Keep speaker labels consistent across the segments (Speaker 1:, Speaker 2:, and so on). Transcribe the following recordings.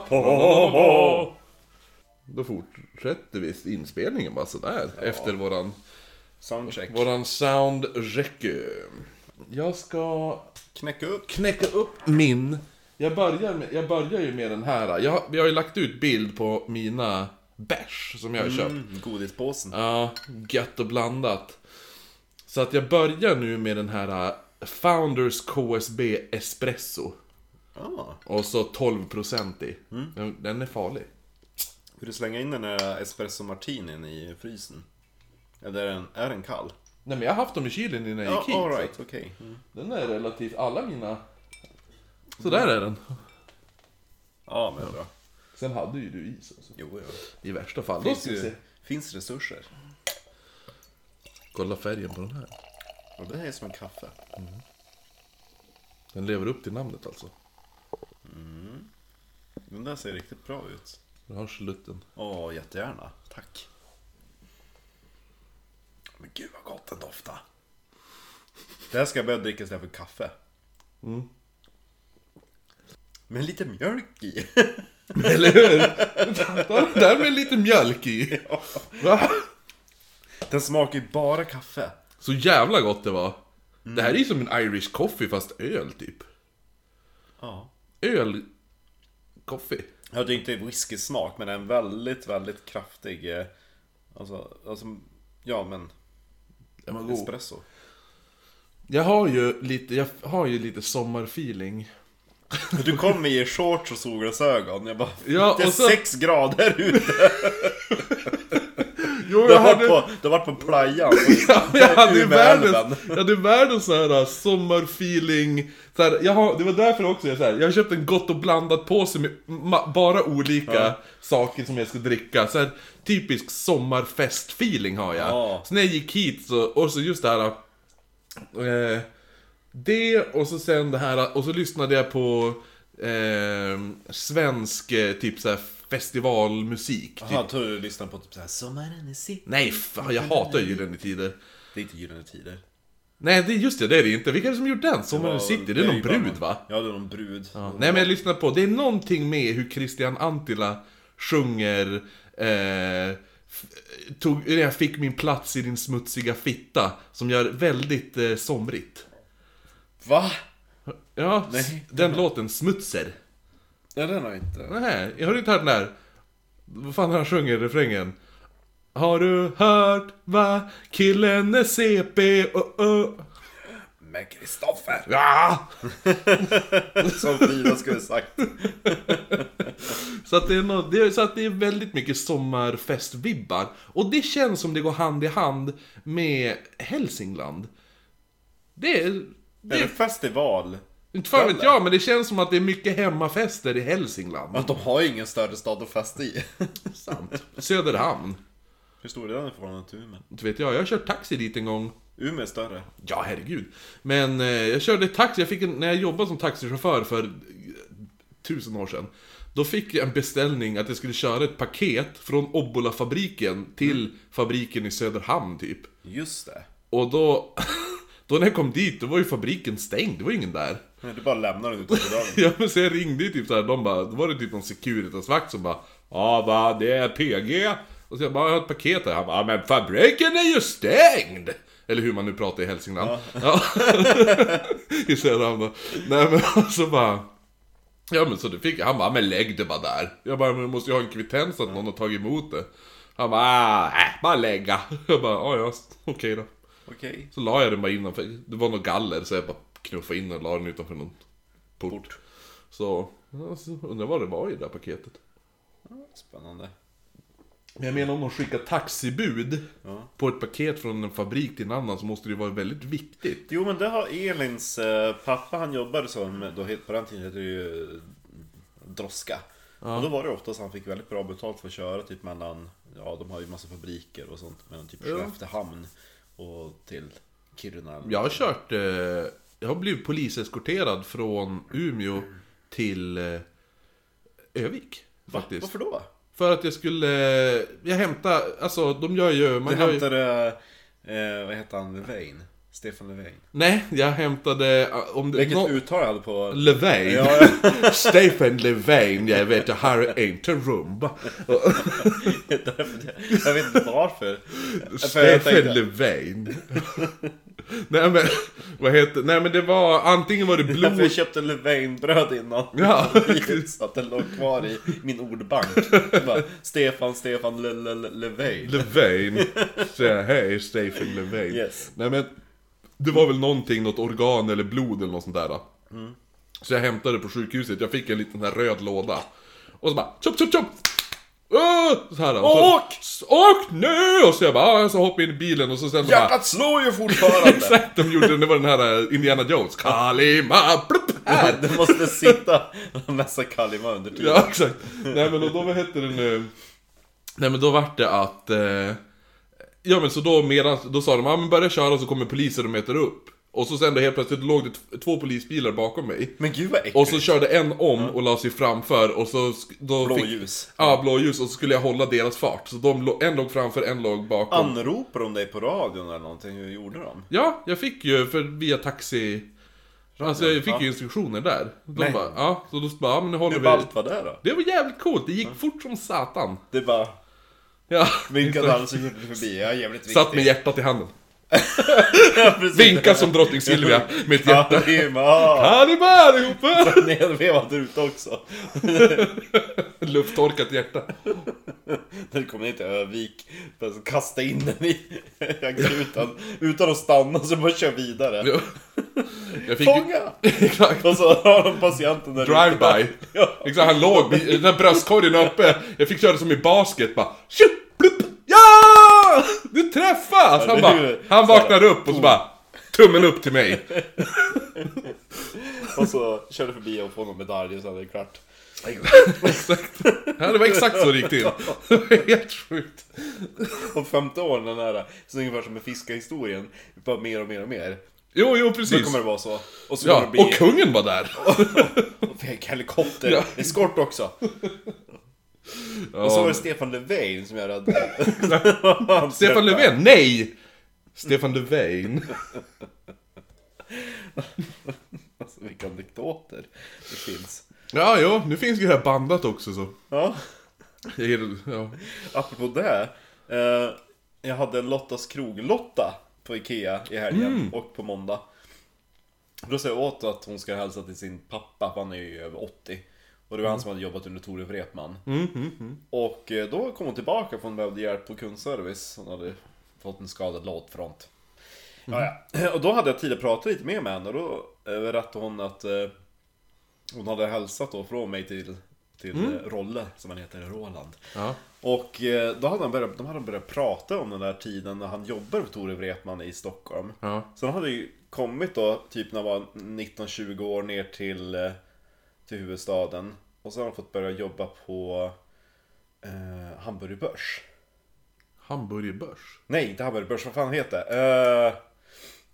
Speaker 1: Lalalalalalalalalalalalala. Då fortsätter vi inspelningen bara sådär. Efter våran,
Speaker 2: Soundcheck.
Speaker 1: våran sound räcker. Jag ska
Speaker 2: Knäcka upp.
Speaker 1: knäcka upp min... Jag börjar, med, jag börjar ju med den här. Jag, jag har ju lagt ut bild på mina bärs som jag har köpt.
Speaker 2: Mm. Godispåsen.
Speaker 1: Ja, gött och blandat. Så att jag börjar nu med den här äh, Founders KSB Espresso.
Speaker 2: Ah.
Speaker 1: Och så 12% i. Den, den är farlig.
Speaker 2: Vill du slänga in den här espresso martinin i frysen? Eller är den, är den kall?
Speaker 1: Nej men jag har haft dem i kylen innan jag
Speaker 2: Ja,
Speaker 1: gick hit. så
Speaker 2: alright, okej. Mm.
Speaker 1: att Den är relativt, alla mina... Så där är den.
Speaker 2: Ja, men bra.
Speaker 1: Sen hade ju du is alltså.
Speaker 2: Jo, jo.
Speaker 1: I värsta fall. Då
Speaker 2: Finns,
Speaker 1: ska vi se.
Speaker 2: ju, finns resurser.
Speaker 1: Kolla färgen på den här.
Speaker 2: Och det här är som en kaffe.
Speaker 1: Den lever upp till namnet alltså.
Speaker 2: Den där ser riktigt bra ut.
Speaker 1: Den har slutten.
Speaker 2: Åh, jättegärna. Tack. Men gud vad gott den doftar. Det här ska jag börja dricka istället för kaffe.
Speaker 1: Mm.
Speaker 2: Med lite mjölk i.
Speaker 1: Eller hur? Den där med lite mjölk i. Va?
Speaker 2: Den smakar ju bara kaffe.
Speaker 1: Så jävla gott det var. Det här är ju som en Irish coffee fast öl typ.
Speaker 2: Ja.
Speaker 1: Öl... Coffee.
Speaker 2: Ja, det är inte whisky-smak, men en väldigt, väldigt kraftig... eh, Alltså, alltså ja men...
Speaker 1: Den var god.
Speaker 2: Espresso.
Speaker 1: Jag har ju lite, jag har ju lite sommarfeeling.
Speaker 2: Du kom i shorts och solglasögon. Jag bara...
Speaker 1: Ja,
Speaker 2: det är
Speaker 1: och så-
Speaker 2: sex grader ute.
Speaker 1: Jo,
Speaker 2: Du har varit på, du har varit på playan.
Speaker 1: Ja, men jag hade ju
Speaker 2: Umeälven.
Speaker 1: världens, jag hade världens så här äh, sommarfeeling. Så här, jag har, det var därför också jag så här, jag har köpt en gott och blandat påse med ma- bara olika saker som jag ska dricka. Så här, typisk sommarfest-feeling har jag.
Speaker 2: Ja.
Speaker 1: Så när jag gick hit så, och så just det här... Eh, det och så sen det här, och så lyssnade jag på eh, svensk eh, typ så här festivalmusik. Typ.
Speaker 2: Jaha, jag tror du lyssnar på typ såhär Sommaren är sitt
Speaker 1: Nej, fan, jag hatar ju Gyllene Tider.
Speaker 2: Det är inte Gyllene Tider
Speaker 1: Nej, det, just det, det är det inte. Vilka är det som gjort den? Sommaren
Speaker 2: Ja,
Speaker 1: i City? Det är någon
Speaker 2: ju bara
Speaker 1: brud
Speaker 2: någon-
Speaker 1: va?
Speaker 2: Ja, det är någon brud
Speaker 1: Ja. Nej men jag lyssnar på, det är någonting med hur Christian Antila sjunger eh, f- tog, när Jag fick min plats i din smutsiga fitta, som gör väldigt eh, somrigt.
Speaker 2: Va?
Speaker 1: Ja,
Speaker 2: Nej.
Speaker 1: s- den låten, Smutser.
Speaker 2: Nej, den har jag inte
Speaker 1: Nej, jag har du inte hört den där? Vad fan han sjunger i refrängen? Har du hört va? Killen är CP, oh, oh.
Speaker 2: Men Kristoffer!
Speaker 1: Ja!
Speaker 2: Som Frida skulle sagt
Speaker 1: Så att, det är nå- det är, så att det är väldigt mycket sommarfestvibbar. Och det känns som det går hand i hand med Hälsingland. Det är...
Speaker 2: Är det
Speaker 1: Det,
Speaker 2: festival?
Speaker 1: inte fan vet jag, men det känns som att det är mycket hemmafester i Hälsingland.
Speaker 2: Men de har ju ingen större stad att festa i
Speaker 1: Sant. Söderhamn.
Speaker 2: Hur stor är den i förhållande till Umeå?
Speaker 1: Inte vet jag, jag har kört taxi dit en gång.
Speaker 2: Umeå är större
Speaker 1: Ja, herregud. Men eh, jag körde taxi, jag fick en, när jag jobbade som taxichaufför för eh, tusen år sedan. Då fick jag en beställning att jag skulle köra ett paket från Obbola-fabriken till fabriken i Söderhamn typ.
Speaker 2: Just det
Speaker 1: Och då, då när jag kom dit, då var ju fabriken stängd, det var ingen där.
Speaker 2: Nej, Du bara lämnar den utanför dörren
Speaker 1: Ja men så jag ringde ju typ såhär, de bara, då var det typ någon Securitas-vakt som bara Ja va, det är PG. Och så jag bara, jag har ett paket här. Han bara, "Ja, men fabriken är ju stängd! Eller hur man nu pratar i Hälsingland. Ja. I Söderhamn då. Nej men och så bara Ja men så det fick jag. han bara, men lägg det bara där. Jag bara, men du måste ju ha en kvittens att någon har tagit emot det. Han bara, "Ah, äh, bara lägga. Jag bara, ja ja, okej då.
Speaker 2: Okej
Speaker 1: Så la jag den bara innanför, det var något galler så jag bara knuffade in den och la den utanför någon port. Så, ja, så undrar vad det var i det där paketet.
Speaker 2: Spännande
Speaker 1: Men jag menar om de skickar taxibud
Speaker 2: Ja.
Speaker 1: på ett paket från en fabrik till en annan så måste det ju vara väldigt viktigt.
Speaker 2: Jo men det har Elins eh, pappa, han jobbade som, då het- på den tiden hette det ju eh, droska. Och då var det oftast han fick väldigt bra betalt för att köra typ mellan, ja de har ju massa fabriker och sånt, mellan typ Skelleftehamn och till Kiruna.
Speaker 1: Jag har kört, eh, jag har blivit poliseskorterad från Umeå till eh, Övik.
Speaker 2: Va?
Speaker 1: Faktiskt.
Speaker 2: Varför då?
Speaker 1: För att jag skulle, jag hämtar, alltså de gör ju, man
Speaker 2: Du
Speaker 1: gör ju...
Speaker 2: hämtade, eh, vad heter han, Vein? Stefan Löfven.
Speaker 1: Nej, jag hämtade... äh, Om det,
Speaker 2: Vilket
Speaker 1: nå-
Speaker 2: uttal jag hade på...
Speaker 1: Löfven.
Speaker 2: Ja,
Speaker 1: Stefan Löfven, jag vet det här är inte rumba. Och-
Speaker 2: jag vet inte varför. För jag
Speaker 1: Stefan
Speaker 2: tänkte,
Speaker 1: Löfven. nej men, vad heter Nej men det var, antingen var det
Speaker 2: därför jag
Speaker 1: blod...
Speaker 2: köpte Löfvenbröd innan.
Speaker 1: Ja.
Speaker 2: Så att den låg kvar i min ordbank. Bara, Stefan, Stefan, Le- Le- Le- Löfven.
Speaker 1: Löfven. Säga hej, Stefan Löfven.
Speaker 2: Yes.
Speaker 1: Nej men, det var väl någonting, något organ eller blod eller något sånt där. då. Så jag hämtade det på sjukhuset, jag fick en liten sån här röd låda. Och så bara, chop chop chop! Öh! Så här, då. och så,
Speaker 2: Åk!
Speaker 1: Åk nu! Och så jag bara, ah, så hoppade jag in i bilen och så sen så bara...
Speaker 2: Hjärtat slår ju fortfarande!
Speaker 1: Exakt, de gjorde det, var den här eh, Indiana Jones, Kalima, plupp, här!
Speaker 2: Du måste sitta och läsa Kalima under tiden.
Speaker 1: Ja, exakt. Nej men och då, vad hette det nu? Nej men då vart det att... Eh, ja men så då medan, då sa de ah, men börja köra så kommer poliser och möter upp. Och så sen då helt plötsligt låg det t- två polisbilar bakom mig.
Speaker 2: Men gud vad äckligt.
Speaker 1: Och så körde en om och la sig framför och så... sk- Då
Speaker 2: Blå
Speaker 1: fick,
Speaker 2: ljus.
Speaker 1: Ja, blåljus. Och så skulle jag hålla deras fart. Så de, lå- en låg framför, en låg bakom.
Speaker 2: Anropar de dig på radion eller någonting? Hur gjorde de?
Speaker 1: Ja, jag fick ju för via taxi... Alltså jag fick ju instruktioner där. De
Speaker 2: Nej.
Speaker 1: bara, ja, så då bara, ja, men nu håller
Speaker 2: Hur
Speaker 1: vi...
Speaker 2: ballt var det då?
Speaker 1: Det var jävligt coolt, det gick fort som satan.
Speaker 2: Det är bara
Speaker 1: Ja,
Speaker 2: vinkade han så gjorde du förbi. Jag är jävligt viktig.
Speaker 1: satt med hjärtat i handen.
Speaker 2: Ja, precis.
Speaker 1: Vinka som drottning Silvia med ett hjärta.
Speaker 2: Kalima!
Speaker 1: Ja, ni med allihopa!
Speaker 2: Nedvevat ute också.
Speaker 1: Lufttorkat hjärta.
Speaker 2: När du kommer ner till Övik. bara så Kasta in den i utan, utan att stanna så bara kör vidare.
Speaker 1: Ja. Jag fick ju...
Speaker 2: Fånga!
Speaker 1: Exakt.
Speaker 2: Och så har de patienten där ute.
Speaker 1: Drive-by.
Speaker 2: Ja.
Speaker 1: Exakt, han låg, vid- den där bröstkorgen uppe. Jag fick köra som i basket bara. Tjup, blup. Ja! Du träffas! Han,
Speaker 2: det är
Speaker 1: bara,
Speaker 2: ju-
Speaker 1: han vaknar upp och så bara. Tummen upp till mig.
Speaker 2: Och så kör du förbi och får någon medalj och så är det klart.
Speaker 1: Exakt. Ja, det var exakt så det gick till. Det var helt sjukt.
Speaker 2: Och femte åren den här, så ungefär som med fiskahistorien. Bara mer och mer och mer.
Speaker 1: Jo, jo,
Speaker 2: Då
Speaker 1: precis.
Speaker 2: kommer det vara så. Och så kommer
Speaker 1: Ja,
Speaker 2: det bli...
Speaker 1: och kungen var där.
Speaker 2: Och fick helikopter,
Speaker 1: Ja.
Speaker 2: eskort också. Och så var det Stefan Löfven som jag räddade.
Speaker 1: Stefan Löfven, nej! Stefan Löfven.
Speaker 2: Alltså, vilka anekdoter det finns.
Speaker 1: Ja, jo, nu finns ju det här bandat också så.
Speaker 2: Ja,
Speaker 1: Jag gillar- Ja.
Speaker 2: apropå det. Eh, jag hade en Lottas krog-Lotta på Ikea i helgen och på måndag. Då sa jag åt att hon ska hälsa till sin pappa, för han är ju över 80. Och det var han som hade jobbat under Tore Wretman.
Speaker 1: Mm,
Speaker 2: Och eh, då kom hon tillbaka för hon behövde hjälp på kundservice. Hon hade fått en skadad låtfront. Ja, ja. Och då hade jag tid att prata lite mer med henne och då eh, berättade hon att eh, hon hade hälsat då från mig till, till eh, Rolle, som han heter, Roland.
Speaker 1: Ja.
Speaker 2: Och eh, då hade han börjat, de hade börjat prata om den där tiden när han jobbade för Tore Wretman i Stockholm.
Speaker 1: Ja.
Speaker 2: Så han hade ju kommit då, typ när han var 19-20 år ner till, eh, till huvudstaden. Och sen har han fått börja jobba på eh, Hamburger Börs.
Speaker 1: Hamburgerbörs.
Speaker 2: Nej, inte Hamburgerbörs, vad fan heter det? Eh,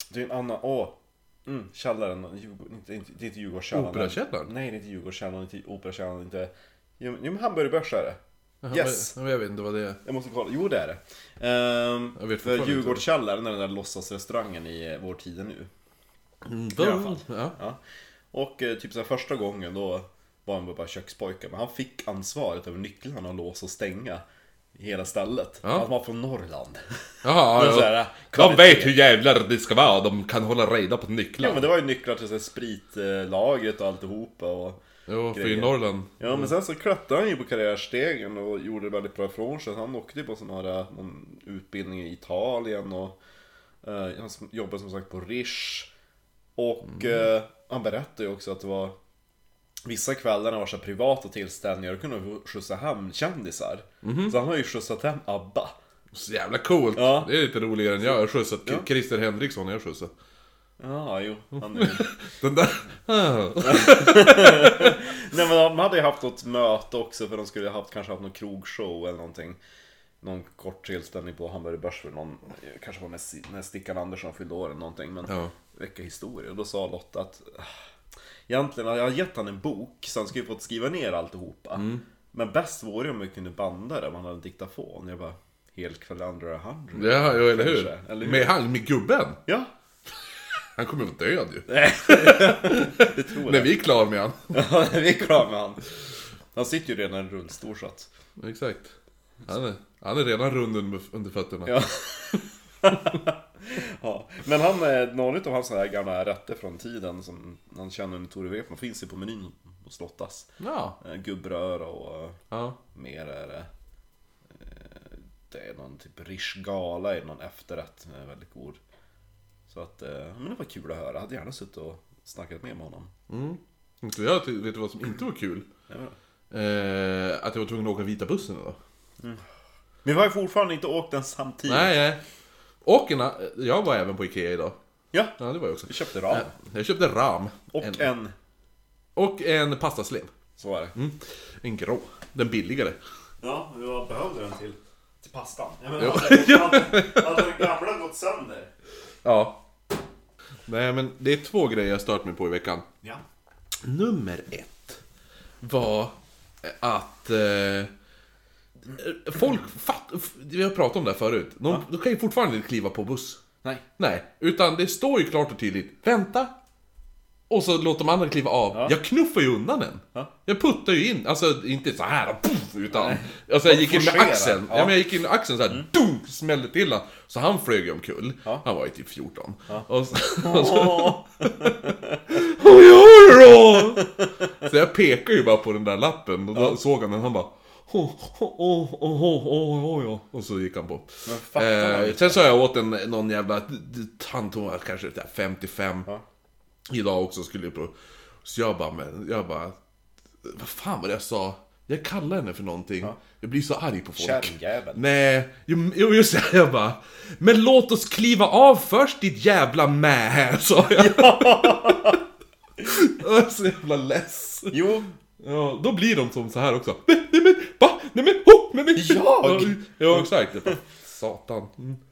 Speaker 2: det är en annan, åh. Mm, källaren, Djurgård- inte- inte- det är inte Djurgårdskällaren.
Speaker 1: Operakällaren?
Speaker 2: Nej, det är inte Djurgårdskällaren, inte Operakällaren, inte... Jo, men- jo, men Hamburgerbörs är det.
Speaker 1: Jaha,
Speaker 2: Yes.
Speaker 1: men- men Jag vet inte vad det är.
Speaker 2: Jag måste kolla, jo det är det. Ehm,
Speaker 1: Jag vet fortfarande
Speaker 2: för Djurgårdskällaren är den där låtsasrestaurangen i eh, vår tid nu.
Speaker 1: Mm,
Speaker 2: alla fall.
Speaker 1: Ja.
Speaker 2: Ja. Och eh, typ så här första gången då var han bara kökspojke, men han fick ansvaret över nycklarna och lås och stänga hela stället.
Speaker 1: Ja.
Speaker 2: Han var från Norrland.
Speaker 1: Jaha,
Speaker 2: Men så
Speaker 1: ja.
Speaker 2: här,
Speaker 1: De
Speaker 2: kvalitet.
Speaker 1: vet hur jävlar det ska vara, de kan hålla reda på
Speaker 2: Ja men
Speaker 1: nycklar.
Speaker 2: det var ju nycklar till så här spritlagret och alltihopa och...
Speaker 1: Jo, för i
Speaker 2: grejer.
Speaker 1: Norrland.
Speaker 2: Ja men sen så klättrade han ju på karriärstegen och gjorde väldigt bra ifrån sig. Han åkte ju på sån här eh, någon utbildning i Italien och eh, han som- jobbade som sagt på Rish. Och eh, han berättade ju också att det var vissa kvällar när det var så här privata tillställningar då kunde han skjutsa hem kändisar. Så han har ju skjutsat hem ABBA.
Speaker 1: Så jävla coolt.
Speaker 2: Ja.
Speaker 1: Det är lite roligare än jag. Jag har skjutsat Christer Henriksson har jag skjutsat.
Speaker 2: Ja, jo. Han är...
Speaker 1: Den där... Ah.
Speaker 2: Nej men de hade ju haft något möte också för de skulle haft, kanske haft någon krogshow eller någonting. Någon kort tillställning på Hamburger Börs för någon, kanske var när, Si- när Stickan Andersson fyllde år eller någonting. Men
Speaker 1: Ja.
Speaker 2: väcka historia. Och då sa Lotta att "Ah, egentligen har jag gett han en bok så han skulle ju fått skriva ner alltihopa. Men bäst vore ju om vi kunde banda det, om han hade en diktafon. Jag bara, helt kvalandra hundred.
Speaker 1: Mm. Ja, jo, eller
Speaker 2: Kanske,
Speaker 1: hur?
Speaker 2: eller hur?
Speaker 1: Med han, med gubben.
Speaker 2: Ja,
Speaker 1: Han kommer ju vara död ju.
Speaker 2: Det tror
Speaker 1: När
Speaker 2: jag.
Speaker 1: vi är klara med han.
Speaker 2: Ja, vi är klara med han. Han sitter ju redan i rullstol så att...
Speaker 1: Exakt. Han är, han är redan rund under, under fötterna.
Speaker 2: Ja. ja. Men han, eh, några av hans här gamla rätter från tiden som han känner under Tore Wretman finns ju på menyn hos Lottas.
Speaker 1: Ja.
Speaker 2: Eh, Gubbröra och eh,
Speaker 1: ja.
Speaker 2: mer är det... eh, Det är någon typ rish gala i någon efterrätt som är väldigt god. Så att, eh, men det var kul att höra. Jag hade gärna suttit och snackat med honom.
Speaker 1: Mm. Så jag ty- vet du vad som inte var kul?
Speaker 2: Ja.
Speaker 1: Eh, att jag var tvungen att åka vita bussen idag.
Speaker 2: Men vi har ju fortfarande inte åkt den samtidigt.
Speaker 1: Nej, nej. Och en, a- jag var även på Ikea idag.
Speaker 2: Ja,
Speaker 1: Ja, det var jag också.
Speaker 2: vi köpte ram.
Speaker 1: Jag köpte ram.
Speaker 2: Och
Speaker 1: en,
Speaker 2: en...
Speaker 1: och en pastaslev.
Speaker 2: Så är det.
Speaker 1: Mm. En grå. Den billigare.
Speaker 2: Ja, jag behövde den till, till pastan. Jag
Speaker 1: Jo.
Speaker 2: menar, hade, hade, hade den gamla gått sönder?
Speaker 1: Ja. Nej, men det är två grejer jag stört mig på i veckan.
Speaker 2: Ja.
Speaker 1: Nummer ett var att eh, folk fattar... Vi har pratat om det här förut. De, de kan ju fortfarande inte kliva på buss.
Speaker 2: Nej.
Speaker 1: Nej, utan det står ju klart och tydligt. Vänta! Och så låter de andra kliva av. Jag knuffar ju undan den.
Speaker 2: Ja.
Speaker 1: Jag puttar ju in, alltså inte så här puff, utan... Alltså jag gick in med
Speaker 2: forcerar.
Speaker 1: axeln. Ja.
Speaker 2: Ja. Mm.
Speaker 1: men jag gick in med axeln så här, dunk, smällde till han. Så han flög ju omkull.
Speaker 2: Ja.
Speaker 1: Han var ju typ 14. Och så, och så, Vad gör du då? Så jag pekar ju bara på den där lappen och då såg han den han bara Åh, åh, åh, åh, åh, åh, åh. Och så gick han på.
Speaker 2: Men fattar han
Speaker 1: Eh, sen så har jag åt en, någon jävla tantomat, kanske där 55
Speaker 2: Ja.
Speaker 1: Idag också skulle jag på Så jag bara, men, jag bara Vad fan var det jag sa? Jag kallar henne för någonting Jag blir så arg på folk
Speaker 2: Kärringjävel.
Speaker 1: Nej, jo, jo, just det, jag bara Men låt oss kliva av först ditt jävla mä, sa jag Jag är så jävla less
Speaker 2: Jo,
Speaker 1: Ja, då blir de som så här också. Nej, nej men, va? Nej men, ho! Nej men,
Speaker 2: Jag?
Speaker 1: Ja, exakt. Jag bara, Satan. Mm.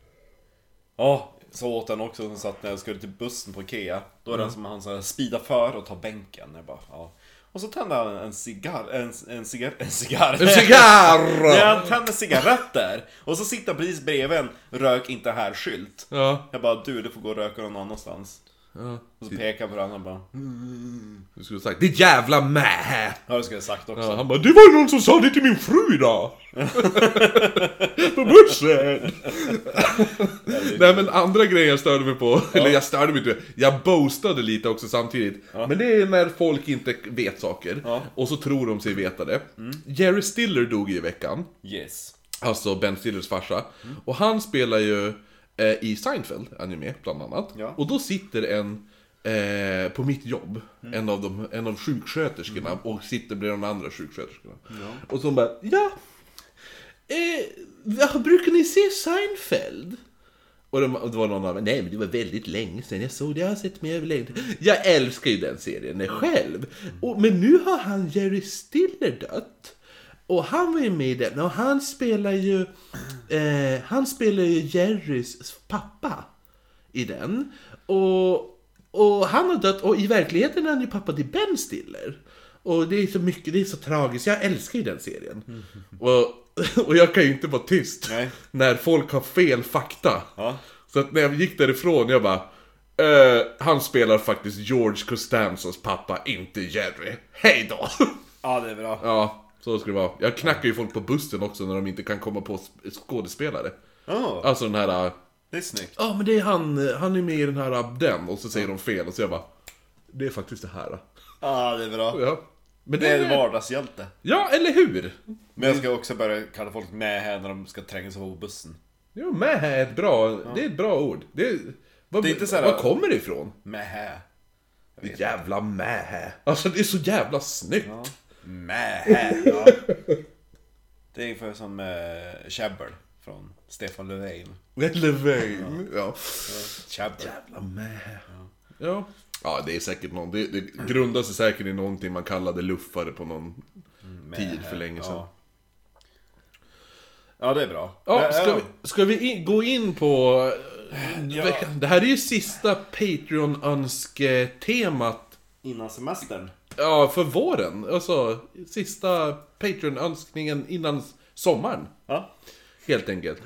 Speaker 2: Ja, så åt den också som satt när jag skulle till bussen på Ikea. Då är den som han så här speedar för och tar bänken. Jag bara, ja. Och så tände han en cigarr, en, en cigarr, en cigarr.
Speaker 1: En cigarr!
Speaker 2: Ja, han tände cigaretter. Och så sitter han precis bredvid en rök inte här-skylt.
Speaker 1: Ja.
Speaker 2: Jag bara, du du får gå och röka någon annanstans.
Speaker 1: ja.
Speaker 2: Och så pekar han på den och bara,
Speaker 1: Du skulle ha sagt, ditt jävla mä!
Speaker 2: ja det skulle jag sagt också.
Speaker 1: Ja, han bara, det var ju någon som sa det till min fru idag! på bussen! Nej men andra grejer jag störde mig på, eller jag störde mig inte, jag boastade lite också samtidigt. Men det är när folk inte vet saker,
Speaker 2: Ja.
Speaker 1: och så tror de sig veta det. Jerry Stiller dog ju i veckan.
Speaker 2: Yes.
Speaker 1: Alltså Ben Stillers farsa. Och han spelar ju eh, i Seinfeld, han är med bland annat.
Speaker 2: Ja.
Speaker 1: Och då sitter en eh, på mitt jobb, en, av de, en av sjuksköterskorna, och sitter bredvid de andra sjuksköterskorna. Och så hon bara, ja, eh, ja, brukar ni se Seinfeld? Och det, och det var någon annan, nej men det var väldigt länge sedan jag såg det, jag har sett mer över länge Jag älskar ju den serien själv. Och, men nu har han Jerry Stiller dött. Och han var ju med i den och han spelar ju, eh, han spelar ju Jerrys pappa i den. Och, och han har dött och i verkligheten är han ju pappa till Ben Stiller. Och det är så mycket, det är så tragiskt, jag älskar ju den serien. Och, och jag kan ju inte vara tyst
Speaker 2: Nej.
Speaker 1: när folk har fel fakta.
Speaker 2: Ja.
Speaker 1: Så att när jag gick därifrån, jag bara eh, Han spelar faktiskt George Costanzas pappa, inte Jerry. Hej då!
Speaker 2: Ja, det är bra.
Speaker 1: ja, så ska det vara. Jag knackar ju folk på bussen också när de inte kan komma på sk- skådespelare.
Speaker 2: Ja,
Speaker 1: Alltså den här...
Speaker 2: det är snyggt.
Speaker 1: Ja, men det är han, han är med i den här abden och så säger de fel och så jag bara Det är faktiskt det här.
Speaker 2: Ja, det är bra.
Speaker 1: Ja. Men
Speaker 2: Det är en vardagshjälte.
Speaker 1: Ja, eller hur?
Speaker 2: Men jag ska också börja kalla folk med här när de ska tränga sig på bussen.
Speaker 1: Ja, med är ett bra, det är ett bra ord. Det är, vad,
Speaker 2: Det är inte så här-
Speaker 1: vad kommer det ifrån?
Speaker 2: Med här.
Speaker 1: Det jävla med. Alltså det är så jävla snyggt.
Speaker 2: Mähä! Ja. Det är ungefär som eh, Chabbel från Stefan Löfven.
Speaker 1: Vet Löfven. Ja.
Speaker 2: Chabbel.
Speaker 1: Jävla med. Ja. Ja, det är säkert någon. Det, det grundar sig säkert i någonting man kallade luffare på någon tid för länge sedan.
Speaker 2: Ja. ja, det är bra. Eh,
Speaker 1: Ja,
Speaker 2: Men,
Speaker 1: ska vi, ska vi in, gå in på... eh,
Speaker 2: Ja.
Speaker 1: veckan? Det här är ju sista Patreon-önsketemat
Speaker 2: Innan semestern.
Speaker 1: ja, för våren. Alltså, sista Patreon-önskningen innan sommaren.
Speaker 2: Ja.
Speaker 1: Helt enkelt.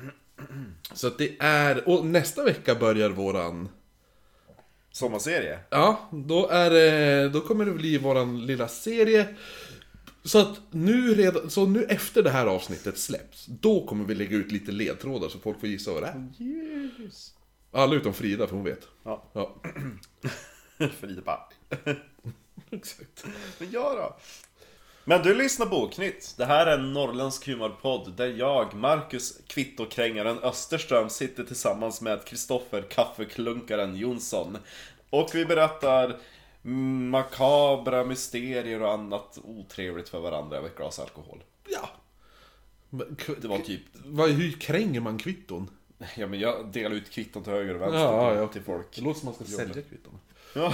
Speaker 1: Så att det är... Och nästa vecka börjar våran...
Speaker 2: sommarserie.
Speaker 1: Ja, då, är, det- då kommer det bli våran lilla serie. Så att nu, redan, så nu efter det här avsnittet släpps, då kommer vi lägga ut lite ledtrådar så folk får gissa vad det är. Alla utom Frida, för hon vet.
Speaker 2: Ja,
Speaker 1: Ja,
Speaker 2: Frida bara,
Speaker 1: exakt.
Speaker 2: men jag då? Men du lyssnar på Oknytt. Det här är en norrländsk humorpodd där jag, Marcus Kvittokrängaren Österström sitter tillsammans med Kristoffer Kaffeklunkaren Jonsson. Och vi berättar makabra mysterier och annat otrevligt för varandra över ett glas alkohol.
Speaker 1: Ja. Men k-
Speaker 2: Det var typ,
Speaker 1: Vad, hur kränger man kvitton?
Speaker 2: ja men jag delar ut kvitton till höger och vänster
Speaker 1: Ja,
Speaker 2: till,
Speaker 1: ja.
Speaker 2: till folk.
Speaker 1: Det låter som man ska sälja kvitton.
Speaker 2: Ja.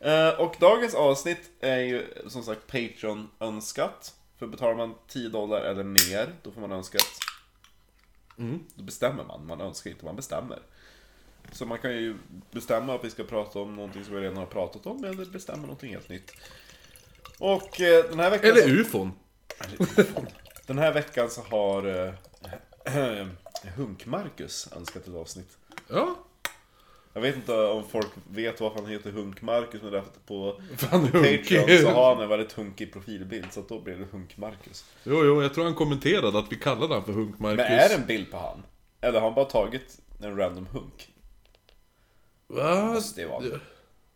Speaker 2: Eh, och dagens avsnitt är ju som sagt Patreon-önskat. För betalar man 10 dollar eller mer, då får man önskat. Då bestämmer man, man önskar inte, man bestämmer. Så man kan ju bestämma att vi ska prata om någonting som vi redan har pratat om, eller bestämma någonting helt nytt. Och eh, den här veckan... Äh,
Speaker 1: Eller ufon.
Speaker 2: Den här veckan så har eh, Hunk-Marcus önskat ett avsnitt.
Speaker 1: Ja.
Speaker 2: Jag vet inte om folk vet varför han heter Hunk-Marcus, men därför att på
Speaker 1: Fan,
Speaker 2: Patreon
Speaker 1: hunkig.
Speaker 2: så har han en väldigt hunkig profilbild, så att då blir det Hunk-Marcus.
Speaker 1: Jo, jo, jag tror han kommenterade att vi kallade han för Hunk-Marcus.
Speaker 2: Men är det en bild på han? Eller har han bara tagit en random hunk?
Speaker 1: Va?
Speaker 2: Måste det vara.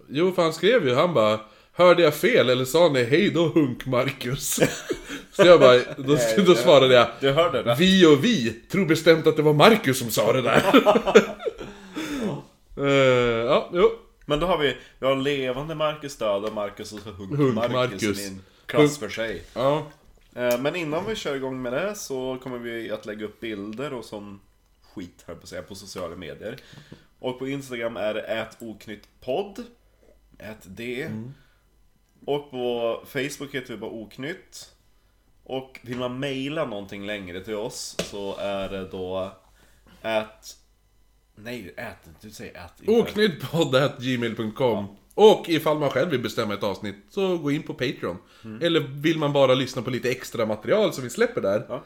Speaker 1: Jo, för han skrev ju, han bara Hörde jag fel eller sa ni hej då hunk-Marcus? Så jag bara, då, då svarade jag
Speaker 2: Du hörde det?
Speaker 1: Vi och vi tror bestämt att det var Marcus som sa det där. Eh, ja, jo.
Speaker 2: Men då har vi, vi har levande Marcus död och Marcus och så Hunk-Marcus
Speaker 1: Hunk-Marcus.
Speaker 2: i en klass för sig.
Speaker 1: Ja,
Speaker 2: Eh, Men innan vi kör igång med det så kommer vi att lägga upp bilder och sån skit här på att säga, på sociala medier. Och på Instagram är det ätoknyttpodd. Ät det.
Speaker 1: Mm.
Speaker 2: Och på Facebook heter vi bara oknytt. Och vill man mejla någonting längre till oss så är det då ät... Nej, ät inte. Du säger ät inte.
Speaker 1: oknyttpodd.gmail.com Och ifall man själv vill bestämma ett avsnitt så gå in på Patreon.
Speaker 2: Mm.
Speaker 1: Eller vill man bara lyssna på lite extra material som vi släpper där.
Speaker 2: Ja.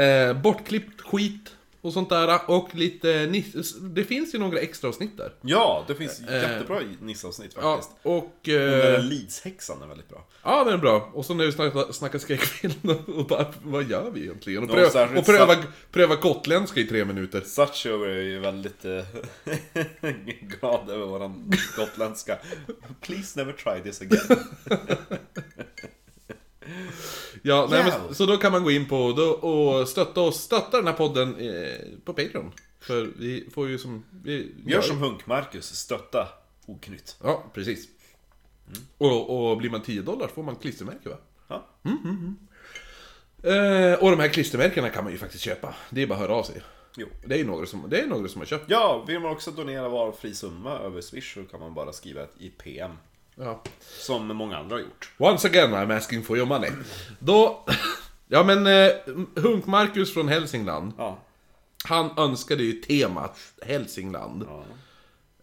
Speaker 1: Eh, bortklippt skit och sånt där. Och lite... nis- Det finns ju några extra avsnitt där.
Speaker 2: Ja, det finns jättebra nissavsnitt
Speaker 1: Eh, Ja,
Speaker 2: faktiskt.
Speaker 1: och...
Speaker 2: Den där
Speaker 1: Eh,
Speaker 2: Leeds-häxan är väldigt bra.
Speaker 1: ja, den är bra. Och så när vi snackar, snackar skräckfilm och bara, vad gör vi egentligen? Och,
Speaker 2: Ja,
Speaker 1: pröva,
Speaker 2: särskilt
Speaker 1: och pröva, pröva gotländska i tre minuter.
Speaker 2: Satcho är ju väldigt eh, glad över våran gotländska. Please never try this again.
Speaker 1: Ja, nej,
Speaker 2: Yeah.
Speaker 1: men, så då kan man gå in på då, och stötta oss, stötta den här podden eh, på Patreon. För vi får ju som... Vi
Speaker 2: Gör som Hunk-Marcus, stötta oknytt.
Speaker 1: Ja, precis. Och, och blir man 10 dollar så får man klistermärke va?
Speaker 2: Mm.
Speaker 1: Mm,
Speaker 2: Ja.
Speaker 1: Eh, och de här klistermärkena kan man ju faktiskt köpa. Det är bara att höra av sig.
Speaker 2: Jo.
Speaker 1: Det är ju några som, det är några som har köpt.
Speaker 2: Ja, vill man också donera valfri summa över Swish så kan man bara skriva ett i PM.
Speaker 1: Ja.
Speaker 2: Som många andra har gjort.
Speaker 1: Once again I'm asking for your money. Då... Ja men, eh, Hunk-Marcus från Hälsingland,
Speaker 2: Ja.
Speaker 1: han önskade ju temat Hälsingland.
Speaker 2: ja.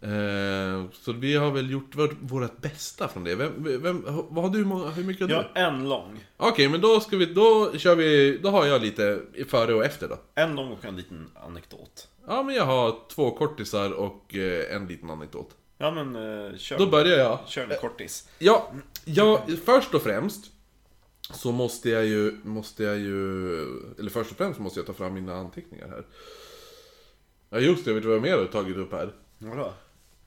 Speaker 1: Eh, så vi har väl gjort vårt, vårt bästa från det. Vem, vem, vad har du, många- hur mycket har du?
Speaker 2: Jag har en lång.
Speaker 1: Okej, men då ska vi, då kör vi, då har jag lite före och efter då.
Speaker 2: En lång och en liten anekdot.
Speaker 1: Ja, men jag har två kortisar och eh, en liten anekdot.
Speaker 2: Ja men eh, kör.
Speaker 1: Då börjar jag.
Speaker 2: Kör en kortis.
Speaker 1: Ja, jag, först och främst så måste jag ju, måste jag ju, eller först och främst måste jag ta fram mina anteckningar här. Ja just det, jag vet vad jag mer har tagit upp här.
Speaker 2: Vadå?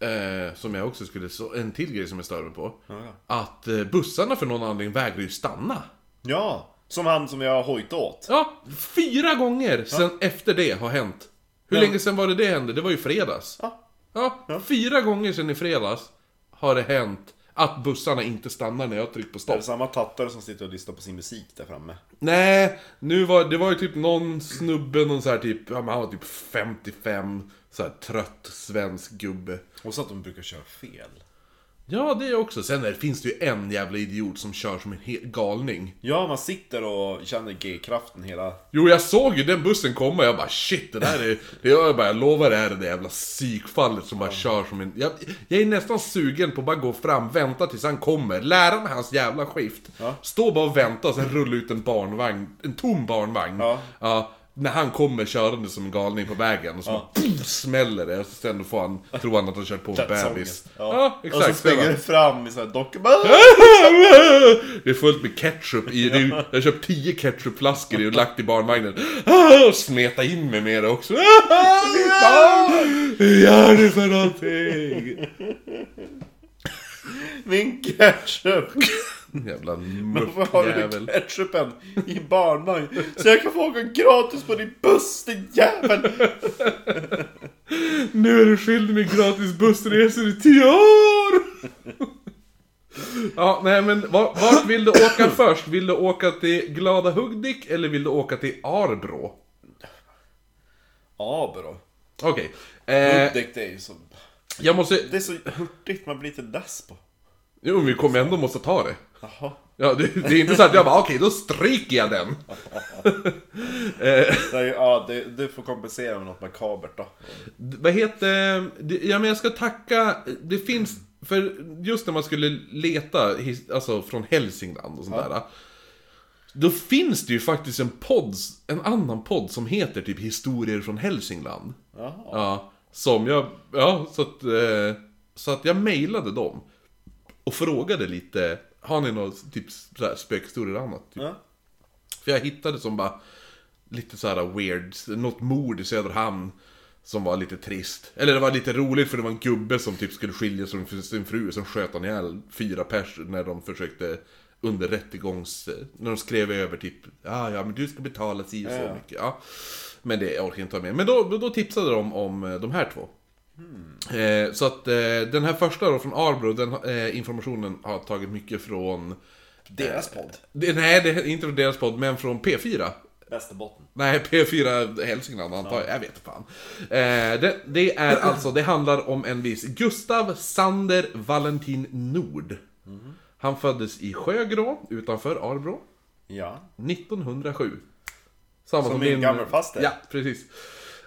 Speaker 1: Eh, som jag också skulle, så, en till grej som jag stör mig på.
Speaker 2: Ja.
Speaker 1: Att eh, bussarna för någon anledning vägrar ju stanna.
Speaker 2: ja, som han som jag hojtade åt.
Speaker 1: Ja, fyra gånger sen efter det har hänt. Hur länge sen var det det hände? Det var ju fredags.
Speaker 2: Ja.
Speaker 1: Ja, fyra gånger sen i fredags har det hänt att bussarna inte stannar när jag trycker på
Speaker 2: Är
Speaker 1: stopp.
Speaker 2: det samma tattare som sitter och lyssnar på sin musik där framme?
Speaker 1: Nej, nu var, det var ju typ någon snubbe, någon så här typ, ja, men han var typ 55, så här trött svensk gubbe.
Speaker 2: Och så att de brukar köra fel.
Speaker 1: Ja, det är också. Sen är, finns det ju en jävla idiot som kör som en hel galning.
Speaker 2: Ja, man sitter och känner G-kraften hela...
Speaker 1: Jo, jag såg ju den bussen komma jag bara shit, det där är... Det gör jag bara, jag lovar det här är det jävla psykfallet som bara kör som en... Jag, jag är nästan sugen på att bara gå fram, vänta tills han kommer, lära mig hans jävla skift.
Speaker 2: Ja.
Speaker 1: Stå bara och vänta och sen rulla ut en barnvagn, en tom barnvagn.
Speaker 2: Ja.
Speaker 1: när han kommer körande som en galning på vägen och så bara, pff, smäller det och så sen får han tro att han kört på en bebis.
Speaker 2: Dödsångest.
Speaker 1: Ja,
Speaker 2: Och så
Speaker 1: exakt.
Speaker 2: springer det fram i såhär dokument.
Speaker 1: Det är fullt med ketchup i. Det är, jag har köpt 10 ketchupflaskor i och lagt i barnvagnen. Och smeta in mig med det också. Hur gör du för någonting?
Speaker 2: Min ketchup!
Speaker 1: Jävla
Speaker 2: Varför har du
Speaker 1: muffjävel.
Speaker 2: ketchupen i barnvagn? Så jag kan få åka gratis på din buss din jävel!
Speaker 1: Nu är du skild med gratis bussresor i 10 år! Ja, nej men var- vart vill du åka först? Vill du åka till Glada Hudik eller vill du åka till Arbro?
Speaker 2: Ja bro.
Speaker 1: Okej. Eh,
Speaker 2: Hudik det är ju så...
Speaker 1: jag måste...
Speaker 2: Det är så hurtigt, man blir lite less på.
Speaker 1: Jo, men vi kommer ändå måste ta det.
Speaker 2: Jaha.
Speaker 1: Ja, det, det är inte så att jag bara okej, då stryker jag den.
Speaker 2: Det är, ju- ja, det, du får kompensera med något makabert då.
Speaker 1: D- Vad heter... det- Ja, men jag ska tacka... Det finns... För just när man skulle leta, his- alltså från Hälsingland och sånt där. Då finns det ju faktiskt en podd, en annan podd som heter typ Historier från Hälsingland.
Speaker 2: Jaha.
Speaker 1: Ja, som jag, ja, så att, eh, så att jag mejlade dem. Och frågade lite, har ni några typ så här spökhistorier och annat? Typ.
Speaker 2: Ja.
Speaker 1: För jag hittade som bara, lite så här weird, något mord i Söderhamn. Som var lite trist. Eller det var lite roligt för det var en gubbe som typ skulle skiljas från sin fru, som sköt han ihjäl fyra pers när de försökte under rättegångs... När de skrev över typ, ah, ja men du ska betala si och så
Speaker 2: Ja, ja.
Speaker 1: mycket. Ja. Men det orkar jag inte ta med. Men då, då tipsade de om eh, de här två. Eh, så att eh, den här första då från Arbro, den eh, informationen har tagit mycket från...
Speaker 2: Deras podd.
Speaker 1: Det, nej, det är inte från deras podd, men från P4.
Speaker 2: Västerbotten.
Speaker 1: Nej, P4 Hälsingland antar jag. Jag vet fan. Eh, det, det är alltså, det handlar om en viss Gustav Sander Valentin Nord. Han föddes i Sjögrå utanför Arbro
Speaker 2: Ja.
Speaker 1: 1907. Samma
Speaker 2: Som min gammelfaster.
Speaker 1: Ja, precis.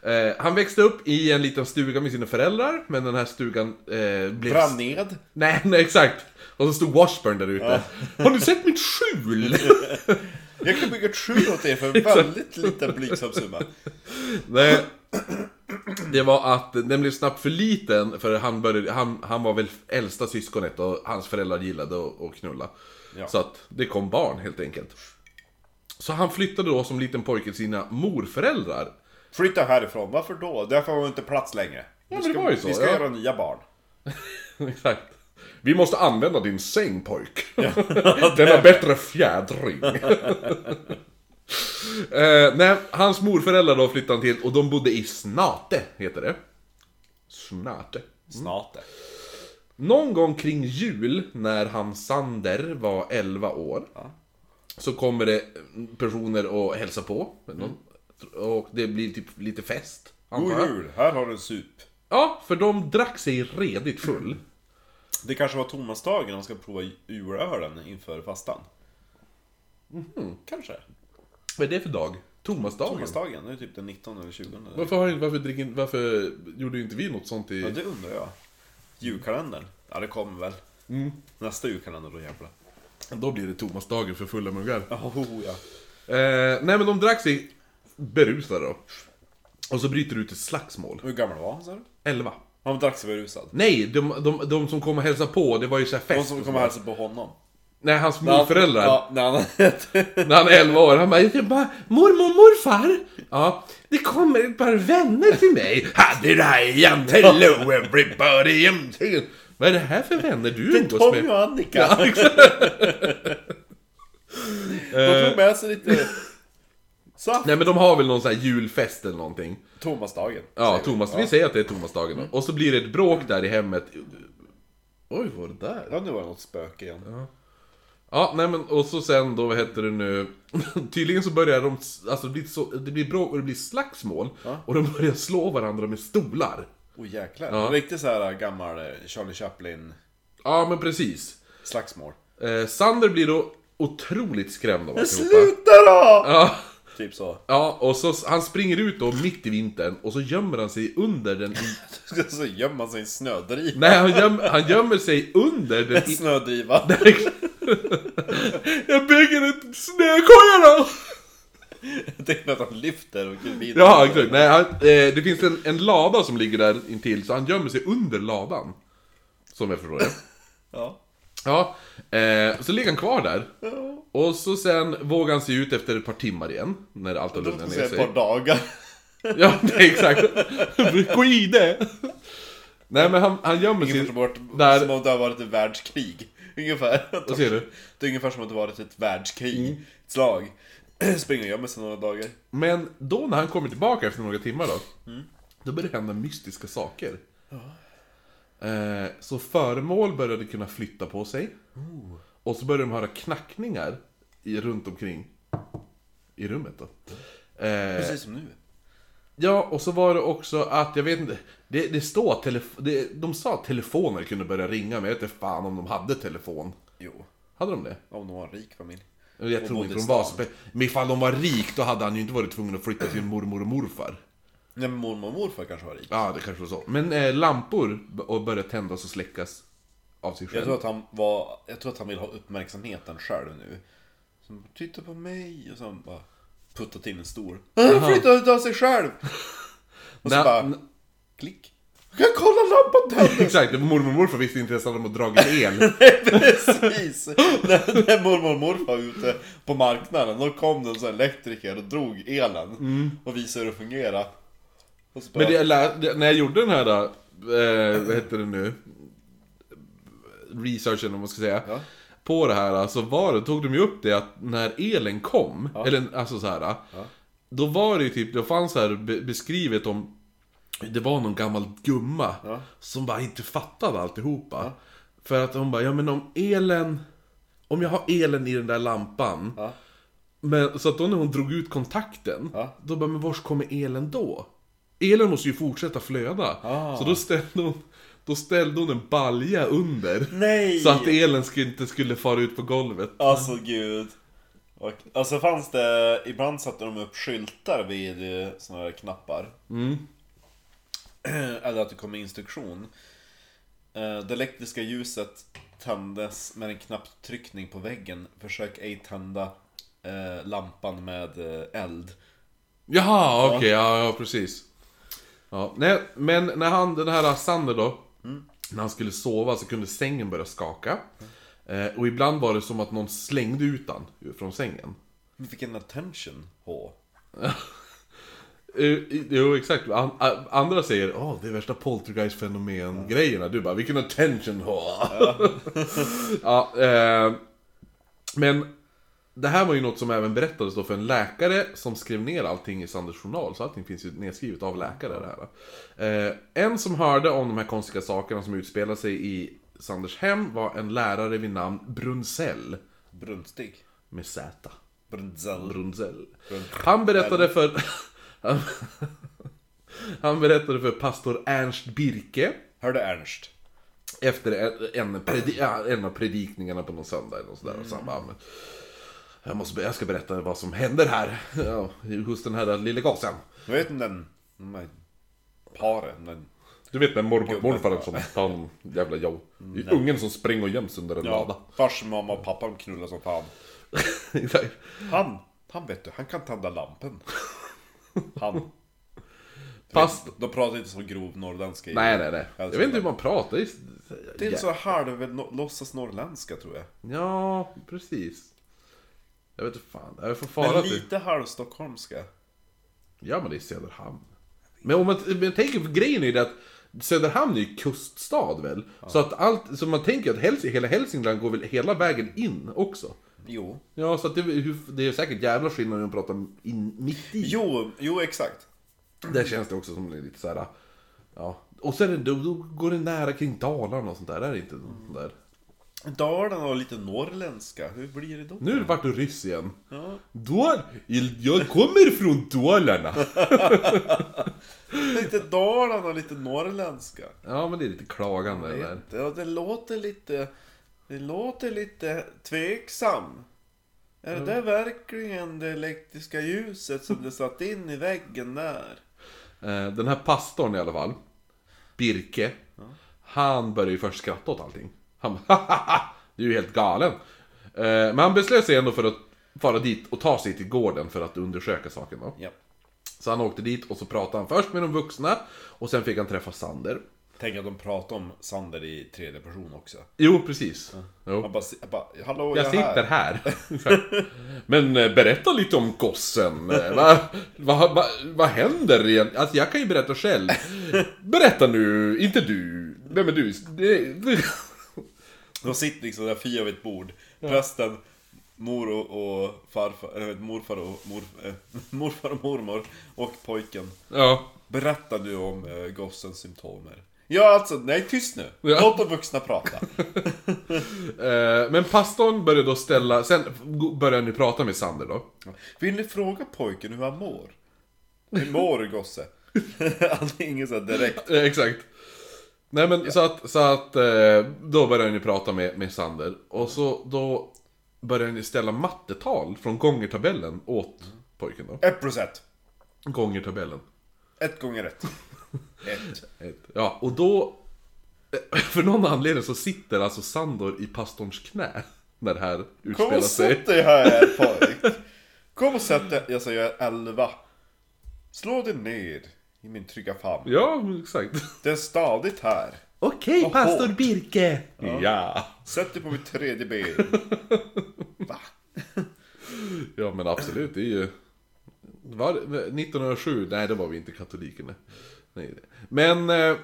Speaker 1: Eh, han växte upp i en liten stuga med sina föräldrar, men den här stugan eh, blev...
Speaker 2: Brann ned.
Speaker 1: Nej, nej, exakt. Och så stod Washburn där ute. Har ni sett mitt skjul?
Speaker 2: Jag kan bygga ett skjul åt er för en väldigt liten blygsam summa.
Speaker 1: Nej. Det var att den blev snabbt för liten för han, började, han, han var väl äldsta syskonet och hans föräldrar gillade att att knulla.
Speaker 2: Ja.
Speaker 1: Så att det kom barn helt enkelt. Så han flyttade då som liten pojke till sina morföräldrar.
Speaker 2: Flytta härifrån, varför då? Därför har vi inte plats längre.
Speaker 1: Ja,
Speaker 2: Vi
Speaker 1: men det
Speaker 2: ska-
Speaker 1: var ju så,
Speaker 2: Vi ska
Speaker 1: ja. Mm.
Speaker 2: göra nya barn.
Speaker 1: Exakt. Vi måste använda din säng pojk. Den har bättre fjädring. eh, nej, hans morföräldrar då flyttade han till och de bodde i Snate, heter det. Snate.
Speaker 2: Snart det.
Speaker 1: Någon gång kring jul, när han Sander var 11 år, så kommer det personer och hälsa på. Och det blir typ lite fest.
Speaker 2: God
Speaker 1: antar jag.
Speaker 2: jul, här har du en sup.
Speaker 1: Ja, för de drack sig redigt full.
Speaker 2: Det kanske var Tomasdagen de ska prova urölen inför fastan.
Speaker 1: Mhm,
Speaker 2: Kanske.
Speaker 1: Vad är det för dag? Tomasdagen?
Speaker 2: Tomasdagen, det är typ den 19 eller 20. Eller?
Speaker 1: Varför, har, varför, dricker, varför gjorde inte vi något sånt
Speaker 2: Ja,
Speaker 1: i...
Speaker 2: det undrar jag. Julkalendern? Ja, det kommer väl.
Speaker 1: Mm.
Speaker 2: Nästa julkalender då jävlar.
Speaker 1: Då blir det Tomasdagen för fulla muggar.
Speaker 2: Oh, ja.
Speaker 1: Eh, nej men de drack sig berusade då. Och så bryter det ut ett slagsmål.
Speaker 2: Hur gammal var han sa du?
Speaker 1: 11.
Speaker 2: Han drack sig berusad.
Speaker 1: Nej, de, de, de som kom och hälsade på, det var ju så här fest.
Speaker 2: De som kom och hälsade på honom.
Speaker 1: Nej, hans morföräldrar.
Speaker 2: Ja, när han...
Speaker 1: När han är 11 år, han bara, jag bara mormor och morfar. Ja, det kommer ett par vänner till mig. Hade Ryan, hello everybody. I'm singing." Vad är det här för vänner du umgås
Speaker 2: Tommy
Speaker 1: med?
Speaker 2: och Annika. De tog med sig lite
Speaker 1: Eh.
Speaker 2: saft.
Speaker 1: Nej men de har väl någon sån här julfest eller någonting.
Speaker 2: Tomasdagen.
Speaker 1: Ja, Thomas, vi säger att det är Thomasdagen då. Och så blir det ett bråk där i hemmet. Oj, vad var det där?
Speaker 2: Ja, nu var det något spöke igen.
Speaker 1: Ja, nej men och så sen då, vad heter det nu? Tydligen så börjar de, alltså det blir, så, det blir bråk och det blir slagsmål. Och de börjar slå varandra med stolar.
Speaker 2: Åh jäklar. Riktigt så här gammal eh, Charlie Chaplin
Speaker 1: Ja, men precis.
Speaker 2: slagsmål.
Speaker 1: Eh, Sander blir då otroligt skrämd av alltihopa.
Speaker 2: Sluta då!
Speaker 1: Ja,
Speaker 2: Typ så.
Speaker 1: ja, och så han springer ut då mitt i vintern och så gömmer han sig under den... i-
Speaker 2: Så gömmer man sig i en snödriva.
Speaker 1: Nej, han, göm, han gömmer sig under den...
Speaker 2: En
Speaker 1: i-
Speaker 2: snödriva.
Speaker 1: Jag bygger ett snökoja då!
Speaker 2: Jag tänkte att han lyfter och kubinen.
Speaker 1: Ja, exakt. Nej, han, eh, det finns en, en lada som ligger där intill, så han gömmer sig under ladan. Som jag förstår det.
Speaker 2: Ja.
Speaker 1: Ja, eh, så ligger han kvar där.
Speaker 2: Ja.
Speaker 1: Och så sen vågar han sig ut efter ett par timmar igen, när allt har
Speaker 2: Då
Speaker 1: lugnat
Speaker 2: ska vi
Speaker 1: ner
Speaker 2: se ett
Speaker 1: sig.
Speaker 2: par dagar.
Speaker 1: Ja, det är exakt. Skide! Nej men han, han gömmer
Speaker 2: Ungefär
Speaker 1: sig...
Speaker 2: som, vårt,
Speaker 1: där-
Speaker 2: som om det har varit ett världskrig. Ungefär.
Speaker 1: Vad säger du? Mm.
Speaker 2: Det är ungefär som att det varit ett världskrig. Ett slag. Springer och gömmer sig några
Speaker 1: Eh.
Speaker 2: dagar.
Speaker 1: Men då när han kommer tillbaka efter några timmar då, då börjar det hända mystiska saker. Eh, så föremål började kunna flytta på sig. Och så började de höra knackningar i, runt omkring i rummet då. Eh,
Speaker 2: Precis som nu.
Speaker 1: Ja, och så var det också att, jag vet inte, det, det står att telef- det, de sa att telefoner kunde börja ringa, men jag vet inte fan om de hade telefon.
Speaker 2: Jo.
Speaker 1: Hade de det?
Speaker 2: Om de var en rik familj.
Speaker 1: Eller Jag
Speaker 2: Och
Speaker 1: tror
Speaker 2: bodde
Speaker 1: inte
Speaker 2: i
Speaker 1: de var så...
Speaker 2: stan.
Speaker 1: Men ifall de var rik, då hade han ju inte varit tvungen att flytta till mormor och morfar.
Speaker 2: Nej men mormor och morfar kanske var rik.
Speaker 1: Ja, det kanske var så. Men eh, lampor b- och började tändas och släckas av sig
Speaker 2: Jag
Speaker 1: själv.
Speaker 2: tror att han var, jag tror att han vill ha uppmärksamheten själv nu. Som titta på mig och så han bara puttat in en stor. Han flyttar ut av sig själv! Och så
Speaker 1: Nej,
Speaker 2: bara,
Speaker 1: nej.
Speaker 2: klick. Jag kolla lampan tändes!
Speaker 1: Exakt, mormor och morfar visste inte ens att de hade dragit el.
Speaker 2: Precis! när, när mormor och morfar var ute på marknaden, då kom det en sån här elektriker och drog elen. Och visade hur det fungerade. Och så bara,
Speaker 1: Mm. Men det, jag lär- det, när jag gjorde den här, eh, vad heter det nu? Researchen om man ska säga.
Speaker 2: Ja.
Speaker 1: På det här eh, så var det, tog de ju upp det att när elen kom, eller alltså så här. Då var det ju typ, det fanns så här be- beskrivet om det var någon gammal gumma som bara inte fattade alltihopa. För att hon bara, ja men om elen, om jag har elen i den där lampan.
Speaker 2: Ja.
Speaker 1: Men, så att då när hon drog ut kontakten,
Speaker 2: Ja.
Speaker 1: då bara, men vars kommer elen då? Elen måste ju fortsätta flöda.
Speaker 2: Ah.
Speaker 1: Så då ställde hon, då ställde hon en balja under.
Speaker 2: Nej!
Speaker 1: Så att elen skulle, inte skulle fara ut på golvet.
Speaker 2: Alltså gud. Och, alltså fanns det, ibland satte de upp skyltar vid eh, såna här knappar.
Speaker 1: Mm.
Speaker 2: Eller att det kom en instruktion. Eh, Det elektriska ljuset tändes med en knapptryckning på väggen. Försök ej tända eh, lampan med eh, eld.
Speaker 1: Jaha, okej, ja, ja precis. Ja, nej, men när han, den här Sander då, när han skulle sova så kunde sängen börja skaka. Eh, och ibland var det som att någon slängde ut han från sängen.
Speaker 2: Vilken attention H.
Speaker 1: Eh, Jo, exakt. An- a- Andra säger åh det är värsta poltergeist-fenomen-grejerna. Du bara, vilken attention ha! Ja. eh, men det här var ju något som även berättades då för en läkare som skrev ner allting i Sanders journal. Så allting finns ju nedskrivet av läkare det här. Eh, en som hörde om de här konstiga sakerna som utspelade sig i Sanders hem var en lärare vid namn Brunsell.
Speaker 2: Brunstig.
Speaker 1: Med Z.
Speaker 2: Brunzell.
Speaker 1: Brunzell. Han berättade för... Han, han berättade för pastor Ernst Birke
Speaker 2: Hörde Ernst.
Speaker 1: efter en- en, predi, ja, en av predikningarna på någon söndag eller något sådär.
Speaker 2: Mm.
Speaker 1: Och så han bara, men, jag, måste, jag ska berätta vad som händer här ja, hos den här lille gasen.
Speaker 2: Jag vet inte den... De här paren. Den,
Speaker 1: Du vet den mormor, morfaren som tar en jävla jobb. Det är ungen som springer och göms under en lada.
Speaker 2: Fars mamma och pappa de knullar som fan.
Speaker 1: Exakt.
Speaker 2: Han, han vet du, han kan tända lampen. Han.
Speaker 1: Fast...
Speaker 2: De pratar inte så grov norrländska. i-
Speaker 1: Nej, nej, nej. Jag vet inte hur man pratar. Det är-
Speaker 2: Det är så halv no- låtsas norrländska tror jag.
Speaker 1: Ja, precis. Jag vet inte fan, jag får fara
Speaker 2: Men
Speaker 1: till...
Speaker 2: lite halvstockholmska.
Speaker 1: Ja, men det är Söderhamn. Men om man, men tänker, för grejen är ju det att Söderhamn är ju kuststad väl? Så att allt, så man tänker att Häls hela Hälsingland går väl hela vägen in också?
Speaker 2: Jo.
Speaker 1: Ja, så att det, är väl- hur- det är säkert jävla skillnad när man pratar in, mitt i.
Speaker 2: Jo, jo exakt.
Speaker 1: Där känns det också som lite så här. ja. Och sen är det- då, då går det nära kring Dalarna och sånt där, är det inte sånt där?
Speaker 2: Dalarna och lite norrländska, hur blir det då?
Speaker 1: Nu vart du ryss igen.
Speaker 2: Ja.
Speaker 1: Dal, jag kommer från Dalarna.
Speaker 2: Lite Dalarna och lite norrländska.
Speaker 1: Ja, men det är lite klagande det där.
Speaker 2: Ja, det låter lite... Det låter lite tveksam. Är det där verkligen det elektriska ljuset som det satt in i väggen där?
Speaker 1: Eh, Den här pastorn i alla fall, Birke, han började ju först skratta åt allting. Han bara, "Hahaha, du är ju helt galen. Eh, Men han beslöt sig ändå för att fara dit och ta sig till gården för att undersöka saken då.
Speaker 2: Ja.
Speaker 1: Så han åkte dit och så pratade han först med de vuxna och sen fick han träffa Sander.
Speaker 2: Tänk att de pratar om Sander i tredje person också.
Speaker 1: Jo, precis.
Speaker 2: Han
Speaker 1: Jo.
Speaker 2: bara, si- jag bara hallå
Speaker 1: Jag
Speaker 2: är
Speaker 1: sitter här. Exakt. Men eh, berätta lite om gossen. Eh, Vad va, va, vad händer egentligen? Alltså jag kan ju berätta själv. Berätta nu, inte du. Vem är du? Det-
Speaker 2: De sitter liksom där fyra vid ett bord. Prästen, mor och, och farfar, eller morfar och mor, eh, morfar och mormor och pojken.
Speaker 1: Ja.
Speaker 2: Berätta nu om eh, gossens symptomer. Ja alltså, nej tyst nu.
Speaker 1: Ja.
Speaker 2: Låt de vuxna prata.
Speaker 1: Eh, Men pastorn började då ställa, sen började ni prata med Sander då.
Speaker 2: Vill ni fråga pojken hur han mår? Hur mår gosse? Han är ingen sån här direkt.
Speaker 1: Eh, Exakt. Nej men så att, så att eh, då började ni prata med, med Sander. Och så då började ni ställa mattetal från gångertabellen åt pojken då.
Speaker 2: Ett plus ett.
Speaker 1: Gångertabellen.
Speaker 2: Ett gånger ett. Ett.
Speaker 1: Ett. Ja, och då... För någon anledning så sitter alltså Sandor i pastorns knä när det här
Speaker 2: Kom
Speaker 1: utspelar
Speaker 2: och
Speaker 1: sig.
Speaker 2: sätt dig här pojk. Kom och sätt dig. Jag säger elva. Slå dig ner i min trygga famn.
Speaker 1: Ja, exakt.
Speaker 2: Det är stadigt här.
Speaker 1: Okej,
Speaker 2: Vad pastor hårt.
Speaker 1: Birke! Ja. ja.
Speaker 2: Sätt dig på mitt tredje ben.
Speaker 1: men absolut, det är ju... Var, 1907? Nej, det var vi inte katolikerna. Nej. Men... eh,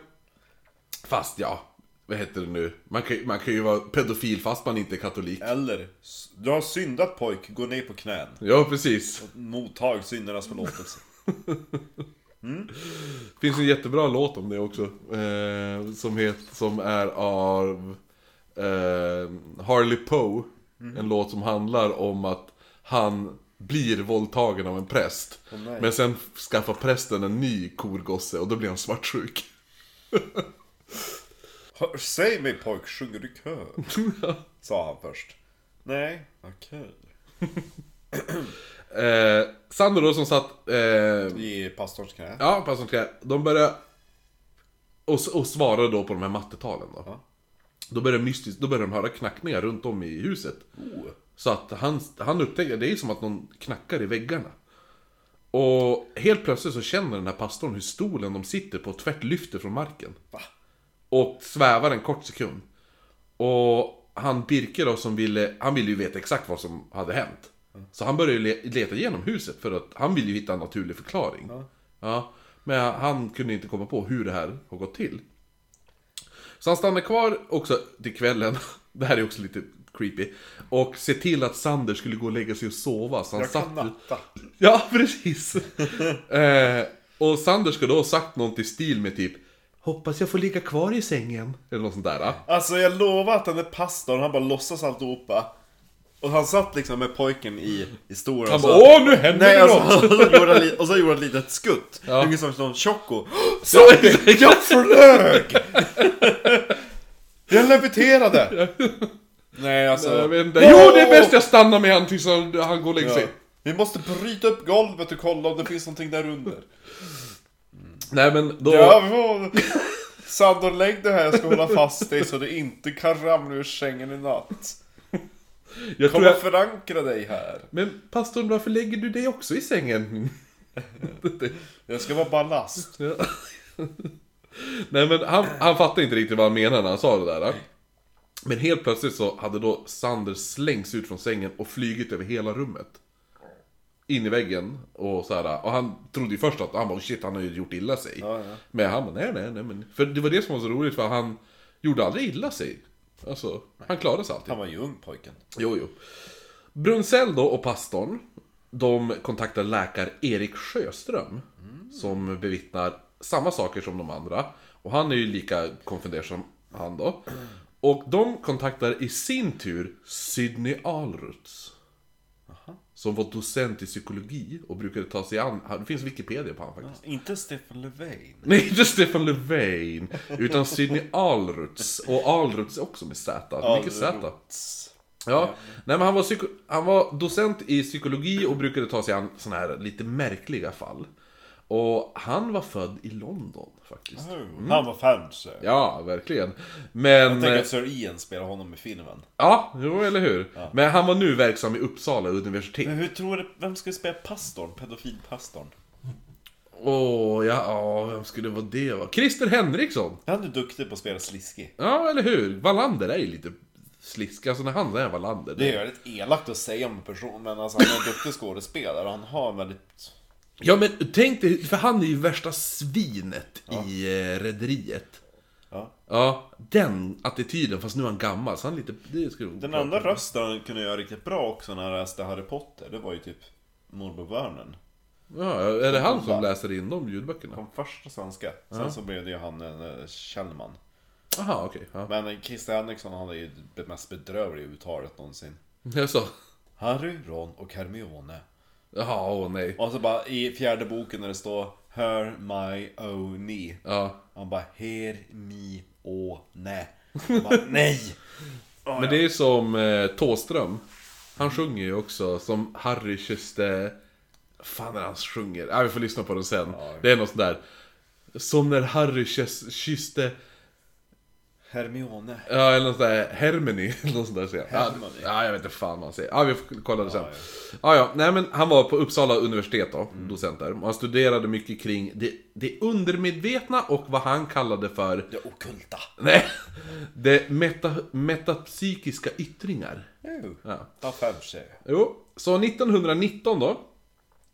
Speaker 1: Fast ja, vad heter det nu? Man kan, ju- man kan ju vara pedofil fast man inte är katolik.
Speaker 2: Eller, s- du har syndat pojk, gå ner på knän.
Speaker 1: Ja, precis.
Speaker 2: Mottag syndernas förlåtelse.
Speaker 1: Det finns en jättebra låt om det också. Eh, som, het, som är av eh, Harley Poe.
Speaker 2: Mm.
Speaker 1: En låt som handlar om att han blir våldtagen av en präst.
Speaker 2: Åh, nej.
Speaker 1: men sen skaffar prästen en ny korgosse och då blir han svartsjuk.
Speaker 2: Hör, säg mig pojk, sjunger du kör? Sa han först. Nej, okej.
Speaker 1: Eh, Sandro då som satt... Eh,
Speaker 2: I pastorns knä.
Speaker 1: Ja, pastorn ska... De börjar... Och, s- och svarar då på de här mattetalen då.
Speaker 2: Ja.
Speaker 1: Då börjar mystiskt, då börjar de höra knackningar runt om i huset.
Speaker 2: Oh.
Speaker 1: Så att han, han upptäcker, det är som att någon knackar i väggarna. Och helt plötsligt så känner den här pastorn hur stolen de sitter på tvärt lyfter från marken.
Speaker 2: Va?
Speaker 1: Och svävar en kort sekund. Och han Birke då som ville, han ville ju veta exakt vad som hade hänt. Så han började ju le- leta igenom huset för att han ville ju hitta en naturlig förklaring.
Speaker 2: Ja.
Speaker 1: Ja, men han kunde inte komma på hur det här har gått till. Så han stannar kvar också till kvällen, det här är också lite creepy, och ser till att Sander skulle gå och lägga sig och sova. Så han
Speaker 2: Jag
Speaker 1: satt...
Speaker 2: kan natta.
Speaker 1: Ja, precis. eh, och Sander ska då ha sagt något i stil med typ Hoppas jag får ligga kvar i sängen. Eller något sånt där. ja.
Speaker 2: Alltså jag lovar att den är pastorn, han bara låtsas alltihopa. Och han satt liksom med pojken i, i stolen
Speaker 1: Han
Speaker 2: och så-
Speaker 1: bara Åh, nu händer
Speaker 2: Nej,
Speaker 1: det något!
Speaker 2: alltså, och, så gjorde han, li- och så gjorde han ett litet skutt.
Speaker 1: Ja.
Speaker 2: Ungefär som en sån Tjocko.
Speaker 1: Så,
Speaker 2: Jag flög! Jag leviterade! Nej, alltså...
Speaker 1: jag vet inte. Jo, det är bäst jag stannar med han tills han han går och lägger sig.
Speaker 2: Ja. Vi måste bryta upp golvet och kolla om det finns någonting där under.
Speaker 1: Nej men då...
Speaker 2: Ja, vi får... Sandor, lägg det här, jag ska hålla fast dig så du inte kan ramla ur sängen i natt.
Speaker 1: jag
Speaker 2: Kom
Speaker 1: tror
Speaker 2: och
Speaker 1: jag...
Speaker 2: förankra dig här.
Speaker 1: Men pastorn, varför lägger du dig också i sängen?
Speaker 2: Jag ska vara ballast.
Speaker 1: Ja. Nej men han, han fattade inte riktigt vad han menade när han sa det där. då. Men helt plötsligt så hade då Sander slängts ut från sängen och flygit över hela rummet. In i väggen och så här. Och han trodde ju först att han bara, shit han har ju gjort illa sig.
Speaker 2: Ja, ja.
Speaker 1: Men han bara, nej nej nej men. För det var det som var så roligt för han gjorde aldrig illa sig. Alltså, han klarade sig alltid.
Speaker 2: Han var ju ung pojken.
Speaker 1: Jo, jo. Brunsell då och pastorn, de kontaktar läkare Erik Sjöström. Som bevittnar samma saker som de andra. Och han är ju lika konfunderad som han då. Och de kontaktar i sin tur Sydney Alruts. Som var docent i psykologi och brukade ta sig an... Det finns Wikipedia på honom faktiskt.
Speaker 2: Inte Stefan Löfven.
Speaker 1: Nej, inte Stefan Löfven. Utan Sydney Alruts. Och Alruts är också med Z. Mycket Z.
Speaker 2: Eh.
Speaker 1: Ja, nej men han var, psyko- han var docent i psykologi och brukade ta sig an sådana här lite märkliga fall. Och han var född i London faktiskt.
Speaker 2: Han var fancy.
Speaker 1: Ja, verkligen. Men... eh,
Speaker 2: Jag tänker att Sir Ian spelar honom i filmen.
Speaker 1: Ja, jo, eller hur. Men han var nu verksam i Uppsala universitet.
Speaker 2: Men hur tror du, vem skulle spela pastorn? Pedofilpastorn?
Speaker 1: Åh, ja, ja, vem skulle vara det va? Christer Henriksson!
Speaker 2: Han är duktig på att spela sliskig.
Speaker 1: Ja, eller hur? Wallander är ju lite slisk, alltså när han är Wallander.
Speaker 2: Det är väldigt elakt att säga om en person, men alltså han är en duktig skådespelare och han har en väldigt...
Speaker 1: Ja, men tänk dig, för han är ju värsta svinet i eh, Rederiet.
Speaker 2: Ja.
Speaker 1: Ja, den attityden, fast nu är han gammal, så han är lite... Det skulle
Speaker 2: Den andra rösten han kunde göra riktigt bra också när han läste Harry Potter, det var ju typ Morbror Vernon.
Speaker 1: Ja, är det han som läser in de ljudböckerna?
Speaker 2: Kom först på svenska, sen så blev det ju han en eh, Kjellman.
Speaker 1: Aha, okej. Ja.
Speaker 2: Men eh, Christer Henriksson han är ju det mest bedrövliga uttalet någonsin.
Speaker 1: Jag sa...
Speaker 2: Harry, Ron och Hermione.
Speaker 1: Jaha, åh nej.
Speaker 2: Och så bara i fjärde boken när det står Hermione.
Speaker 1: Ja.
Speaker 2: Han bara Hermione. Jag bara, Nej!
Speaker 1: Men det är ju som eh, Tåström Han sjunger ju också som Harry Kjeste... fan är det han sjunger? Ja, vi får lyssna på den sen. Det är något sånt där. Som när Harry kyss- kysste...
Speaker 2: Hermione.
Speaker 1: Ja, eller något sånt där Hermione. eller Något sånt där säger han.
Speaker 2: Hermione.
Speaker 1: Ja, jag vet inte fan vad han säger. Ja, vi får kolla det sen. Ja, ja. Nej, men han var på Uppsala universitet då, docent där. Och Han studerade mycket kring det, det undermedvetna och vad han kallade för...
Speaker 2: Det ockulta.
Speaker 1: Nej! Det meta, metapsykiska yttringar.
Speaker 2: Ja. Ta för sig.
Speaker 1: Jo, så 1919 då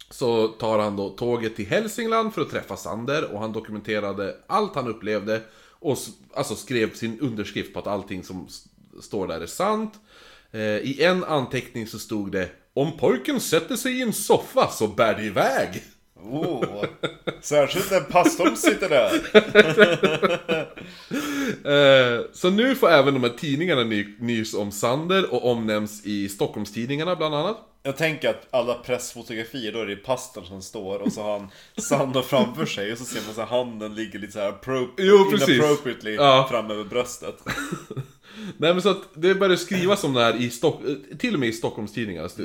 Speaker 1: Så tar han då tåget till Hälsingland för att träffa Sander och han dokumenterade allt han upplevde och s- alltså skrev sin underskrift på att allting som s- står där är sant. Eh, I en anteckning så stod det Om pojken sätter sig i en soffa så bär det iväg.
Speaker 2: Oh. Särskilt när pastorn sitter där.
Speaker 1: Eh, Så nu får även de här tidningarna ny- nys om Sander och omnämns i Stockholmstidningarna bland annat.
Speaker 2: Jag tänker att alla pressfotografier, då är det pastorn som står och så har han Sandor framför sig och så ser man så här handen ligger lite så här appro-
Speaker 1: Jo, precis.
Speaker 2: inappropriately
Speaker 1: Ja.
Speaker 2: fram över bröstet.
Speaker 1: Nej men så att det började skrivas om det här i Stock... eh, Till och med i Stockholmstidningarna st-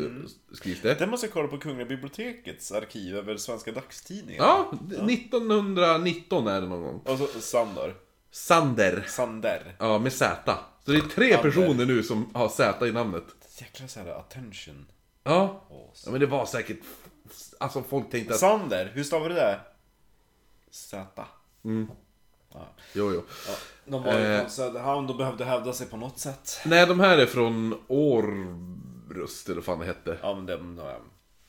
Speaker 1: skrivs det.
Speaker 2: Den måste jag kolla på Kungliga Bibliotekets arkiv över svenska dagstidningar.
Speaker 1: Ja, 1919 är det någon gång.
Speaker 2: Och så Sandor.
Speaker 1: Sander.
Speaker 2: Sander.
Speaker 1: Ja, med Z. Så det är tre
Speaker 2: Sander.
Speaker 1: personer nu som har Z i namnet.
Speaker 2: Jäkla såhär attention.
Speaker 1: Ja.
Speaker 2: Ås.
Speaker 1: ja, men det var säkert... Alltså folk tänkte att...
Speaker 2: Sander, hur stavar du det? Z.
Speaker 1: Jo, jo.
Speaker 2: Ja, de var
Speaker 1: Eh.
Speaker 2: ju från Söderhamn, de behövde hävda sig på något sätt.
Speaker 1: Nej, de här är från Årbrust, eller vad fan det hette.
Speaker 2: Ja men det... ehm,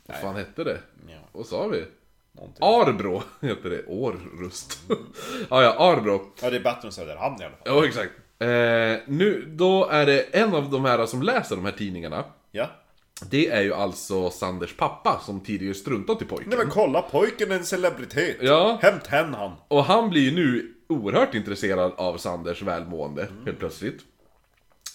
Speaker 1: Vad fan hette det?
Speaker 2: Ja,
Speaker 1: Vad sa vi?
Speaker 2: någonting.
Speaker 1: Arbro heter det. Årrust. ja, ja, Arbro.
Speaker 2: Ja det är bättre än Söderhamn i alla fall.
Speaker 1: Ja, exakt. Eh, nu, då är det en av de här som läser de här tidningarna.
Speaker 2: Ja.
Speaker 1: Det är ju alltså Sanders pappa som tidigare struntat i pojken.
Speaker 2: Nej men kolla, pojken är en celebritet.
Speaker 1: Ja.
Speaker 2: Hämt hen han.
Speaker 1: Och han blir ju nu oerhört intresserad av Sanders välmående, helt plötsligt.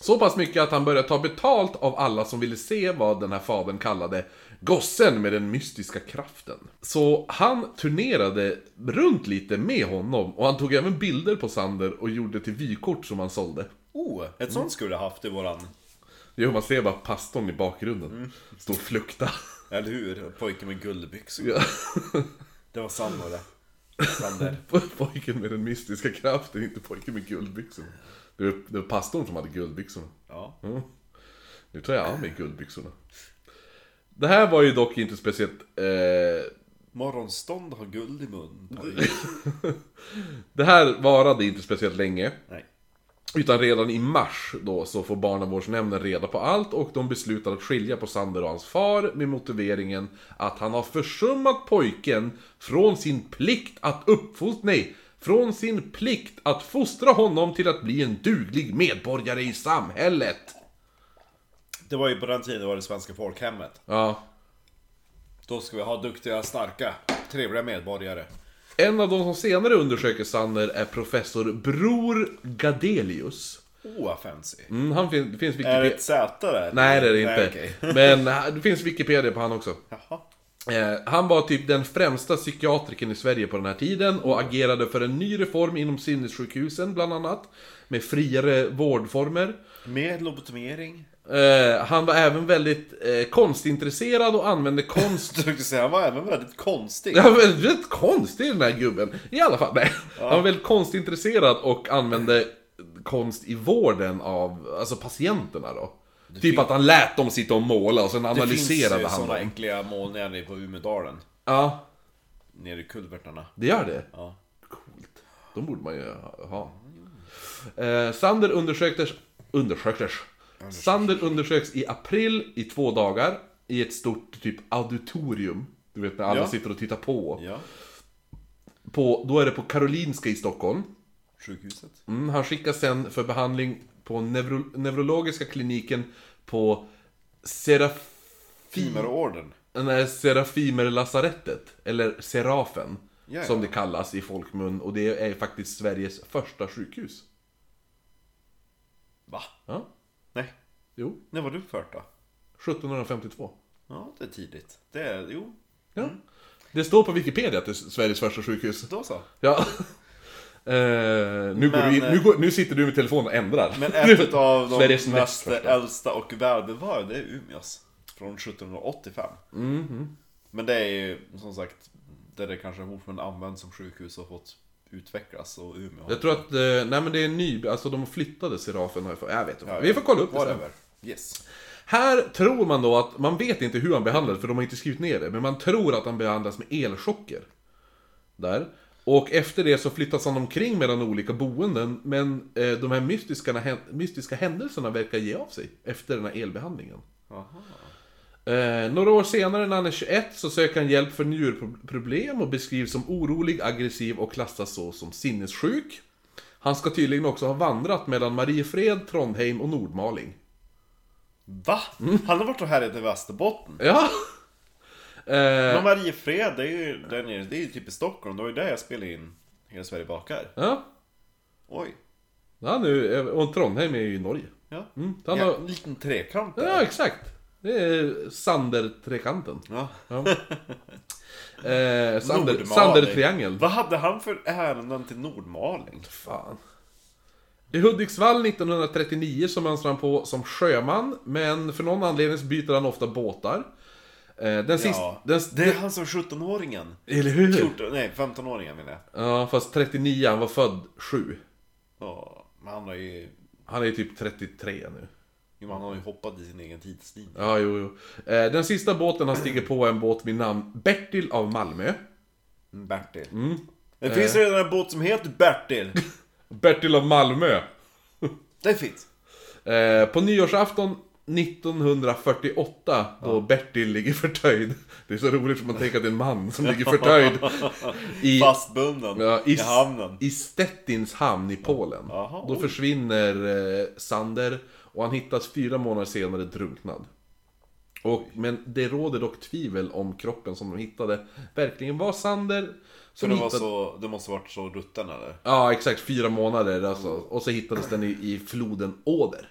Speaker 1: Så pass mycket att han börjar ta betalt av alla som ville se vad den här fadern kallade gossen med den mystiska kraften. Så han turnerade runt lite med honom och han tog även bilder på Sander och gjorde till vykort som han sålde.
Speaker 2: Oh,
Speaker 1: Mm.
Speaker 2: ett sånt skulle jag haft i våran...
Speaker 1: Jo, man ser bara pastorn i bakgrunden. Står och flukta.
Speaker 2: Eller hur? Pojken med guldbyxor.
Speaker 1: Ja.
Speaker 2: Det var Sandor det. Sander.
Speaker 1: Pojken med den mystiska kraften, inte pojken med guldbyxorna. Det var, det var pastorn som hade guldbyxorna.
Speaker 2: Ja.
Speaker 1: Mm. Nu tar jag av mig guldbyxorna. Det här var ju dock inte speciellt... Eh,
Speaker 2: Morgonstånd har guld i mun.
Speaker 1: Mm. det här varade inte speciellt länge.
Speaker 2: Nej.
Speaker 1: Utan redan i mars då så får barnavårdsnämnden reda på allt och de beslutar att skilja på Sander och hans far med motiveringen att han har försummat pojken från sin plikt att uppfostra... Nej! Från sin plikt att fostra honom till att bli en duglig medborgare i samhället.
Speaker 2: Det var ju på den tiden det var det svenska folkhemmet.
Speaker 1: Ja.
Speaker 2: Då ska vi ha duktiga, starka, trevliga medborgare.
Speaker 1: En av de som senare undersöker Sander är professor Bror Gadelius.
Speaker 2: Oh, vad fancy.
Speaker 1: Mm, han fin- det finns
Speaker 2: Är
Speaker 1: Wikipedia...
Speaker 2: det ett Z där?
Speaker 1: Nej, det är det
Speaker 2: Nej,
Speaker 1: inte.
Speaker 2: okej.
Speaker 1: Men det finns Wikipedia på han också.
Speaker 2: Jaha.
Speaker 1: Eh, han var typ den främsta psykiatriken i Sverige på den här tiden och agerade för en ny reform inom sinnessjukhusen bland annat. Med friare vårdformer.
Speaker 2: Med lobotomering.
Speaker 1: Eh, han var även väldigt eh, konstintresserad och använde konst...
Speaker 2: Jag tänkte säga, han var även väldigt konstig.
Speaker 1: Han var väldigt konstig den här gubben. I alla fall, nej. Han var väldigt konstintresserad och använde konst i vården av, alltså patienterna då. typ att han lät dem sitta och måla och sen
Speaker 2: Det finns
Speaker 1: analyserade
Speaker 2: ju
Speaker 1: han
Speaker 2: sådana
Speaker 1: dem.
Speaker 2: äckliga målningar nere på Umedalen.
Speaker 1: Ja,
Speaker 2: Nere i kulvertarna.
Speaker 1: det gör det.
Speaker 2: Ja.
Speaker 1: Coolt. De borde man ju ha- ha. Eh, Sander undersöktes... Undersöktes? Sander undersöks i april i två dagar i ett stort typ auditorium. Du vet när alla
Speaker 2: Ja.
Speaker 1: sitter och tittar på.
Speaker 2: Ja.
Speaker 1: på. Då är det på Karolinska i Stockholm.
Speaker 2: Sjukhuset.
Speaker 1: Mm, han skickas sen för behandling på neuro, neurologiska kliniken på Serafim,
Speaker 2: Fimerorden.
Speaker 1: nej, Serafimerlasarettet, eller Serafen,
Speaker 2: Ja, ja.
Speaker 1: som det kallas i folkmun. Och det är faktiskt Sveriges första sjukhus.
Speaker 2: Va?
Speaker 1: Ja,
Speaker 2: Nej.
Speaker 1: jo.
Speaker 2: När var du fört då?
Speaker 1: 1752.
Speaker 2: Ja, det är tidigt. Det är, jo,
Speaker 1: Ja.
Speaker 2: Mm.
Speaker 1: Det står på Wikipedia att det är Sveriges första sjukhus.
Speaker 2: då så.
Speaker 1: Ja. Eh, nu, går
Speaker 2: Men,
Speaker 1: du in, nu, går, nu sitter du med telefonen och ändrar.
Speaker 2: Men ett av de
Speaker 1: Sveriges näst
Speaker 2: mest
Speaker 1: första.
Speaker 2: äldsta och välbevarade är Umeås. Från 1785.
Speaker 1: Mhm.
Speaker 2: Men det är ju som sagt där det kanske fortfarande används som sjukhus och fått utvecklas och Umeå.
Speaker 1: Jag tror att, eh, nej men det är en ny, alltså de flyttade Serafen har jag för, jag vet inte.
Speaker 2: Ja,
Speaker 1: Vi får kolla upp det sen.
Speaker 2: Whatever. Yes.
Speaker 1: Här tror man då att, man vet inte hur han behandlades för de har inte skrivit ner det, men man tror att han behandlas med elchocker. Där. Och efter det så flyttas han omkring mellan olika boenden, men eh, de här mystiska, mystiska händelserna verkar ge av sig efter den här elbehandlingen.
Speaker 2: Aha.
Speaker 1: Eh, några år senare när han är 21 så söker han hjälp för njurproblem och beskrivs som orolig, aggressiv och klassas så som sinnessjuk. Han ska tydligen också ha vandrat mellan Mariefred, Trondheim och Nordmaling.
Speaker 2: Va?
Speaker 1: Mm.
Speaker 2: Han har varit och härjat i Västerbotten.
Speaker 1: Ja! Eh,
Speaker 2: Men Mariefred, det är ju där nere, det är ju typ i Stockholm. Det var ju där jag spelade in Hela Sverige bakar.
Speaker 1: ja.
Speaker 2: Oj.
Speaker 1: ja nu, eh, och Trondheim är ju i Norge.
Speaker 2: Ja.
Speaker 1: Mm, han
Speaker 2: ja,
Speaker 1: har,
Speaker 2: en liten trekant där.
Speaker 1: ja, exakt. Det är Sander-trekanten.
Speaker 2: Ja.
Speaker 1: Ja. Eh, Sander,
Speaker 2: Nordmaling.
Speaker 1: Sander-triangeln.
Speaker 2: Vad hade han för ärenden till Nordmaling?
Speaker 1: Fan. I Hudiksvall 1939 så mönstrar han på som sjöman, men för någon anledning så byter han ofta båtar. Eh, Den sista...
Speaker 2: Ja,
Speaker 1: Den,
Speaker 2: det är han som 17-åringen.
Speaker 1: Eller hur?
Speaker 2: 14, nej, 15-åringen menar jag.
Speaker 1: Ja, fast 39, han var född 7.
Speaker 2: Ja, men han har ju,
Speaker 1: Han är ju typ 33 nu.
Speaker 2: jo, han har ju hoppat i sin egen tidslinje.
Speaker 1: Ja, jo, jo. Eh, Den sista båten han stiger på är en båt vid namn Bertil av Malmö.
Speaker 2: Mm, Bertil. Det finns
Speaker 1: Eh.
Speaker 2: redan en båt som heter Bertil.
Speaker 1: Bertil av Malmö!
Speaker 2: Det finns.
Speaker 1: Eh, På nyårsafton 1948, då Bertil ligger förtöjd. Det är så roligt för man tänker att det är en man som ligger förtöjd. I,
Speaker 2: Fastbunden
Speaker 1: ja,
Speaker 2: i
Speaker 1: i,
Speaker 2: hamnen.
Speaker 1: I Stettins hamn i Polen.
Speaker 2: Jaha,
Speaker 1: Då
Speaker 2: oj.
Speaker 1: försvinner eh, Sander och han hittas fyra månader senare drunknad. Och, men det råder dock tvivel om kroppen som de hittade verkligen var Sander.
Speaker 2: För
Speaker 1: Som
Speaker 2: det, var
Speaker 1: hittade...
Speaker 2: så, det måste varit så rutten eller?
Speaker 1: Ja, exakt. Fyra månader alltså. Och så hittades den i, i floden Oder.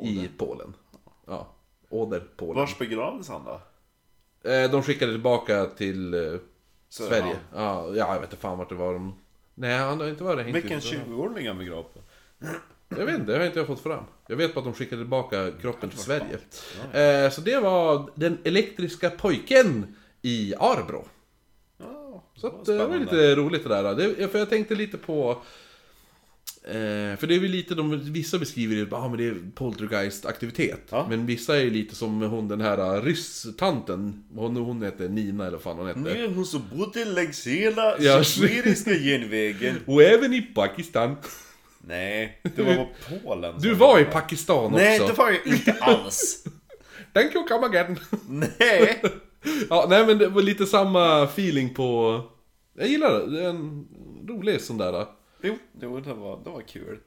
Speaker 1: I Polen. Ja. Oder, Polen.
Speaker 2: Vars begravdes han då?
Speaker 1: Eh, de skickade tillbaka till eh,
Speaker 2: Södermalm.
Speaker 1: Sverige. Ja, ja, jag vet inte fan vart det var de... Nej, han har inte varit
Speaker 2: Vilken
Speaker 1: hittills.
Speaker 2: 20-åring han begravd på?
Speaker 1: Jag vet inte, det har inte jag fått fram. Jag vet bara att de skickade tillbaka kroppen till Sverige. Eh, så det var den elektriska pojken i Arbro.
Speaker 2: Ja,
Speaker 1: Så att, eh, det var lite roligt det där. Det, för jag tänkte lite på... Eh, för det är väl lite, de, vissa beskriver det, ah, men det är poltergeist-aktivitet.
Speaker 2: Ja.
Speaker 1: Men vissa är ju lite som hon den här eh, ryss-tanten. Hon, hon hette Nina eller vad fan hon hette.
Speaker 2: Nu är hon som bodde längs hela
Speaker 1: Ja.
Speaker 2: sibiriska genvägen.
Speaker 1: Och även i Pakistan.
Speaker 2: Nej, det var på Polen.
Speaker 1: Du
Speaker 2: som
Speaker 1: var i
Speaker 2: det
Speaker 1: Pakistan
Speaker 2: Nej,
Speaker 1: också.
Speaker 2: det var jag inte alls.
Speaker 1: Thank you, come again.
Speaker 2: Nej.
Speaker 1: ja, nej men det var lite samma feeling på... Jag gillar det, det är en rolig sån där.
Speaker 2: Jo, jo det, var, det var kul.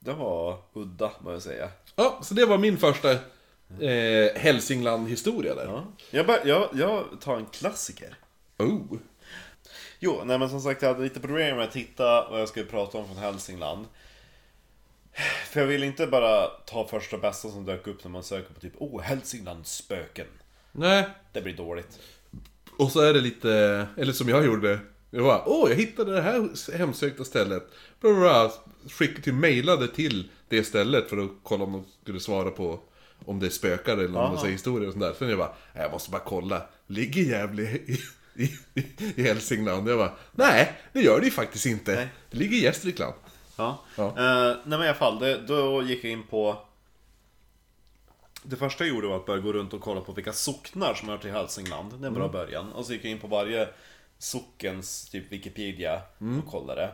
Speaker 2: Det var udda, må jag säga.
Speaker 1: Ja, så det var min första eh, Hälsingland-historia där.
Speaker 2: Ja. Jag, bör, jag, jag tar en klassiker.
Speaker 1: Oh.
Speaker 2: Jo, nej men som sagt jag hade lite problem med att hitta vad jag skulle prata om från Hälsingland. För jag vill inte bara ta första bästa som dök upp när man söker på typ oh, Hälsinglands spöken.
Speaker 1: Nej,
Speaker 2: Det blir dåligt.
Speaker 1: Och så är det lite, eller som jag gjorde, Jag bara, åh, jag hittade det här hemsökta stället. Bla, bla, bla. Skickade till, mejlade till det stället för att kolla om de skulle svara på om det spökar eller om de säger historier och sånt där. Sen jag bara, "Nej, jag måste bara kolla. Ligger Gävle i, i, i Hälsingland? Jag bara, nej, det gör det ju faktiskt inte.
Speaker 2: Nej.
Speaker 1: Det ligger i Gästrikland.
Speaker 2: Ja.
Speaker 1: Ja.
Speaker 2: Eh, nej men i alla fall, det, då gick jag in på... Det första jag gjorde var att börja gå runt och kolla på vilka socknar som hör till Hälsingland. Det är en bra
Speaker 1: Mm.
Speaker 2: början. Och så gick jag in på varje sockens typ Wikipedia
Speaker 1: Mm.
Speaker 2: och kollade.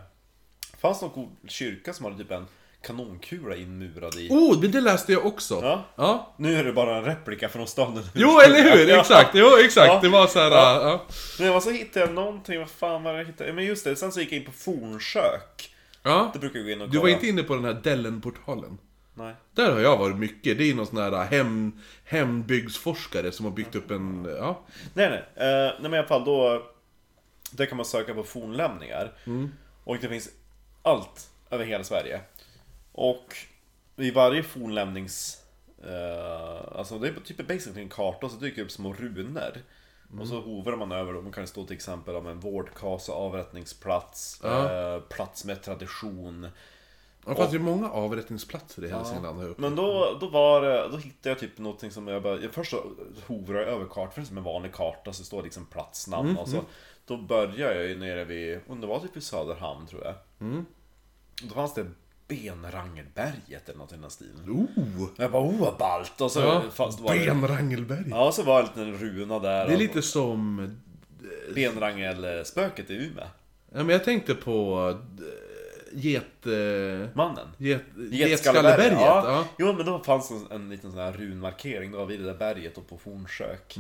Speaker 2: Fanns det någon god kyrka som hade typ en kanonkula inmurad i?
Speaker 1: Oh, men det läste jag också.
Speaker 2: Ja.
Speaker 1: ja.
Speaker 2: Nu är det bara en replika från staden.
Speaker 1: Jo, eller hur?
Speaker 2: Ja.
Speaker 1: Exakt, jo, exakt.
Speaker 2: Ja.
Speaker 1: Det var så här, ja. ja.
Speaker 2: Nej, och så hittade jag någonting, vad fan var det jag hittade? Men just det, sen så gick jag in på fornsök. Det brukar jag gå in och kolla.
Speaker 1: Du var inte inne på den här Dellen-portalen?
Speaker 2: Nej.
Speaker 1: Där har jag varit mycket. Det är någon sån här äh, hem, hembygdsforskare som har byggt upp en... Ja.
Speaker 2: Nej, nej. Eh, nej men i alla fall då... Där kan man söka på fornlämningar. Och det finns allt över hela Sverige. Och i varje fornlämnings... eh, alltså det är typ basically en karta och så dyker det upp små runor. Och så hovar man över dem. Det kan stå till exempel om en vårdkasa, avrättningsplats, eh, plats med tradition.
Speaker 1: Det fanns ju många avrättningsplatser i Hälsingland. har jag upp-
Speaker 2: Men då, då var det, då hittade jag typ någonting som jag bara, jag först så hovrade jag över kartan, för det är som en vanlig karta så står liksom platsnamn
Speaker 1: Mm,
Speaker 2: och så Då började jag ju nere vid, om det var typ vid Söderhamn tror jag
Speaker 1: Mm.
Speaker 2: Då fanns det Benrangelberget eller något i den här stilen
Speaker 1: Oh!
Speaker 2: Jag bara oh vad ballt! Och så
Speaker 1: Ja.
Speaker 2: fanns det var det,
Speaker 1: Benrangelberg.
Speaker 2: Ja, så var det en liten runa där
Speaker 1: Det är lite som...
Speaker 2: och Benrangelspöket i Umeå
Speaker 1: Ja, men jag tänkte på... eh, Get... eh,
Speaker 2: Mannen
Speaker 1: Get
Speaker 2: Getskalleberget,
Speaker 1: Getskalleberget.
Speaker 2: ja.
Speaker 1: Ja.
Speaker 2: Jo men då fanns en, en liten sån här runmarkering, då var vi i det där berget och på Fornsök.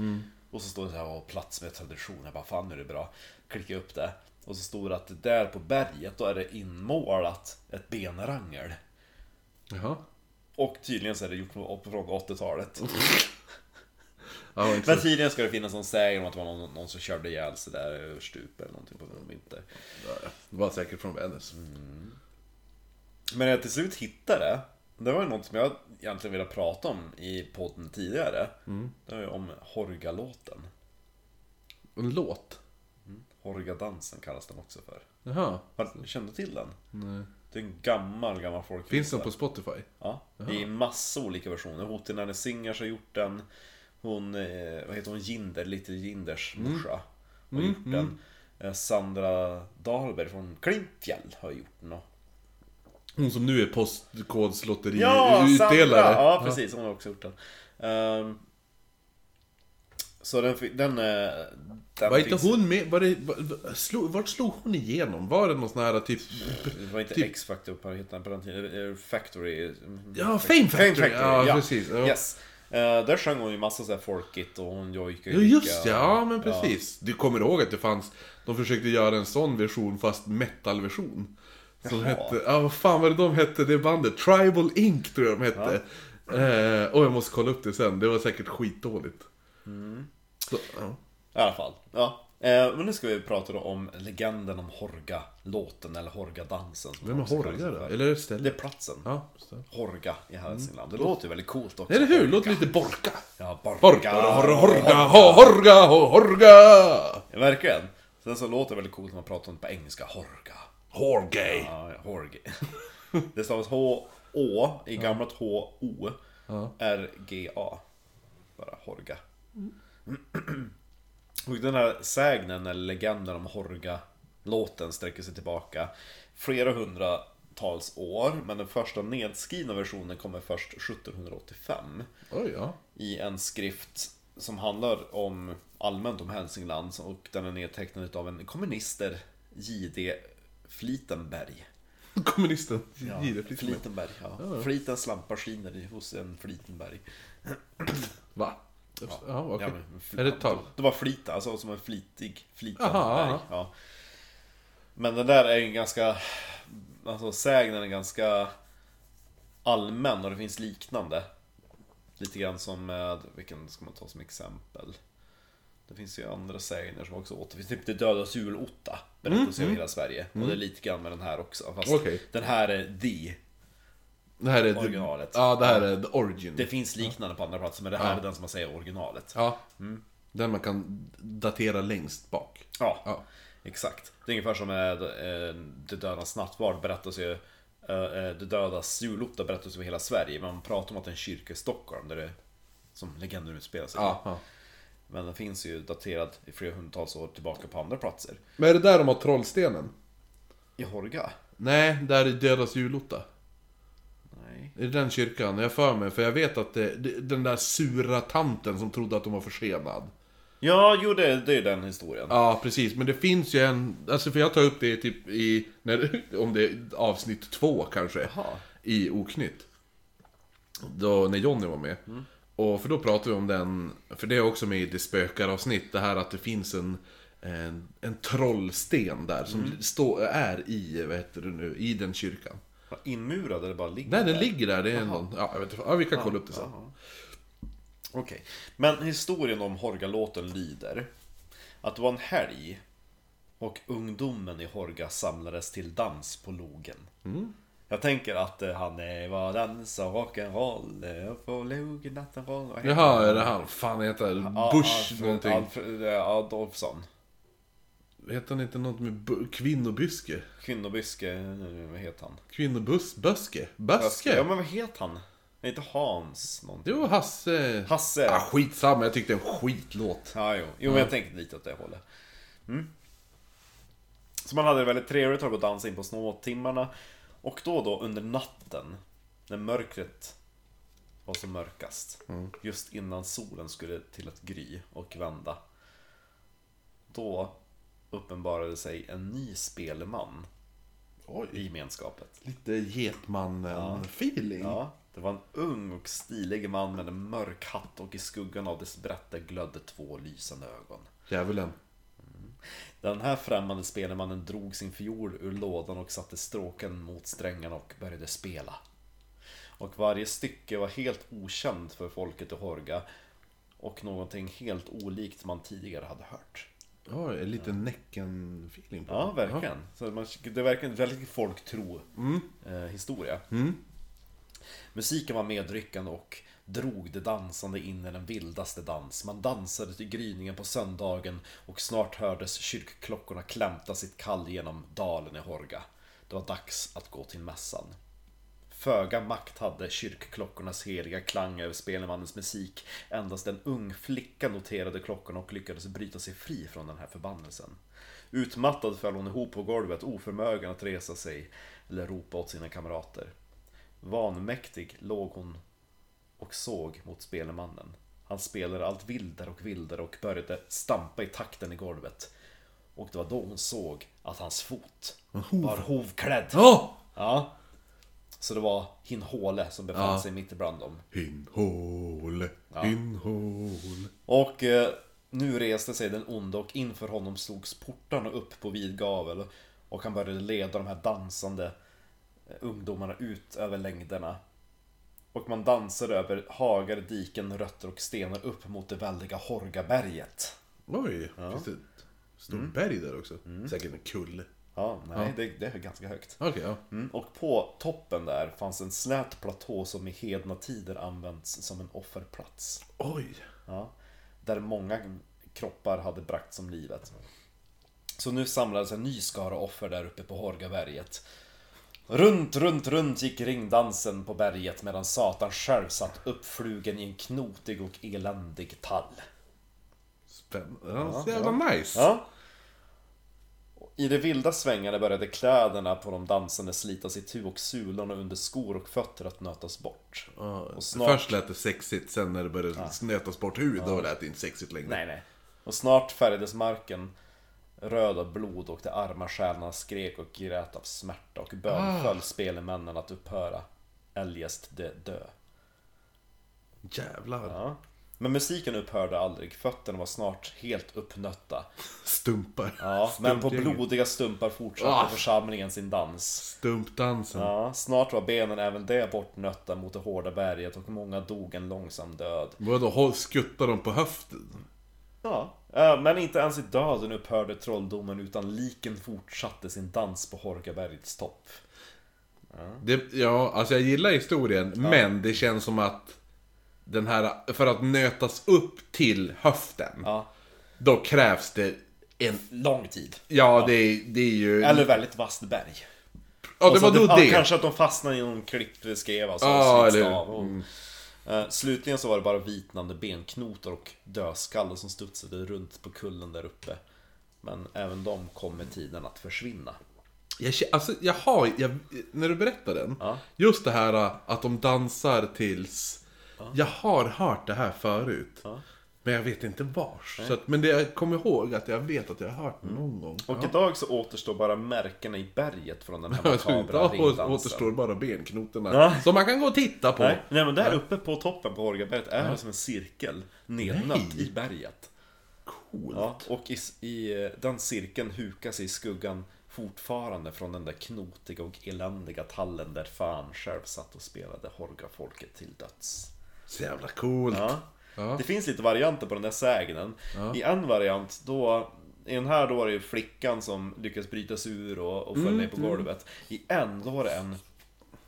Speaker 2: Och så står det så här, "Åh, plats med tradition, jag bara fan nu är det bra. Klickar upp det. Och så stod det att där på berget då är det inmålat ett benrangel.
Speaker 1: Jaha.
Speaker 2: Och tydligen så är det gjort på- från 80-talet.
Speaker 1: Ja, det var inte
Speaker 2: Men
Speaker 1: så-
Speaker 2: tydligen ska det finnas någon sägen om att det var någon, någon som körde ihjäl sig där över stup eller någonting på någon vinter.
Speaker 1: det var säkert från Vännäs.
Speaker 2: Men när jag till slut hittade det, det var ju något som jag egentligen ville prata om i podden tidigare. Det var ju om Horgalåten.
Speaker 1: En låt?
Speaker 2: Horgadansen kallas den också för.
Speaker 1: Jaha.
Speaker 2: Har- Kände du till den?
Speaker 1: Nej.
Speaker 2: Det är en gammal, gammal folkvisa.
Speaker 1: Finns den på Spotify?
Speaker 2: Ja, i massa olika versioner. Hotinanne Singers har gjort den. Hon, eh, vad heter hon, Jinder, Little Jinders
Speaker 1: Mm.
Speaker 2: morsa. Har gjort den. Eh, Sandra Dahlberg från Klimpfjäll har gjort den. och-
Speaker 1: Hon som nu är postkodslotteriutdelare.
Speaker 2: Ja, Sandra! Ja,
Speaker 1: Ja.
Speaker 2: precis. Hon har också gjort den. Ehm, så den, fi- den, eh, den
Speaker 1: Var inte
Speaker 2: finns-
Speaker 1: hon med? Var det, var, var- slog, vart slog hon igenom? Var det någon sån här typ...
Speaker 2: Det var inte
Speaker 1: Typ-
Speaker 2: X-Factor på hette den på den tiden. Eh, eh, Factory.
Speaker 1: Ja, Fame Factory! ja, precis. Ja.
Speaker 2: Yes. Eh, där sjöng hon ju massa så här folkigt och hon jojkade
Speaker 1: Ja, just det. Ja, men precis. Du kommer ihåg att det fanns... De försökte göra en sån version, fast metal-version. Som
Speaker 2: Jaha.
Speaker 1: hette... Ja, vad fan var det de hette, det bandet? Tribal Inc, tror jag de hette. Eh, och jag måste kolla upp det sen. Det var säkert skitdåligt. Mm. Så, ja.
Speaker 2: I alla fall. Ja. Eh, men nu ska vi prata då om legenden om Horga-låten eller Horga-dansen. som
Speaker 1: Vem är
Speaker 2: också kallas
Speaker 1: Horga då?
Speaker 2: för.
Speaker 1: Eller är det stället?
Speaker 2: Det är platsen.
Speaker 1: Ja, just det.
Speaker 2: Horga i Hälsingland. Det låter ju väldigt coolt också.
Speaker 1: Eller hur? Låter lite Borka.
Speaker 2: Ja,
Speaker 1: Borka,
Speaker 2: Borga.
Speaker 1: horga, horga, horga, horga!
Speaker 2: Ja, verkligen. Sen så låter det väldigt coolt när man pratar om det på engelska. Horga.
Speaker 1: Horgay!
Speaker 2: Ja, Horge. Det stavas H-Å i gamla H-O. R-G-A. Bara Horga. Och den här sägnen eller legenden om Horga-låten sträcker sig tillbaka flera hundratals år. Men den första nedskrivna versionen kommer först 1785
Speaker 1: Oj, ja.
Speaker 2: i en skrift som handlar om allmänt om Hälsingland och den är nedtecknad av en kommunister, J.D. Flitenberg.
Speaker 1: Kommunisten.
Speaker 2: Ja,
Speaker 1: Gide Flitman.
Speaker 2: Flitenberg, ja. Flitens lampa skiner i- hos en Flitenberg.
Speaker 1: Va? Ja, okej.
Speaker 2: Ja, men fl-
Speaker 1: Är det ett tal?
Speaker 2: Det var flita, alltså som en flitig Flitenberg.
Speaker 1: Aha, aha.
Speaker 2: Ja. Men den där är ju en ganska... Alltså sägnen är ganska allmän och det finns liknande. Lite grann som med, vilken ska man ta som exempel? Det finns ju andra sägner som också återfinns, typ det döda julotta. Berättas över hela Sverige. Och det är lite grann med den här också. Fast
Speaker 1: Mm, Okej.
Speaker 2: den här är the
Speaker 1: Det här är... the-
Speaker 2: Originalet.
Speaker 1: Ja, det här är the origin.
Speaker 2: Det finns liknande på andra platser men det här är den som man säger originalet.
Speaker 1: Ja. Den man kan datera längst bak.
Speaker 2: Ja.
Speaker 1: Ja.
Speaker 2: Exakt. Det är ungefär som med eh, Det dödas nattvard berättas ju eh, eh, Det dödas julotta berättas över hela Sverige. Man pratar om att det är en kyrka i Stockholm där det som legenden utspelar sig.
Speaker 1: Ja, ja.
Speaker 2: Men den finns ju daterad i flera hundratals år tillbaka på andra platser.
Speaker 1: Men är det där de har trollstenen?
Speaker 2: I Horga?
Speaker 1: Nej, där är deras julotta.
Speaker 2: Nej.
Speaker 1: I den kyrkan, jag för mig, för jag vet att det, det, den där sura tanten som trodde att de var försenad.
Speaker 2: Ja, jo det, det är den historien.
Speaker 1: Ja, precis, men det finns ju en, alltså för jag tar upp det typ i, när, om det är avsnitt två kanske,
Speaker 2: Jaha.
Speaker 1: i Oknytt. Då, när Jonny var med.
Speaker 2: Mm.
Speaker 1: Och för då pratade vi om den, för det är också med i Det spökar avsnitt, det här att det finns en en, en trollsten där som
Speaker 2: Mm.
Speaker 1: står- är i, vad heter det nu, i den kyrkan.
Speaker 2: Var Inmurad eller bara ligger
Speaker 1: Nej,
Speaker 2: där?
Speaker 1: den ligger där. Det är någon, ja, jag vet, inte. ja, vi kan kolla upp det sen.
Speaker 2: Jaha. Okej, men historien om Horgalåten lyder att det var en helg och ungdomen i Horga samlades till dans på logen.
Speaker 1: Mm.
Speaker 2: Jag tänker att eh, han eh, var dansa rock'n'roll eh, på logen natten roll. Vad heter
Speaker 1: Jaha,
Speaker 2: han?
Speaker 1: är det han? Fan heter
Speaker 2: Ja,
Speaker 1: Bush
Speaker 2: Alfred-
Speaker 1: någonting.
Speaker 2: Alfred eh, Adolfsson.
Speaker 1: Heter han inte något med bu- kvinnobyske?
Speaker 2: Kvinnobyske, eh, vad heter han?
Speaker 1: Kvinnobus... Böske?
Speaker 2: Ja
Speaker 1: Böske?
Speaker 2: men vad heter han? Nej, Inte Hans någonting.
Speaker 1: Det var Hasse...
Speaker 2: Hasse.
Speaker 1: Ah, skitsamma, jag tyckte en skitlåt.
Speaker 2: Ja, jo. jo men jag tänkte lite åt det hållet. Mm. Så man hade det väldigt trevligt, höll på att dansa in på snåtimmarna. Och då och då under natten, när mörkret var som mörkast, just innan solen skulle till att gry och vända. Då uppenbarade sig en ny spelman i
Speaker 1: Oj.
Speaker 2: gemenskapet.
Speaker 1: Lite Getmannen-feeling.
Speaker 2: Ja, det var en ung och stilig man med en mörk hatt och i skuggan av dess brätte glödde två lysande ögon.
Speaker 1: Djävulen.
Speaker 2: Den här främmande spelmannen drog sin fiol ur lådan och satte stråken mot strängarna och började spela. Och varje stycke var helt okänt för folket i Horga och någonting helt olikt man tidigare hade hört.
Speaker 1: Oj, lite Näcken-feeling på
Speaker 2: Ja,
Speaker 1: det.
Speaker 2: verkligen. Så man, det är verkligen en väldigt folktro-historia. Musiken var medryckande och drog det dansande in i den vildaste dans. Man dansade till gryningen på söndagen och snart hördes kyrkklockorna klämta sitt kall genom dalen i Horga. Det var dags att gå till mässan. Föga makt hade kyrkklockornas heliga klang över spelmannens musik. Endast en ung flicka noterade klockan och lyckades bryta sig fri från den här förbannelsen. Utmattad föll hon ihop på golvet, oförmögen att resa sig eller ropa åt sina kamrater. Vanmäktig låg hon och såg mot spelmannen. Han spelade allt vildare och vildare och började stampa i takten i golvet. Och det var då hon såg att hans fot var hovklädd.
Speaker 1: Ja!
Speaker 2: Ja. Så det var Hin Håle som befann sig mitt ibland dem.
Speaker 1: Hinhål, hinhål.
Speaker 2: Och eh, nu reste sig den onde och inför honom slogs portarna upp på vid gavel. Och han började leda de här dansande eh, ungdomarna ut över längderna. Och man dansade över hagar, diken, rötter och stenar upp mot det väldiga Horgaberget.
Speaker 1: Oj, finns det ett stort
Speaker 2: Mm.
Speaker 1: berg där också? Säkert en kulle.
Speaker 2: Ja, nej, Det, det är ganska högt.
Speaker 1: Okej, ja.
Speaker 2: Mm, och på toppen där fanns en slät platå som i hedna tider använts som en offerplats.
Speaker 1: Oj.
Speaker 2: Ja, där många kroppar hade bragts om livet. Så nu samlades en ny skara offer där uppe på Horgaberget. Runt, runt, runt gick ringdansen på berget medan Satan själv satt uppflugen i en knotig och eländig tall.
Speaker 1: Spännande. Ja, så jävla nice.
Speaker 2: Ja. I det vilda svängarna började kläderna på de dansande slitas itu och sulorna under skor och fötter att nötas bort.
Speaker 1: Ja,
Speaker 2: Och snart-
Speaker 1: Först lät det sexigt, sen när det började snötas bort hud, då lät det inte sexigt längre.
Speaker 2: Nej, nej. Och snart färgades marken röd av blod och de arma själarna skrek och grät av smärta och bönföll spelmännen att upphöra. Eljest de dö.
Speaker 1: Jävlar.
Speaker 2: Ja. Men musiken upphörde aldrig, fötterna var snart helt uppnötta.
Speaker 1: Stumpar.
Speaker 2: Ja, men på
Speaker 1: Stumpgänget.
Speaker 2: blodiga stumpar fortsatte
Speaker 1: Ah.
Speaker 2: församlingen sin dans.
Speaker 1: Stumpdansen.
Speaker 2: Ja, snart var benen även det bortnötta mot det hårda berget och många dog en långsam död.
Speaker 1: Vadå, håll- skuttar de på höften?
Speaker 2: Ja, eh, men inte ens i döden upphörde trolldomen utan liken fortsatte sin dans på Horgabergets topp.
Speaker 1: Det, ja, alltså jag gillar historien, men det känns som att den här, för att nötas upp till höften,
Speaker 2: Ja,
Speaker 1: då krävs det
Speaker 2: en lång tid.
Speaker 1: Ja, det, är- det är ju...
Speaker 2: Eller väldigt vasst berg.
Speaker 1: ja, det
Speaker 2: Och så
Speaker 1: var då
Speaker 2: att
Speaker 1: det.
Speaker 2: Ja, kanske att de fastnade i någon klippskrev alltså.
Speaker 1: Ja,
Speaker 2: och slits
Speaker 1: eller hur. Mm.
Speaker 2: av och, Eh, Slutligen så var det bara vitnande benknotor och dödskallar som studsade runt på kullen där uppe. Men även de kom med tiden att försvinna.
Speaker 1: Jag, kä- alltså, jag har, jag, när du berättar den,
Speaker 2: Ja.
Speaker 1: just det här äh, att de dansar tills... Jag har hört det här förut.
Speaker 2: Ja.
Speaker 1: Men jag vet inte vars. Så att, men det jag kommer ihåg att jag vet att jag har hört det någon gång.
Speaker 2: Och idag så återstår bara märkena i berget från den här makabra
Speaker 1: Ja, och
Speaker 2: ringdansen.
Speaker 1: återstår bara benknotorna.
Speaker 2: Ja.
Speaker 1: Som man kan gå och titta på.
Speaker 2: Nej, nej men där uppe på toppen på Hårgaberget är det som en cirkel nednött
Speaker 1: Nej.
Speaker 2: i berget.
Speaker 1: Cool.
Speaker 2: Ja, och i, s- i eh, den cirkeln hukar sig i skuggan fortfarande från den där knotiga och eländiga tallen där fan själv satt och spelade Hårgafolket till döds.
Speaker 1: Så jävla coolt.
Speaker 2: Ja.
Speaker 1: Ja.
Speaker 2: Det finns lite varianter på den där sägnen. I en variant, då, i den här då var det ju flickan som lyckades bryta sig ur och, och föll ner
Speaker 1: Mm,
Speaker 2: på golvet. I en, då var det en,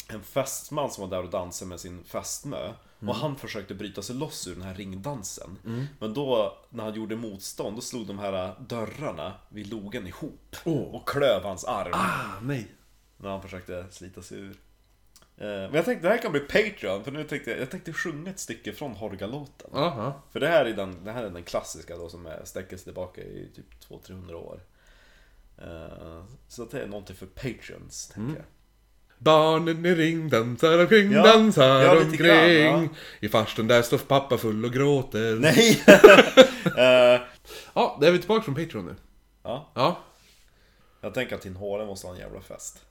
Speaker 2: en fästman som var där och dansade med sin fästmö.
Speaker 1: Mm.
Speaker 2: Och han försökte bryta sig loss ur den här ringdansen. Men då, när han gjorde motstånd, då slog de här dörrarna vid logen ihop.
Speaker 1: Åh.
Speaker 2: Och klöv hans arm.
Speaker 1: Ah, nej.
Speaker 2: När han försökte slita sig ur. Eh, Men jag tänkte det här kan bli Patreon, för nu tänkte jag, jag tänkte sjunga ett stycke från Horgalåten.
Speaker 1: Aha.
Speaker 2: För det här är den, det här är den klassiska då som är, sträcker sig tillbaka i typ 200-300 år. Eh, så att det är någonting för Patreons, tänker
Speaker 1: Mm.
Speaker 2: jag.
Speaker 1: Barnen i ring dansar omkring,
Speaker 2: Ja.
Speaker 1: dansar
Speaker 2: Ja, lite
Speaker 1: omkring.
Speaker 2: grann, ja.
Speaker 1: I farstun där står pappa full och gråter.
Speaker 2: Nej! Eh,
Speaker 1: Ja, där är vi tillbaka från Patreon nu.
Speaker 2: ja,
Speaker 1: Ja.
Speaker 2: jag tänker att Tin Hålen måste ha en jävla fest.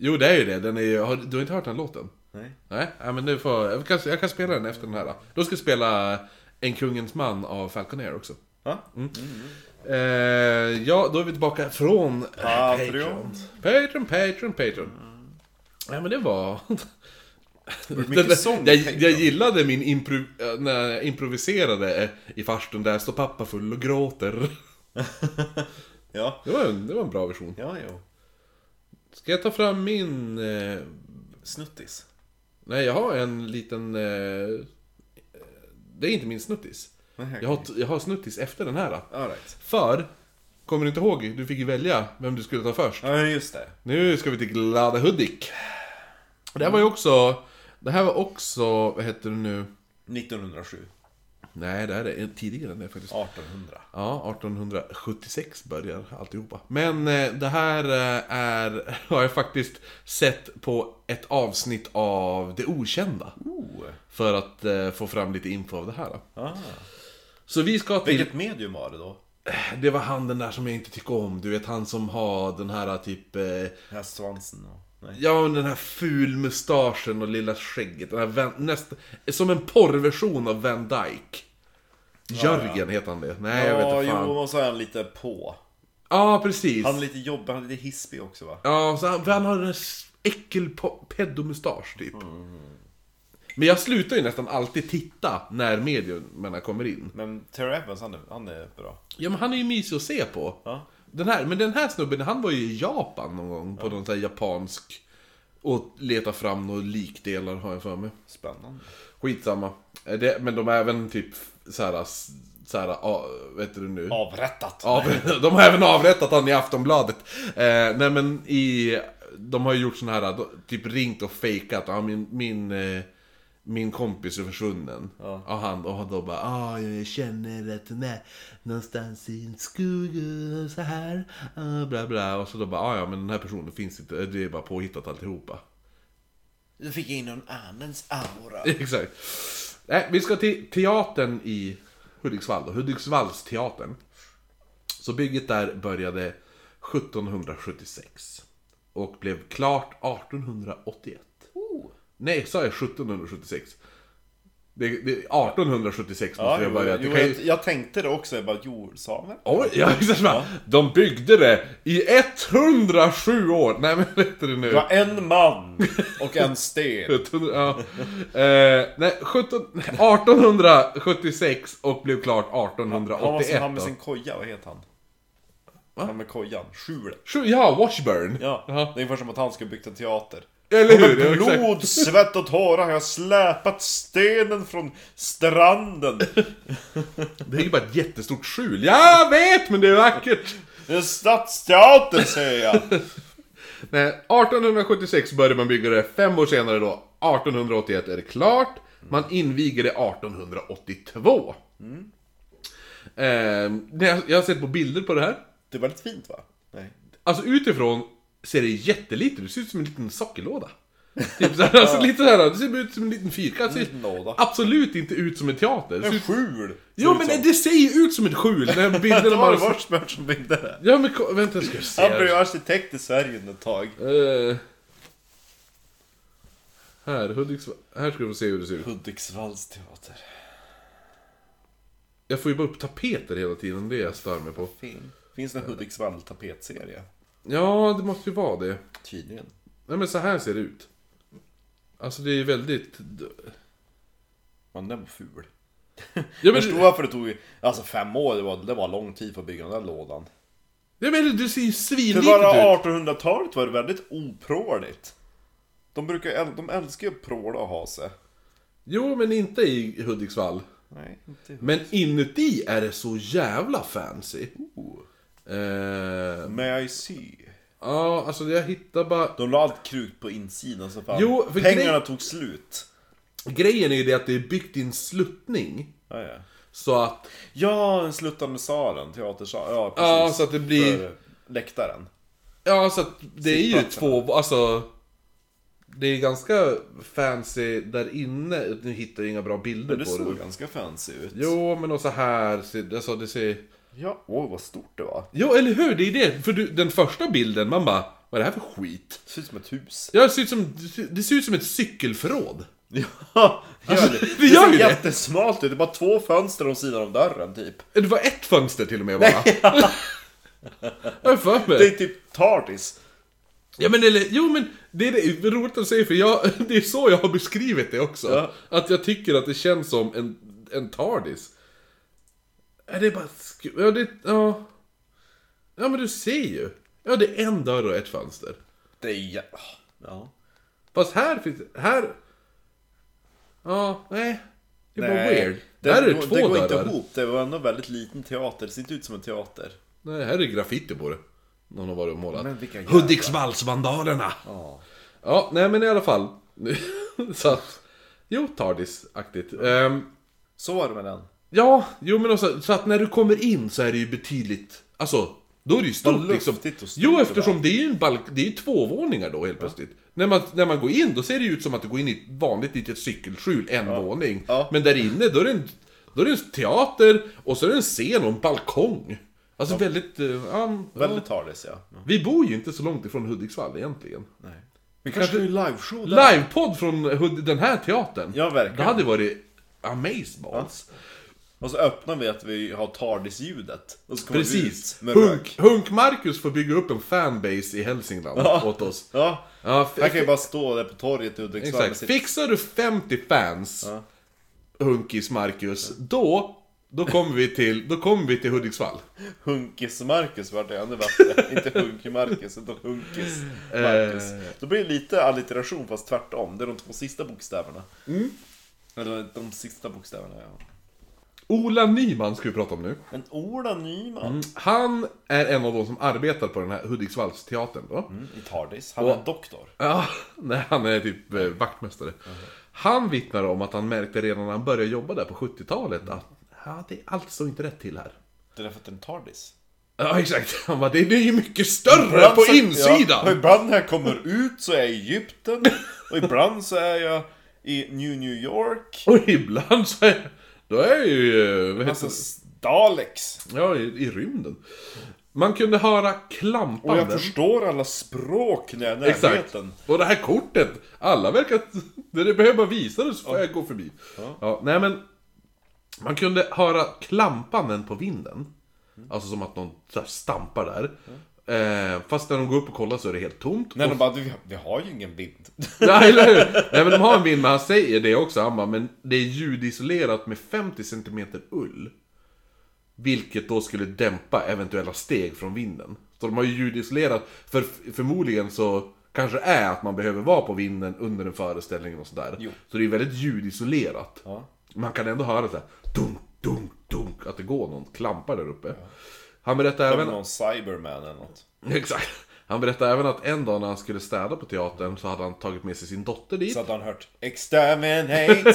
Speaker 1: Jo, det är ju det. Den är ju... har- Du har inte hört den låten?
Speaker 2: Nej.
Speaker 1: Nej, ja, men du får... jag, kan, jag kan spela den efter den här. Då, då ska jag spela En kungens man av Falconer också.
Speaker 2: Ja,
Speaker 1: Eh, ja, då är vi tillbaka från eh,
Speaker 2: Patreon.
Speaker 1: Patreon, Patreon, Patreon. Nej, men det var...
Speaker 2: mycket
Speaker 1: Den där-
Speaker 2: sång i
Speaker 1: jag,
Speaker 2: Patreon.
Speaker 1: jag gillade min impro, eh, när jag improviserade eh, i farstun där står pappa full och gråter.
Speaker 2: ja,
Speaker 1: Det var en, det var en bra version.
Speaker 2: ja jo.
Speaker 1: Ska jag ta fram min... Eh,
Speaker 2: Snuttis.
Speaker 1: nej, jag har en liten... Eh, eh, det är inte min snuttis.
Speaker 2: Nej,
Speaker 1: Jag har, t- jag har snuttis efter den här.
Speaker 2: All right.
Speaker 1: För, kommer du inte ihåg? Du fick ju välja vem du skulle ta först.
Speaker 2: Ja, just det.
Speaker 1: Nu ska vi till Glada Hudik. Och Det här var ju också... Det här var också, vad heter det nu?
Speaker 2: 1907.
Speaker 1: Nej, det här är tidigare än det faktiskt.
Speaker 2: 1800.
Speaker 1: Ja, 1876 börjar alltihopa. Men eh, det här eh, är, har jag faktiskt sett på ett avsnitt av Det Okända.
Speaker 2: Oh.
Speaker 1: För att eh, få fram lite info av det här. då.
Speaker 2: Ah.
Speaker 1: Så vi ska till...
Speaker 2: Vilket medium var det då?
Speaker 1: Det var han den där som jag inte tycker om. Du vet han som har den här typ... Eh,
Speaker 2: Den här svansen och... Nej.
Speaker 1: ja, men den här fulmustaschen och lilla skägget. Den här Van, näst, som en porrversion av Van Dyke. Jörgen heter han det. Nej, jag vet
Speaker 2: Ja,
Speaker 1: inte fan.
Speaker 2: jo, och så är han lite på.
Speaker 1: Ja, precis.
Speaker 2: Han är lite jobbig, han är lite hispig också va?
Speaker 1: Ja, så han, för han har en äckelpedomustasch typ.
Speaker 2: Mm.
Speaker 1: Men jag slutar ju nästan alltid titta när mediumerna kommer in.
Speaker 2: Men Terry Evans, han är, han är bra.
Speaker 1: Ja, men han är ju mysig att se på.
Speaker 2: Ja.
Speaker 1: Den här, men den här snubben, han var ju i Japan någon gång på någon sån här japansk... Och leta fram några likdelar har jag för mig.
Speaker 2: Spännande.
Speaker 1: Skitsamma. Eh, Det, men de är även typ såhär... Såhär, ah, vet du nu?
Speaker 2: Avrättat!
Speaker 1: Av, de har även avrättat han i Aftonbladet. Eh, nej men i... De har ju gjort sån här, då- typ ringt och fejkat. Ja, min, min, eh, min kompis är försvunnen.
Speaker 2: Ja.
Speaker 1: Och han och då bara, ah, jag känner att den är någonstans i en skog och så här. Ah, bla bla. Och så då bara, ah, ja men den här personen finns inte. Det är bara påhittat alltihopa.
Speaker 2: Du fick in någon annans aura.
Speaker 1: Exakt. Nej, vi ska till teatern i Hudiksvall då. Hudiksvallsteatern. Så bygget där började 1776. Och blev klart 1881.
Speaker 2: Oh.
Speaker 1: Nej, sa jag 1776? Det, det, 1876 måste
Speaker 2: Ja,
Speaker 1: det
Speaker 2: jo,
Speaker 1: ha börjat.
Speaker 2: jo,
Speaker 1: Det kan ju-
Speaker 2: jag, jag tänkte det också, jag bara jo, samer?
Speaker 1: Oj, ja, exakt. De byggde det i 107 år! Nej men vad heter det nu?
Speaker 2: Det var en man och en sten.
Speaker 1: 1700, ja. eh, nej, 17, 1876 och blev klart
Speaker 2: Han var som
Speaker 1: 1881
Speaker 2: han med
Speaker 1: då.
Speaker 2: sin koja, vad heter han? Han med kojan, Schule.
Speaker 1: Sju- Ja, Washburn!
Speaker 2: Ja,
Speaker 1: Jaha.
Speaker 2: det är ungefär som att han skulle byggt en teater.
Speaker 1: Eller
Speaker 2: Med
Speaker 1: hur? Ja, exakt.
Speaker 2: blod, svett och tårar har jag släpat stenen från stranden.
Speaker 1: Det är ju bara ett jättestort skjul. Jag vet, men det är vackert!
Speaker 2: Det är Stadsteatern säger jag.
Speaker 1: Nej, 1876 började man bygga det, fem år senare då, 1881 är det klart. Man inviger det 1882.
Speaker 2: Mm.
Speaker 1: Ehm, det- jag har sett på bilder på det här.
Speaker 2: Det var lite fint va? Nej.
Speaker 1: Alltså utifrån ser det jättelitet ut, det ser ut som en liten sockerlåda. Typ såhär, alltså lite såhär, det ser ut som en liten fyrkant. Det
Speaker 2: Liten låda.
Speaker 1: ser absolut inte ut som en teater. Det ser
Speaker 2: En
Speaker 1: ut,
Speaker 2: skjul!
Speaker 1: Typ- jo men det ser ju ut som ett skjul, den här
Speaker 2: Det
Speaker 1: bilden
Speaker 2: var
Speaker 1: bara...
Speaker 2: Warsberg som byggde det.
Speaker 1: Ja men ko- vänta, jag ska se.
Speaker 2: Han
Speaker 1: här.
Speaker 2: blev ju arkitekt i Sverige under ett tag.
Speaker 1: Eh, här, Hudiksvall. Här ska vi få se hur det ser ut.
Speaker 2: Hudiksvalls teater.
Speaker 1: Jag får ju bara upp tapeter hela tiden, det är jag stör mig på.
Speaker 2: Fin. Finns det en Hudiksvall tapetserie?
Speaker 1: Ja, det måste ju vara det.
Speaker 2: Tydligen.
Speaker 1: Nej men så här ser det ut. Alltså det är väldigt...
Speaker 2: Man den var ful.
Speaker 1: Ja
Speaker 2: Jag förstår
Speaker 1: men,
Speaker 2: varför det tog alltså fem år, det var, det var lång tid för att bygga den där lådan.
Speaker 1: ja, men det ser ju
Speaker 2: För
Speaker 1: svinlitet ut!
Speaker 2: bara 1800-talet var det väldigt opråligt. De, brukar, äl- de älskar ju att pråla och ha sig.
Speaker 1: Jo, men inte i Hudiksvall.
Speaker 2: Nej, inte
Speaker 1: Men inuti är det så jävla fancy. Eh,
Speaker 2: May I see?
Speaker 1: ja, alltså jag hittar bara...
Speaker 2: De la allt krut på insidan så fan.
Speaker 1: Jo, för
Speaker 2: Pengarna tog slut.
Speaker 1: Grejen är ju det att det är byggt i en sluttning.
Speaker 2: Ja, ja.
Speaker 1: Så att...
Speaker 2: ja den sluttande salen, teatersalen. Ja, precis.
Speaker 1: Ja, så att det blir...
Speaker 2: För läktaren.
Speaker 1: Ja, så att det är ju
Speaker 2: Sittplatserna.
Speaker 1: två, alltså... Det är ganska fancy där inne, nu hittar jag inga bra bilder
Speaker 2: Men det
Speaker 1: på det.
Speaker 2: såg ganska fancy ut.
Speaker 1: Jo, men och så här, ser- alltså det ser...
Speaker 2: Ja, åh vad stort det var.
Speaker 1: Jo, eller hur? Det är det! För du, den första bilden, man bara, vad är det här för skit?
Speaker 2: Det ser ut som ett hus.
Speaker 1: Ja, det ser ut som, det ser ut som ett cykelförråd.
Speaker 2: Ja, gör Alltså, det.
Speaker 1: det gör
Speaker 2: ser
Speaker 1: ju det.
Speaker 2: jättesmalt ut. Det är bara två fönster om sidan av dörren typ.
Speaker 1: Det var ett fönster till och med bara. Jag har för mig.
Speaker 2: Det är typ Tardis.
Speaker 1: Ja men eller, jo men det är, det är roligt att säga för jag, det är så jag har beskrivit det också.
Speaker 2: Ja.
Speaker 1: Att jag tycker att det känns som en, en TARDIS. Ja, det är bara sku- ja, det, ja. ja men du ser ju. Ja det är en dörr och ett fönster.
Speaker 2: Det är ja. ja.
Speaker 1: Fast här finns här... Ja, nej. Det är bara
Speaker 2: Nej,
Speaker 1: weird. där är det
Speaker 2: går-
Speaker 1: två
Speaker 2: det går
Speaker 1: dörrar.
Speaker 2: inte ihop. Det var ändå en väldigt liten teater. Det ser inte ut som en teater.
Speaker 1: Nej, här är graffiti på det. Någon har varit och målat.
Speaker 2: Men vilka jävla-
Speaker 1: Hudiksvallsvandalerna!
Speaker 2: Ja.
Speaker 1: Ja, nej men i alla fall. så att, jo, Tardis-aktigt. Ehm,
Speaker 2: Så var det med den.
Speaker 1: ja, jo men också, så att när du kommer in så är det ju betydligt, alltså, då är det ju
Speaker 2: Vad
Speaker 1: stort liksom.
Speaker 2: luftigt och stort
Speaker 1: Jo,
Speaker 2: det
Speaker 1: eftersom det är ju en balk, det är ju två våningar då helt plötsligt. När man, när man går in, då ser det ju ut som att du går in i ett vanligt litet cykelskjul, en våning.
Speaker 2: Ja.
Speaker 1: Men där inne, då är, det en, då är det en teater, och så är det en scen och en balkong. Alltså väldigt, eh, ja,
Speaker 2: Väldigt Tardis ja. ja.
Speaker 1: vi bor ju inte så långt ifrån Hudiksvall egentligen.
Speaker 2: Nej. Vi kanske gör en liveshow där.
Speaker 1: Livepodd från Hud- den här teatern.
Speaker 2: Ja, verkligen.
Speaker 1: Det hade varit amazeballs.
Speaker 2: Och så öppnar vi att vi har Tardis-ljudet. Och så kommer
Speaker 1: Precis.
Speaker 2: vi ut med
Speaker 1: Hunk,
Speaker 2: rök.
Speaker 1: Hunk Marcus får bygga upp en fanbase i Hälsingland åt oss.
Speaker 2: Ja.
Speaker 1: Ja, f-
Speaker 2: Han kan ju bara stå där på torget i Hudiksvall med
Speaker 1: exakt.
Speaker 2: sitt
Speaker 1: Fixar du 50 fans, Hunkis Marcus, då, då kommer vi till, då kommer vi till Hudiksvall.
Speaker 2: Hunkis-Marcus vart det ännu bättre. Inte Hunke-Marcus, utan Hunkis-Marcus.
Speaker 1: Eh.
Speaker 2: Då blir det lite allitteration fast tvärtom. Det är de två sista bokstäverna.
Speaker 1: Mm.
Speaker 2: Eller de sista bokstäverna, ja.
Speaker 1: Ola Nyman ska vi prata om nu.
Speaker 2: Men Ola Nyman
Speaker 1: Han är en av de som arbetar på den här Hudiksvallsteatern då.
Speaker 2: i Tardis, han är en doktor.
Speaker 1: Ja, nej, han är typ eh, vaktmästare. Han vittnar om att han märkte redan när han började jobba där på 70-talet att ja, det är allt står inte rätt till här.
Speaker 2: Det är därför att den är Tardis.
Speaker 1: Ja, exakt. Han bara, det det är ju mycket större på
Speaker 2: så- Ja, och
Speaker 1: insidan!
Speaker 2: ibland när jag kommer ut så är jag i Egypten. Och ibland så är jag i New New York.
Speaker 1: Och ibland så är, då är jag ju... eh, Vad heter
Speaker 2: Alltså Daleks.
Speaker 1: det? Ja, i, i rymden. Man kunde höra
Speaker 2: Och jag
Speaker 1: klampanden.
Speaker 2: förstår alla språk när jag är i
Speaker 1: Exakt.
Speaker 2: närheten.
Speaker 1: Och det här kortet, alla verkar... När det behöver bara visa det så får jag gå förbi. Ja. nej men... Man kunde höra klampanden på vinden. Alltså som att någon så här stampar där. Eh, fast när de går upp och kollar så är det helt tomt.
Speaker 2: När de bara, "Du, vi har- vi har ju ingen vind.
Speaker 1: Nej, eller hur? Nej, men de har en vind, men han säger det också. Han bara, men det är ljudisolerat med 50 cm ull. Vilket då skulle dämpa eventuella steg från vinden. Så de har ju ljudisolerat, för förmodligen så kanske är att man behöver vara på vinden under en föreställning och sådär.
Speaker 2: Jo.
Speaker 1: Så det är väldigt ljudisolerat.
Speaker 2: Ja.
Speaker 1: Man kan ändå höra såhär dunk, dunk, dunk, att det går någon klampar där uppe. Han berättar
Speaker 2: Även
Speaker 1: även...
Speaker 2: någon Cyberman eller något.
Speaker 1: Exakt. Han berättar även att en dag när han skulle städa på teatern så hade han tagit med sig sin dotter dit.
Speaker 2: Så att han hört Exterminate!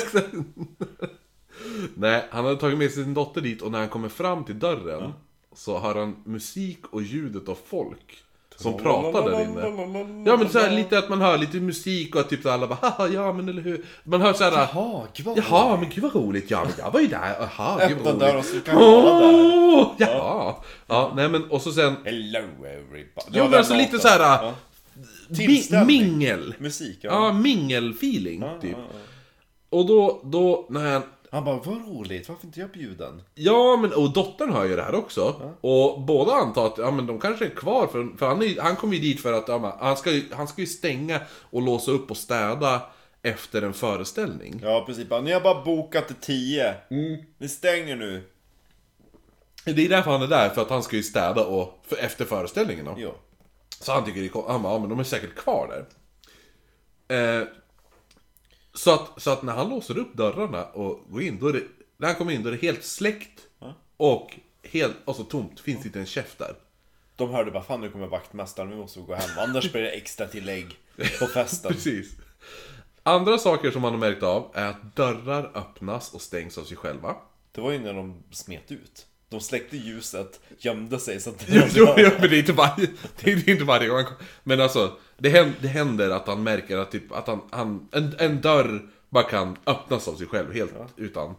Speaker 1: Nej, han hade tagit med sig sin dotter dit och när han kommer fram till dörren så hör han musik och ljudet av folk som pratar där inne. Ja men så här, lite att man hör lite musik och att typ så alla bara haha ja men eller hur. Man hör så här.
Speaker 2: Jaha, gud vad roligt.
Speaker 1: Jaha men gud vad roligt, ja men jag var ju där, jaha gud
Speaker 2: Öppna
Speaker 1: vad
Speaker 2: dörren
Speaker 1: roligt.
Speaker 2: så kan vara där.
Speaker 1: Åh, jaha. Ja, nej men och så sen.
Speaker 2: Hello everybody. Det
Speaker 1: Jo
Speaker 2: var
Speaker 1: men
Speaker 2: den
Speaker 1: alltså lite
Speaker 2: låten.
Speaker 1: så här.
Speaker 2: Ja.
Speaker 1: mi-
Speaker 2: Tillställning.
Speaker 1: Mingel.
Speaker 2: Musik, ja.
Speaker 1: Ja, mingel-feeling typ.
Speaker 2: ja,
Speaker 1: Och då, då, när han,
Speaker 2: Han bara, vad roligt, varför inte jag bjuden?
Speaker 1: Ja, men och dottern hör ju det här också. Och båda antar att ja, men de kanske är kvar, för, för han, är, ju- han kommer ju dit för att ja, men, han, ska, ju- han ska ju stänga och låsa upp och städa efter en föreställning.
Speaker 2: Ja, precis. Bara, nu har jag bara bokat till 10.
Speaker 1: Mm.
Speaker 2: Ni stänger nu.
Speaker 1: Det är därför han är där, för att han ska ju städa och, för, efter föreställningen. Då.
Speaker 2: Jo.
Speaker 1: Så han tycker det är kon- han bara, ja, men de är säkert kvar där. Eh, så, att, så att när han låser upp dörrarna och går in, då är det, när han kommer in då är det helt släckt och helt, alltså tomt, finns inte en käft där.
Speaker 2: De hörde bara, fan nu kommer vaktmästaren, vi måste gå hem. Annars blir det extra tillägg på festen.
Speaker 1: Precis. Andra saker som man har märkt av är att dörrar öppnas och stängs av sig själva.
Speaker 2: Det var ju när de smet ut. De släckte ljuset, gömde sig så att...
Speaker 1: Jo, jo, jo men det är inte varje, det är inte varje gång. han kom- Men alltså, det händer, det händer att han märker att, typ, att han, han, en, en dörr bara kan öppnas av sig själv helt utan.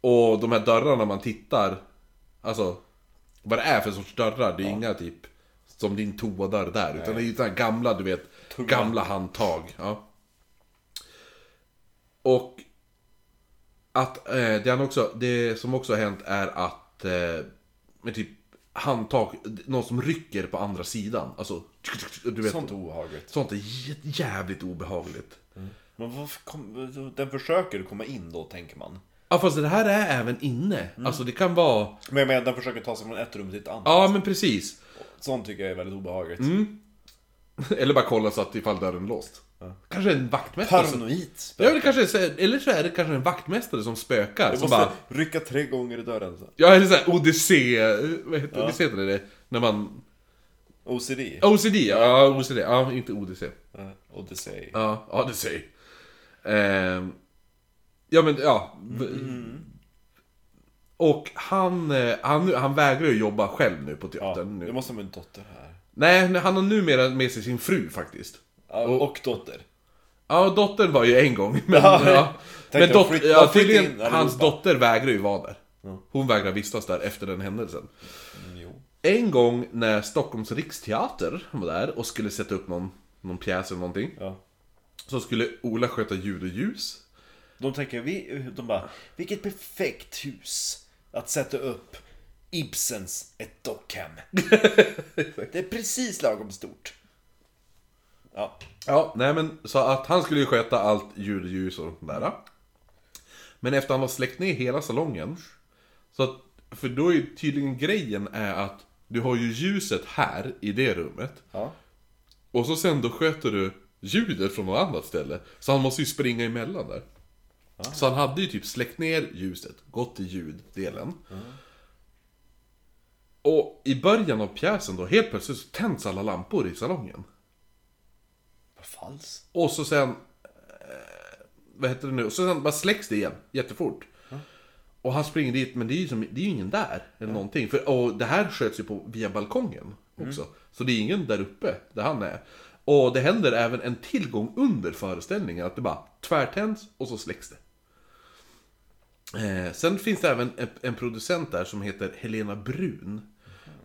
Speaker 1: Och de här dörrarna man tittar, alltså vad det är för sorts dörrar, det är inga typ som din toadörr där, utan det är ju sådana här gamla, du vet, gamla handtag. Ja. Och att eh, det, han också, det som också har hänt är att eh, med typ handtag, någon som rycker på andra sidan. Alltså, du vet.
Speaker 2: Sånt
Speaker 1: Sånt,
Speaker 2: är obehagligt.
Speaker 1: är jä- jävligt obehagligt.
Speaker 2: Men varför kom... Den försöker komma in då, tänker man.
Speaker 1: Ja fast det här är även inne.
Speaker 2: Mm.
Speaker 1: Alltså det kan vara...
Speaker 2: Men jag menar, den försöker ta sig från ett rum till ett annat.
Speaker 1: Ja Mm. men precis.
Speaker 2: Sånt tycker jag är väldigt obehagligt.
Speaker 1: Eller bara kolla så att ifall dörren är låst. Kanske en vaktmästare. som-
Speaker 2: Paranoid. spöke.
Speaker 1: Ja, det kanske är, så- eller så är det kanske en vaktmästare som spökar.
Speaker 2: Jag
Speaker 1: Som
Speaker 2: måste
Speaker 1: bara,
Speaker 2: rycka tre gånger i dörren. så.
Speaker 1: ja, eller såhär odyssé... eh, Vad heter, odyssé heter det? När man...
Speaker 2: OCD.
Speaker 1: OCD, ja OCD, ja inte odyssé.
Speaker 2: Eh, Odyssey.
Speaker 1: Ja, Odyssey. Ehm, ja men ja. V- Och han, eh, han, han vägrar ju jobba själv nu på
Speaker 2: Ja,
Speaker 1: teatern.
Speaker 2: det
Speaker 1: Nu.
Speaker 2: måste vara en dotter här.
Speaker 1: Nej, han har numera med sig sin fru faktiskt.
Speaker 2: Ja, och, dotter.
Speaker 1: Ja, dottern var ju en gång. Men,
Speaker 2: Ja,
Speaker 1: ja.
Speaker 2: tänkte
Speaker 1: men
Speaker 2: de
Speaker 1: dot-
Speaker 2: flytt- de
Speaker 1: ja,
Speaker 2: flytt in
Speaker 1: tydligen,
Speaker 2: allihopa.
Speaker 1: hans dotter vägrar ju vara där. Hon vägrar vistas där efter den händelsen.
Speaker 2: Mm, jo.
Speaker 1: En gång när Stockholms riksteater var där och skulle sätta upp någon, någon pjäs eller någonting.
Speaker 2: Ja.
Speaker 1: Så skulle Ola sköta ljud och ljus.
Speaker 2: De tänker, vi, de bara, vilket perfekt hus att sätta upp Ibsens ett dockhem. det är precis lagom stort. Ja,
Speaker 1: Ja, nej men så att han skulle ju sköta allt ljud och ljus och sånt där. Men efter han har släckt ner hela salongen. Så att, för då är ju tydligen grejen är att du har ju ljuset här i det rummet.
Speaker 2: ja.
Speaker 1: Och så sen då sköter du ljudet från något annat ställe. Så han måste ju springa emellan där. Så han hade ju typ släckt ner ljuset, gått till ljuddelen. Och i början av pjäsen då, helt plötsligt så tänds alla lampor i salongen.
Speaker 2: Vad falskt.
Speaker 1: Och så sen... Eh, vad heter det nu? Och så sen bara släcks det igen, jättefort. Och han springer dit, men det är ju, som, det är ju ingen där. Eller någonting. För, och det här sköts ju på via balkongen också. Så det är ingen där uppe, där han är. Och det händer även en tillgång under föreställningen. Att det bara tvärtänds och så släcks det. Eh, sen finns det även en, en producent där som heter Helena Brun.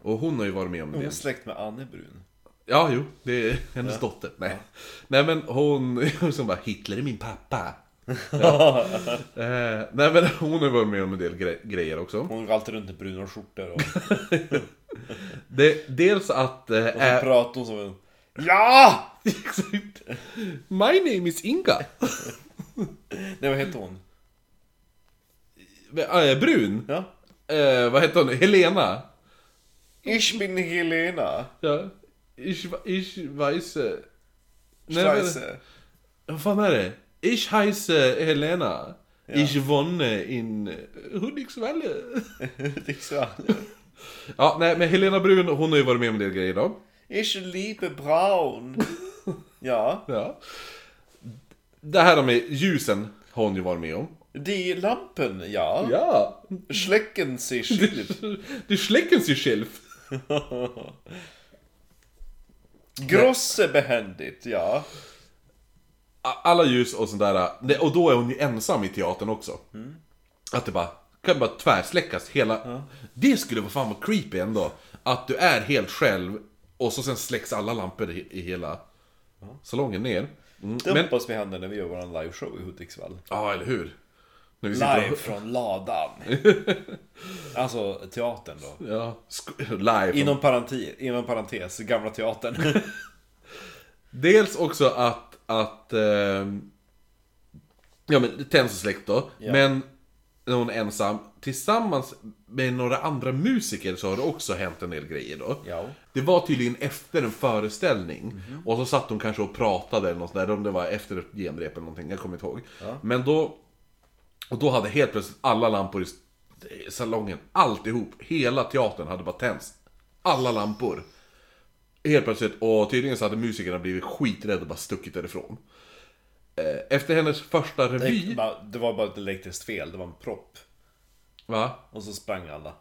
Speaker 1: Och hon har ju varit med om
Speaker 2: Hon
Speaker 1: det.
Speaker 2: är släkt med Anne Brun.
Speaker 1: Ja, jo, det är hennes dotter. Nej. Nej, men hon som bara Hitler är min pappa. Ja. eh, nej, men hon har varit med om en del gre- grejer också.
Speaker 2: Hon går alltid runt i bruna skjortor och, och så
Speaker 1: Det, dels att... Eh, ä-
Speaker 2: pratar hon som en... Ja!
Speaker 1: Exakt. My name is Inga.
Speaker 2: Nej, vad heter hon?
Speaker 1: Eh, Brun.
Speaker 2: Ja.
Speaker 1: Eh, vad heter hon? Helena.
Speaker 2: Ich bin Helena.
Speaker 1: Ja. Ich, ich weiß... eh, Nej, men-
Speaker 2: Scheisse.
Speaker 1: Vad fan är det? Ich heiße Helena. Ich wohne in Hudiksvall.
Speaker 2: Liksom.
Speaker 1: Ja, nej men Helena Brun, hon har ju varit med om en del grejer då.
Speaker 2: Ich liebe Braun. Ja.
Speaker 1: Ja. Det här med ljusen har hon ju varit med om.
Speaker 2: Die Lampen, ja.
Speaker 1: Ja!
Speaker 2: Schlecken sich.
Speaker 1: Du släcker sig själv.
Speaker 2: Grosse behändigt, ja.
Speaker 1: A- Alla ljus och sånt där. nej, Och då är hon ju ensam i teatern också. Att det bara kan bara tvärsläckas hela. Det skulle vara fan vara creepy ändå. Att du är helt själv och så sen släcks alla lampor i, i hela salongen ner. Mm.
Speaker 2: Det
Speaker 1: Men,
Speaker 2: hoppas vi händer när vi gör vår liveshow i Hudiksvall.
Speaker 1: ja eller hur? När vi sitter och-
Speaker 2: Live från ladan. Alltså teatern då.
Speaker 1: Ja, sk- live.
Speaker 2: Inom parentes, inom parentes gamla teatern.
Speaker 1: Dels också att, att ehm, ja men det tänds och släckt då, men när hon är ensam, tillsammans med några andra musiker så har det också hänt en del grejer då.
Speaker 2: Ja.
Speaker 1: Det var tydligen efter en föreställning, och så satt hon kanske och pratade eller något sånt där, om det var efter ett genrep eller någonting, jag kommer inte ihåg. Men då, och då hade helt plötsligt alla lampor i s- salongen, alltihop, hela teatern hade bara tänts. Alla lampor. Helt plötsligt, och tydligen så hade musikerna blivit skiträdda och bara stuckit därifrån. Eh, Efter hennes första revy...
Speaker 2: Det var bara ett elektriskt fel, det var en propp.
Speaker 1: Va?
Speaker 2: Och så sprang alla.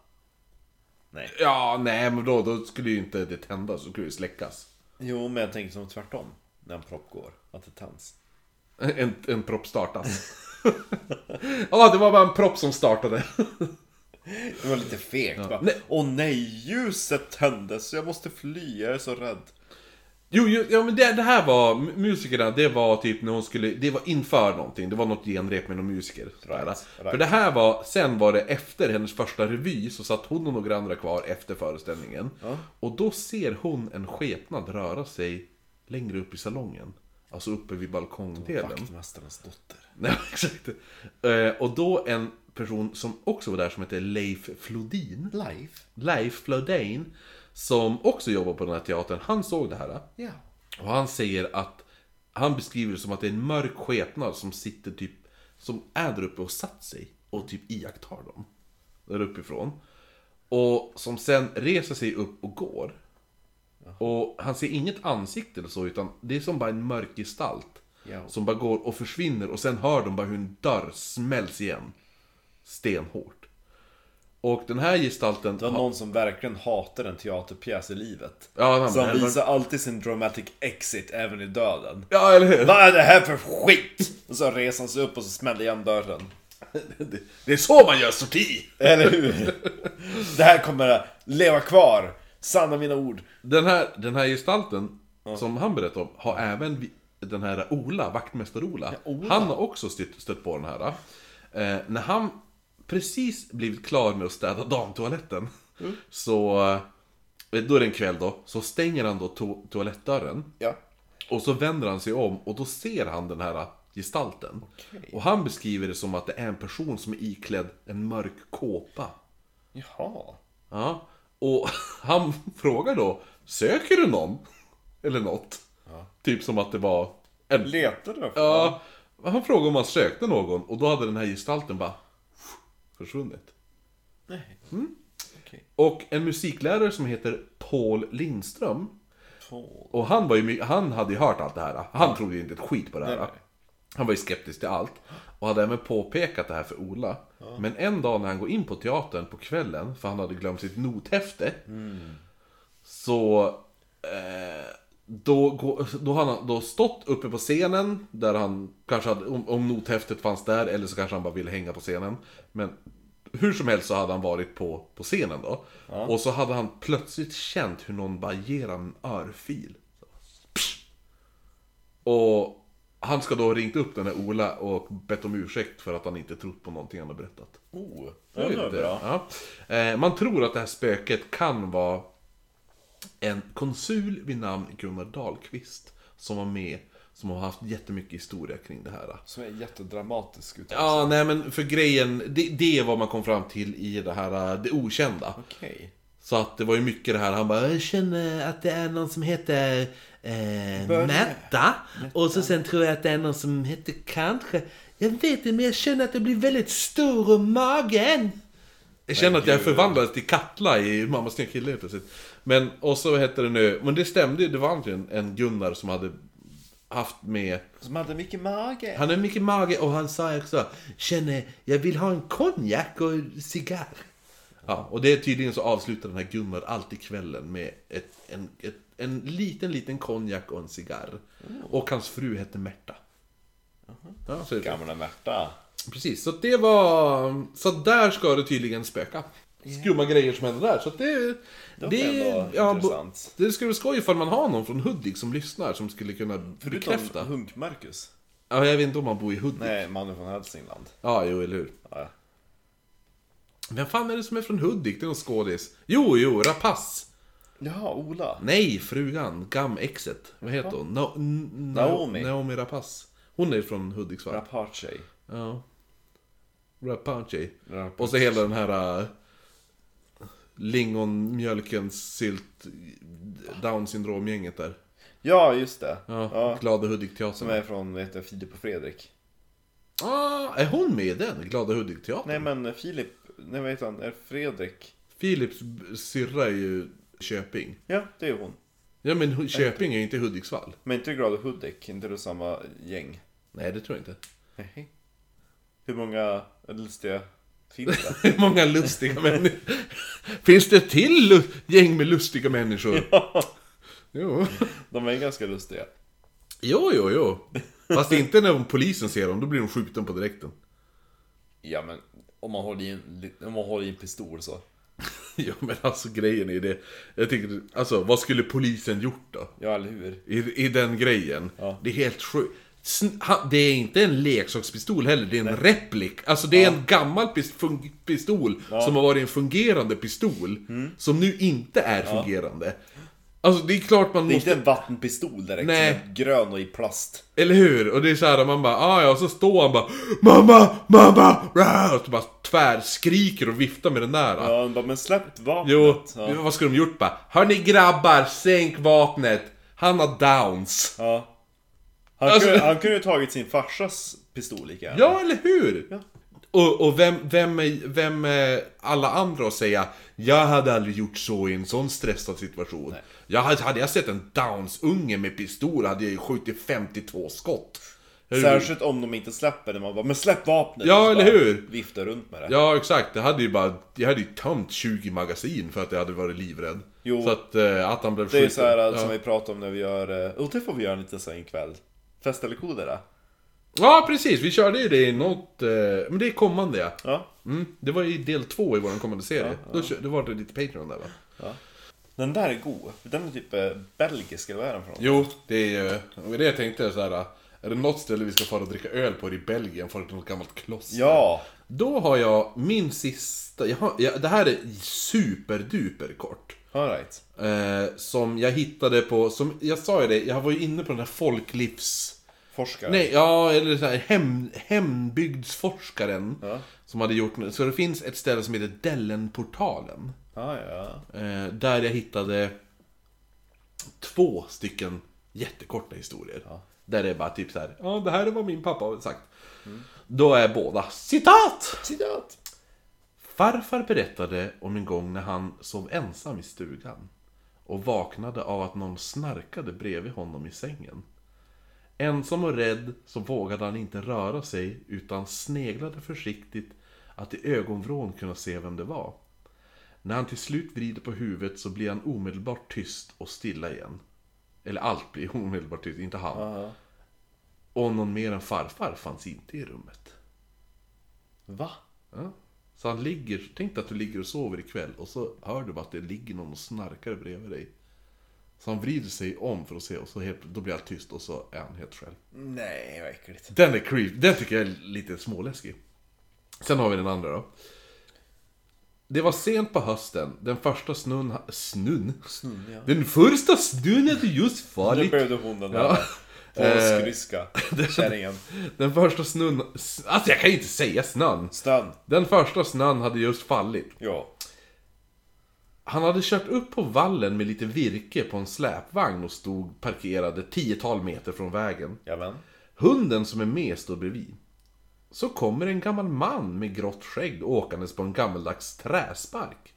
Speaker 1: Ja, nej men då, då skulle ju inte det tändas, då skulle det släckas.
Speaker 2: Jo, men jag tänker som tvärtom. När en propp går, att det tänds.
Speaker 1: En, en propp startas. Ja, det var bara en propp som startade.
Speaker 2: Det var lite fegt bara. Åh nej, ljuset tändes, jag måste fly, jag är så rädd.
Speaker 1: Jo, jo ja, men det, det här var, mu- musikerna, det var typ när hon skulle, det var inför någonting, det var något genrep med någon musiker. sådär.
Speaker 2: Right,
Speaker 1: För det här var, sen var det efter hennes första revy, så satt hon och några andra kvar efter föreställningen. Och då ser hon en skepnad röra sig längre upp i salongen. Alltså uppe vid balkongdelen.
Speaker 2: Vaktmästarens dotter.
Speaker 1: Nej, exakt. Eh, Och då en person som också var där som heter Leif Flodin.
Speaker 2: Live?
Speaker 1: Leif Flodin, som också jobbar på den här teatern, han såg det här.
Speaker 2: Ja.
Speaker 1: Och han säger att han beskriver det som att det är en mörk skepnad som sitter typ, som är där uppe och satt sig och typ iakttar dem. Där uppifrån. Och som sen reser sig upp och går. Och han ser inget ansikte eller så, utan det är som bara en mörk gestalt.
Speaker 2: Ja.
Speaker 1: Som bara går och försvinner och sen hör de bara hur en dörr smälls igen. Stenhårt. Och den här gestalten...
Speaker 2: Det var någon som verkligen hatar en teaterpjäs i livet.
Speaker 1: Ja, han
Speaker 2: så han
Speaker 1: bara,
Speaker 2: visar alltid sin dramatic exit även i döden.
Speaker 1: Ja, eller hur?
Speaker 2: Vad är det här för skit? Och så reser han sig upp och så smäller igen dörren.
Speaker 1: Det- Det är så man gör sorti!
Speaker 2: Eller hur? Det här kommer att leva kvar. Sanna mina ord.
Speaker 1: Den här, den här gestalten som han berättade om har även vi- den här Ola, vaktmästar-Ola. Han har också stött, stött på den här. Eh, när han precis blivit klar med att städa damtoaletten så... eh, Då är det en kväll då, så stänger han då to- toalettdörren.
Speaker 2: Ja.
Speaker 1: Och så vänder han sig om och då ser han den här gestalten. Och han beskriver det som att det är en person som är iklädd en mörk kåpa.
Speaker 2: Jaha.
Speaker 1: Ja, och han frågar då Söker du någon? Eller något. Typ som att det var en...
Speaker 2: Letar du?
Speaker 1: Ja, han frågade om han sökte någon och då hade den här gestalten bara försvunnit.
Speaker 2: Nej. Okej.
Speaker 1: Och en musiklärare som heter Paul Lindström
Speaker 2: Paul.
Speaker 1: Och han, var ju, my- han hade ju hört allt det här. Han trodde ju inte ett skit på det här.
Speaker 2: Nej,
Speaker 1: Han var ju skeptisk till allt. Och hade även påpekat det här för Ola. Men en dag när han går in på teatern på kvällen, för han hade glömt sitt nothäfte. Så... Eh, då, gå- då har han då stått uppe på scenen, där han kanske hade, om, om nothäftet fanns där, eller så kanske han bara ville hänga på scenen. Men hur som helst så hade han varit på, på scenen då. Och så hade han plötsligt känt hur någon bara ger han en örfil. Och han ska då ha ringt upp den här Ola och bett om ursäkt för att han inte trott på någonting han har berättat.
Speaker 2: Oh. Ja, det var
Speaker 1: Vet du?
Speaker 2: bra.
Speaker 1: Ja. Eh, Man tror att det här spöket kan vara en konsul vid namn Gunnar Dahlqvist som var med, som har haft jättemycket historia kring det här.
Speaker 2: Som är jättedramatisk ut.
Speaker 1: Ja, nej men för grejen, det, det är vad man kom fram till i det här, eh, det okända.
Speaker 2: Okej.
Speaker 1: Så att det var ju mycket det här, han bara Jag känner att det är någon som heter
Speaker 3: eh,
Speaker 2: Börje.
Speaker 3: Märta. Och så sen tror jag att det är någon som heter kanske... Jag vet inte, men jag känner att jag blir väldigt stor om magen.
Speaker 1: Jag känner att jag förvandlades till Katla i Mamma snygga kille helt plötsligt. Men, och så hette det nu, men det stämde ju, det var antingen en Gunnar som hade haft med
Speaker 2: Som hade mycket mage.
Speaker 3: Han har mycket mage och han sa också Känner, jag vill ha en konjak och en cigarr.
Speaker 1: Ja, och det är tydligen så avslutar den här Gunnar alltid kvällen med ett, en, ett, en liten, liten konjak och en cigarr. Och hans fru hette Märta. Ja, så är det.
Speaker 2: Gamla Märta.
Speaker 1: Precis, så att det var... Så att där ska det tydligen spöka. Skumma grejer som händer där, så att det... Det,
Speaker 2: var ändå
Speaker 1: ja, bo,
Speaker 2: intressant.
Speaker 1: det skulle vara skoj ifall man har någon från Hudik som lyssnar som skulle kunna bekräfta.
Speaker 2: Förutom Hunk-Marcus.
Speaker 1: Ja, jag vet inte om han bor i Hudik.
Speaker 2: Nej, mannen från Hälsingland.
Speaker 1: Ja, jo, eller hur.
Speaker 2: Ja.
Speaker 1: Vem fan är det som är från Hudik? Det är någon skådis. Jo, jo, Rapace.
Speaker 2: Jaha, Ola.
Speaker 1: Nej, frugan, gam-exet. Vad heter hon? No, n- n-
Speaker 2: Naomi.
Speaker 1: Naomi Rapace. Hon är ju från Hudiksvall.
Speaker 2: Rapace.
Speaker 1: ja. Rapace.
Speaker 2: Rapace.
Speaker 1: Och så hela den här... Uh, lingonmjölkens sylt... Down syndrom-gänget där.
Speaker 2: Ja, just det.
Speaker 1: Ja,
Speaker 2: Ja.
Speaker 1: Glada Hudik-teatern.
Speaker 2: Som är från, vet jag, Filip och Fredrik.
Speaker 1: Ah, är hon med i den? Glada Hudik-teatern?
Speaker 2: Nej men Filip, nej vad heter han, är det Fredrik?
Speaker 1: Philips b- syrra är ju Köping.
Speaker 2: Ja, det är hon.
Speaker 1: Ja, men Hu- Köping är ju inte Hudiksvall.
Speaker 2: Men inte Glada Hudik, inte du samma gäng?
Speaker 1: Nej, det tror jag inte.
Speaker 2: Nej. Hur många lustiga finns det?
Speaker 1: Hur många lustiga människor? Finns det till lu- gäng med lustiga människor? Jo.
Speaker 2: De är ganska lustiga.
Speaker 1: jo, jo, jo. Fast inte när polisen ser dem, då blir de skjuten på direkten.
Speaker 2: Ja men, om man håller i en, om man håller i en pistol så.
Speaker 1: Ja, men alltså grejen är det. Jag tycker, alltså vad skulle polisen gjort då?
Speaker 2: Ja, eller hur?
Speaker 1: I, i den grejen.
Speaker 2: Ja.
Speaker 1: Det är helt sjukt. Sn- ha- Det är inte en leksakspistol heller, det är en replik. Alltså det är en gammal pis- fun- pistol som har varit en fungerande pistol.
Speaker 2: Mm.
Speaker 1: Som nu inte är fungerande. Alltså det är klart man
Speaker 2: Det är
Speaker 1: måste...
Speaker 2: inte en vattenpistol direkt,
Speaker 1: Nej.
Speaker 2: som är grön och i plast.
Speaker 1: Eller hur? Och det är så här, man bara ah, ja, och så står han bara Mamma, mamma! rah!" Och så bara tvärskriker och viftar med den där.
Speaker 2: Ja, de bara, men släpp
Speaker 1: Jo,
Speaker 2: vapnet. Ja.
Speaker 1: vad skulle de gjort bara? Hörni grabbar, sänk vapnet! Han har downs.
Speaker 2: ja. Han,
Speaker 1: Alltså-
Speaker 2: kunde, han kunde ju tagit sin farsas pistol lika gärna.
Speaker 1: Ja, eller hur? Och, och vem, vem, är- vem är alla andra att säga Jag hade aldrig gjort så i en sån stressad situation. Jag hade, hade jag sett en downs-unge med pistol hade jag ju skjutit 52 skott.
Speaker 2: Särskilt om de inte släpper det, man bara 'Men släpp vapnet!'
Speaker 1: Ja,
Speaker 2: Och så
Speaker 1: eller
Speaker 2: bara
Speaker 1: hur?
Speaker 2: Viftar runt med det.
Speaker 1: Ja, exakt. Det hade ju bara, jag hade ju tömt 20 magasin för att jag hade varit livrädd.
Speaker 2: Jo.
Speaker 1: Så att, eh, att han blev
Speaker 2: det är ju
Speaker 1: skjuten.
Speaker 2: så här alltså.
Speaker 1: ja.
Speaker 2: som vi pratar om när vi gör... eh, Och det får vi göra lite sen ikväll. Fest eller kolera?
Speaker 1: ja, precis. Vi körde ju det i något... Eh, men det är kommande, ja.
Speaker 2: Ja.
Speaker 1: Mm. Det var i del två i vår kommande serie. Då, kö- då var det lite Patreon där, va?
Speaker 2: Den där är god. Den är typ eh, belgisk, eller vad är den från?
Speaker 1: Jo, det är ju... Det var det jag tänkte så här. eh, Är det något ställe vi ska fara och dricka öl på i Belgien? För något gammalt kloster?
Speaker 2: Ja!
Speaker 1: Då har jag min sista... Jag har, jag, det här är superduper kort.
Speaker 2: Alright.
Speaker 1: Eh, som jag hittade på, som jag sa ju det, jag var ju inne på den här folklivs...
Speaker 2: Forskare.
Speaker 1: Nej, ja, eller så här hem, hembygdsforskaren.
Speaker 2: Ja.
Speaker 1: Som hade gjort nu. Så det finns ett ställe som heter Dellenportalen.
Speaker 2: Ah, ja.
Speaker 1: Eh, där jag hittade två stycken jättekorta historier. Där det är bara typ så här. ja det här är vad min pappa har sagt. Då är båda citat!
Speaker 2: Citat!
Speaker 1: Farfar berättade om en gång när han sov ensam i stugan och vaknade av att någon snarkade bredvid honom i sängen. Ensam och rädd så vågade han inte röra sig utan sneglade försiktigt att i ögonvrån kunna se vem det var. När han till slut vrider på huvudet så blir han omedelbart tyst och stilla igen. Eller allt blir omedelbart tyst, inte han. Och någon mer än farfar fanns inte i rummet.
Speaker 2: Va?
Speaker 1: Ja. Så han ligger, tänk dig att du ligger och sover ikväll och så hör du bara att det ligger någon och snarkar bredvid dig. Så han vrider sig om för att se och så helt, då blir allt tyst och så är han helt själv.
Speaker 2: Nej, vad äckligt.
Speaker 1: Den är creep, den tycker jag är lite småläskig. Sen har vi den andra då. Det var sent på hösten, den första snön... Snön? Den första snön hade just
Speaker 2: Nu
Speaker 1: fallit.
Speaker 2: behövde hon den där.
Speaker 1: Ja. Eh,
Speaker 2: Polskryska kärringen.
Speaker 1: Den första snön... Alltså jag kan ju inte säga snön.
Speaker 2: Stön.
Speaker 1: Den första snön hade just fallit.
Speaker 2: Ja.
Speaker 1: Han hade kört upp på vallen med lite virke på en släpvagn och stod parkerad ett tiotal meter från vägen.
Speaker 2: Jajamän.
Speaker 1: Hunden som är med står bredvid. Så kommer en gammal man med grått skägg åkandes på en gammaldags träspark.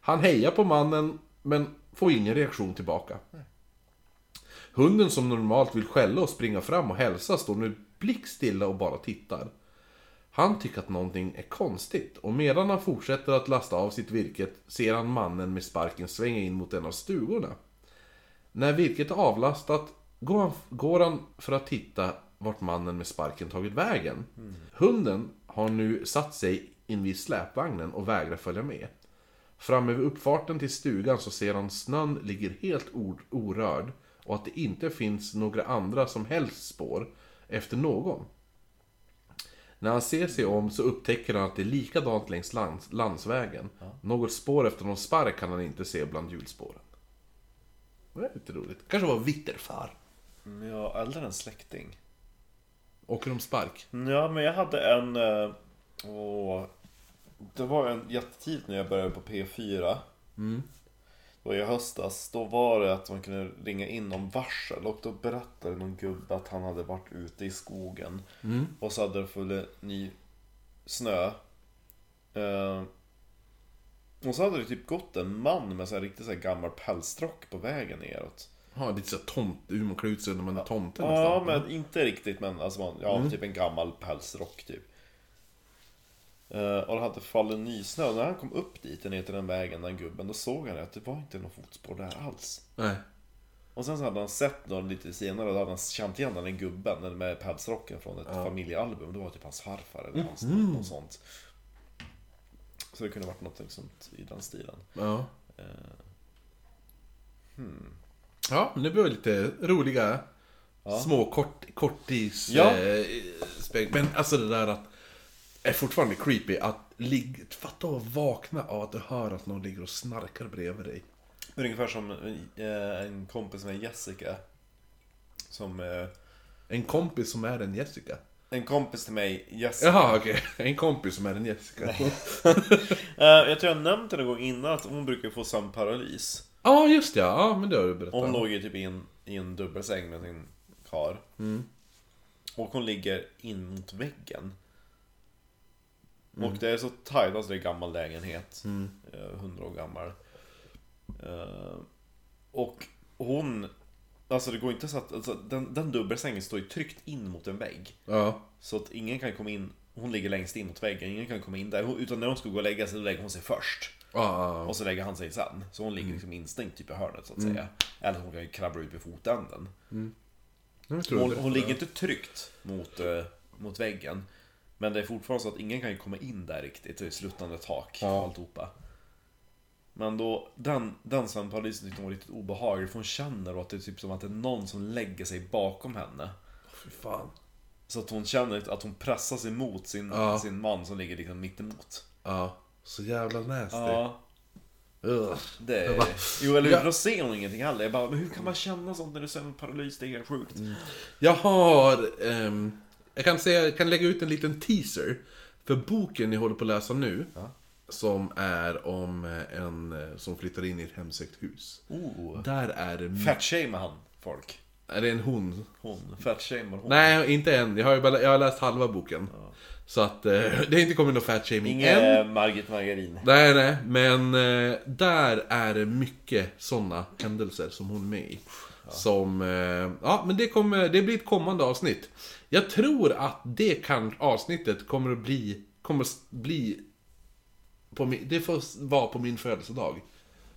Speaker 1: Han hejar på mannen, men får ingen reaktion tillbaka. Hunden som normalt vill skälla och springa fram och hälsa står nu blickstilla och bara tittar. Han tycker att någonting är konstigt och medan han fortsätter att lasta av sitt virket ser han mannen med sparken svänga in mot en av stugorna. När virket är avlastat går han, går han för att titta vart mannen med sparken tagit vägen. Hunden har nu satt sig invid släpvagnen och vägrar följa med. Framme vid uppfarten till stugan så ser han snön ligger helt or- orörd och att det inte finns några andra som helst spår efter någon. När han ser sig om så upptäcker han att det är likadant längs lands- landsvägen. Något spår efter någon spark kan han inte se bland hjulspåren. Det är lite roligt. Kanske var vitterfar.
Speaker 2: Men Jag har Mm, äldre en släkting.
Speaker 1: Åker de spark?
Speaker 2: Ja, men jag hade en... eh, Åh, det var en jättetid när jag började på P4. Det var i höstas. Då var det att man kunde ringa in om varsel och då berättade någon gubbe att han hade varit ute i skogen. Och så hade det fallit ny snö. Eh, och så hade det typ gått en man med så här riktigt så här gammal pälsrock på vägen neråt.
Speaker 1: Ja, lite såhär tomt, hur man klär ut sig när man är tomte
Speaker 2: Ja,
Speaker 1: nästan.
Speaker 2: men inte riktigt men alltså man, ja, typ en gammal pälsrock typ. Eh, och det hade fallit nysnö. Och När han kom upp dit, ner till den vägen, den gubben, då såg han att det var inte något fotspår där alls.
Speaker 1: Nej.
Speaker 2: Och sen så hade han sett någon lite senare, då hade han känt igen den där gubben den med pälsrocken från ett familjealbum. Det var typ hans farfar eller hans något sånt. Så det kunde varit något sånt i den stilen.
Speaker 1: Ja.
Speaker 2: Eh, hmm.
Speaker 1: Ja, men det blev lite roliga små kort, kortis...
Speaker 2: Ja.
Speaker 1: eh, speg- men alltså det där att... Är fortfarande creepy att ligga... Fatta och vakna av att du hör att någon ligger och snarkar bredvid dig.
Speaker 2: Det är ungefär som eh, en kompis med Jessica. Som... eh,
Speaker 1: En kompis som är en Jessica.
Speaker 2: En kompis till mig, Jessica.
Speaker 1: Jaha, okej. En kompis som är en Jessica.
Speaker 2: Eh, jag tror jag nämnt det någon gång innan att hon brukar få sömnparalys.
Speaker 1: Ja, just det. Ja, men det har du berättat.
Speaker 2: Och Hon låg ju typ i en, i en dubbelsäng med sin kar. Och hon ligger in mot väggen. Och det är så tajt, alltså det är en gammal lägenhet. Hundra år gammal. Eh, och hon... Alltså det går inte så att... Alltså, den, den dubbelsängen står ju tryckt in mot en vägg.
Speaker 1: Ja.
Speaker 2: Så att ingen kan komma in. Hon ligger längst in mot väggen, ingen kan komma in där. Hon- Utan när hon ska gå och lägga sig, då lägger hon sig först.
Speaker 1: Ja, ja.
Speaker 2: Och så lägger han sig sen. Så hon
Speaker 1: Mm.
Speaker 2: ligger liksom instängt typ i hörnet så att säga. Eller hon kan ju krabbla ut i fotänden.
Speaker 1: Jag tror
Speaker 2: Hon,
Speaker 1: det.
Speaker 2: hon ligger inte tryckt mot, eh, mot väggen. Men det är fortfarande så att ingen kan ju komma in där riktigt. Det är sluttande tak och
Speaker 1: Ja.
Speaker 2: alltihopa. Men då, den, den sömnparalysen tyckte hon var riktigt obehaglig. För hon känner då att det är typ som att det är någon som lägger sig bakom henne.
Speaker 1: Fy fan.
Speaker 2: Så att hon känner att hon pressas emot sin,
Speaker 1: Ja.
Speaker 2: sin man som ligger liksom mittemot.
Speaker 1: Ja. Så jävla nasty.
Speaker 2: Ja,
Speaker 1: Ugh.
Speaker 2: det
Speaker 1: Jag
Speaker 2: är...
Speaker 1: bara-
Speaker 2: Jo, eller
Speaker 1: Ja.
Speaker 2: hur? Då ser hon ingenting heller. Jag bara, men hur kan man känna sånt när du är sömnparalys? Det är helt sjukt.
Speaker 1: Mm. Jag har... ehm, jag kan säga, jag kan lägga ut en liten teaser. För boken ni håller på att läsa nu, som är om eh, en eh, som flyttar in i ett hemsökt hus.
Speaker 2: Oh.
Speaker 1: Där är det... my-
Speaker 2: Fatshamar han folk?
Speaker 1: Är det en hon?
Speaker 2: Hon? Fatshamar hon?
Speaker 1: Nej, inte än. Jag har, ju bara, jag har läst halva boken. Så att eh, det har inte kommit någon fat shaming
Speaker 2: Ingen
Speaker 1: än.
Speaker 2: eh, Margit Margarin.
Speaker 1: Nej, nej, men eh, där är det mycket sådana händelser som hon är med i. Som, eh, ja men det, kommer, det blir ett kommande avsnitt. Jag tror att det kan, avsnittet kommer att bli, kommer att bli, på min, det får vara på min födelsedag.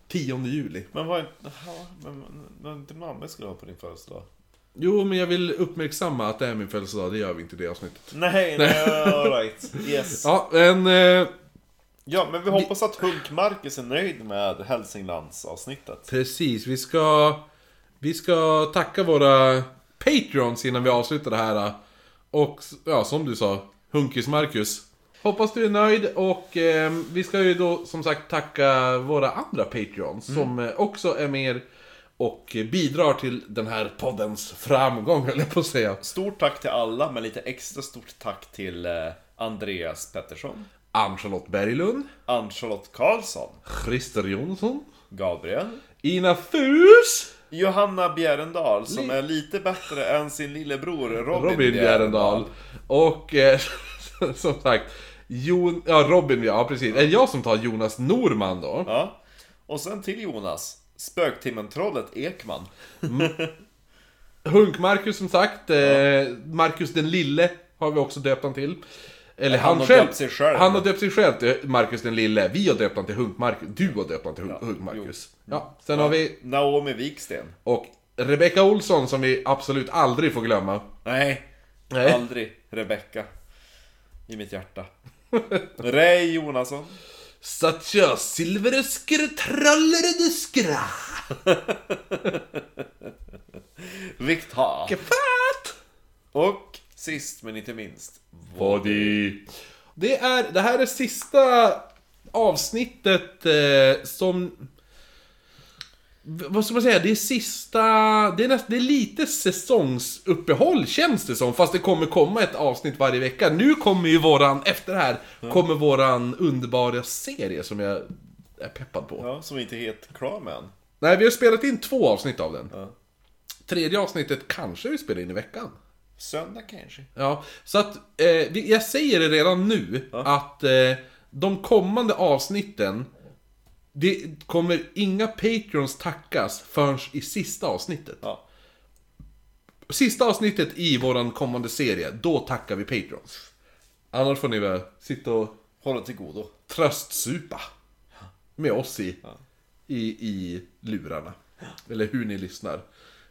Speaker 1: 10 juli.
Speaker 2: Men vad... Jaha, men, men, men inte mamma skulle ha på din födelsedag?
Speaker 1: Jo, men jag vill uppmärksamma att det är min födelsedag, det gör vi inte i det avsnittet.
Speaker 2: Nej, nej, alright. Yes.
Speaker 1: Ja, men... Eh,
Speaker 2: Ja, men vi hoppas att Hunk-Marcus är nöjd med Hälsinglandsavsnittet.
Speaker 1: Precis, vi ska, vi ska tacka våra Patreons innan vi avslutar det här. Och ja, som du sa, Hunkis Marcus. Hoppas du är nöjd och eh, vi ska ju då som sagt tacka våra andra Patreons som eh, också är med och eh, bidrar till den här poddens framgång, höll jag på att säga.
Speaker 2: Stort tack till alla, men lite extra stort tack till eh, Andreas Pettersson.
Speaker 1: Ann-Charlotte Berglund,
Speaker 2: Ann-Charlotte Karlsson,
Speaker 1: Christer Jonsson,
Speaker 2: Gabriel,
Speaker 1: Ina Fus,
Speaker 2: Johanna Bjerendal som
Speaker 1: Li-
Speaker 2: är lite bättre än sin lillebror Robin,
Speaker 1: Robin Bjerendal och eh, som sagt Jon, ja Robin ja precis. Är det jag som tar Jonas Norman då?
Speaker 2: Ja. Och sen till Jonas, spöktimmen-trollet Ekman.
Speaker 1: Hunk-Marcus som sagt, eh, Marcus den lille har vi också döpt han till. Eller han,
Speaker 2: Han har
Speaker 1: själv.
Speaker 2: döpt sig själv.
Speaker 1: Han har döpt sig själv till Marcus den lille. Vi har döpt han till Hunk-Marcus. Du har döpt han till Hunk- Hunk-Marcus. Ja, sen har vi
Speaker 2: Naomi Wiksten.
Speaker 1: och Rebecca Olsson som vi absolut aldrig får glömma. Eh,
Speaker 2: Nej,
Speaker 1: Nej.
Speaker 2: aldrig Rebecka. I mitt hjärta. Ray Jonasson.
Speaker 1: Satya Silveresker Trollereduskra.
Speaker 2: Vikta.
Speaker 1: Gefat!
Speaker 2: Och sist men inte minst.
Speaker 1: Body. Det, är, det här är sista avsnittet eh, som... V- Vad ska man säga? Det är sista... Det är, näst, det är lite säsongsuppehåll känns det som. Fast det kommer komma ett avsnitt varje vecka. Nu kommer ju våran, efter det här, kommer våran underbara serie som jag är peppad på.
Speaker 2: Ja, som vi inte är helt klar med än.
Speaker 1: Nej, vi har spelat in två avsnitt av den.
Speaker 2: Ja.
Speaker 1: Tredje avsnittet kanske vi spelar in i veckan.
Speaker 2: Söndag kanske.
Speaker 1: Ja, så att eh, vi- jag säger det redan nu att eh, de kommande avsnitten det kommer inga Patreons tackas förrän i sista avsnittet.
Speaker 2: Ja.
Speaker 1: Sista avsnittet i våran kommande serie, då tackar vi Patreons. Annars får ni väl sitta och
Speaker 2: Hålla till godo.
Speaker 1: tröstsupa med oss i, i, i lurarna. Eller hur ni lyssnar.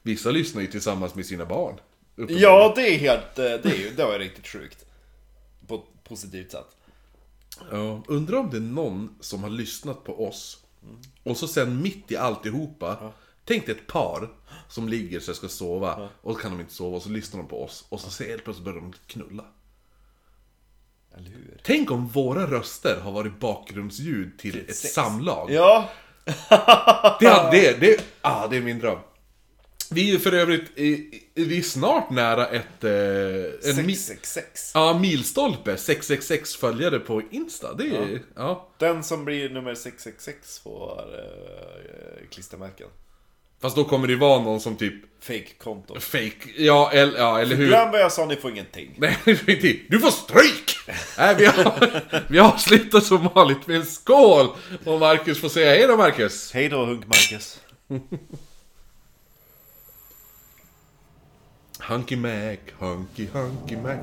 Speaker 1: Vissa lyssnar ju tillsammans med sina barn. uppenbarligen.
Speaker 2: Ja, det är helt... eh, Det, är ju, det var ju riktigt sjukt. På ett positivt sätt.
Speaker 1: Ja, undrar om det är någon som har lyssnat på oss och så sen mitt i alltihopa, tänk dig ett par som ligger så ska sova och så kan de inte sova och så lyssnar de på oss och så ser helt plötsligt börjar de knulla.
Speaker 2: Eller hur?
Speaker 1: Tänk om våra röster har varit bakgrundsljud till ett
Speaker 2: sex.
Speaker 1: samlag.
Speaker 2: Ja,
Speaker 1: Det, hade- det, det, ah, det är min dröm. Vi är ju för övrigt i, i, vi är snart nära ett... Eh, en mi,
Speaker 2: 666.
Speaker 1: ja, milstolpe. 666 följare på Insta. Det är, ja.
Speaker 2: Den som blir nummer 666 får eh, klistermärken.
Speaker 1: Fast då kommer det vara någon som typ
Speaker 2: Fake-konto.
Speaker 1: Fake, ja, eller, ja, eller hur?
Speaker 2: Glöm vad jag sa, ni får ingenting.
Speaker 1: Nej, definitivt. Du får stryk! Nej, vi, har, vi avslutar som vanligt med en skål! Och Marcus får säga hej då Marcus!
Speaker 2: Hej då, Hunk Marcus.
Speaker 1: Hunky Mac, hunky hunky Mac.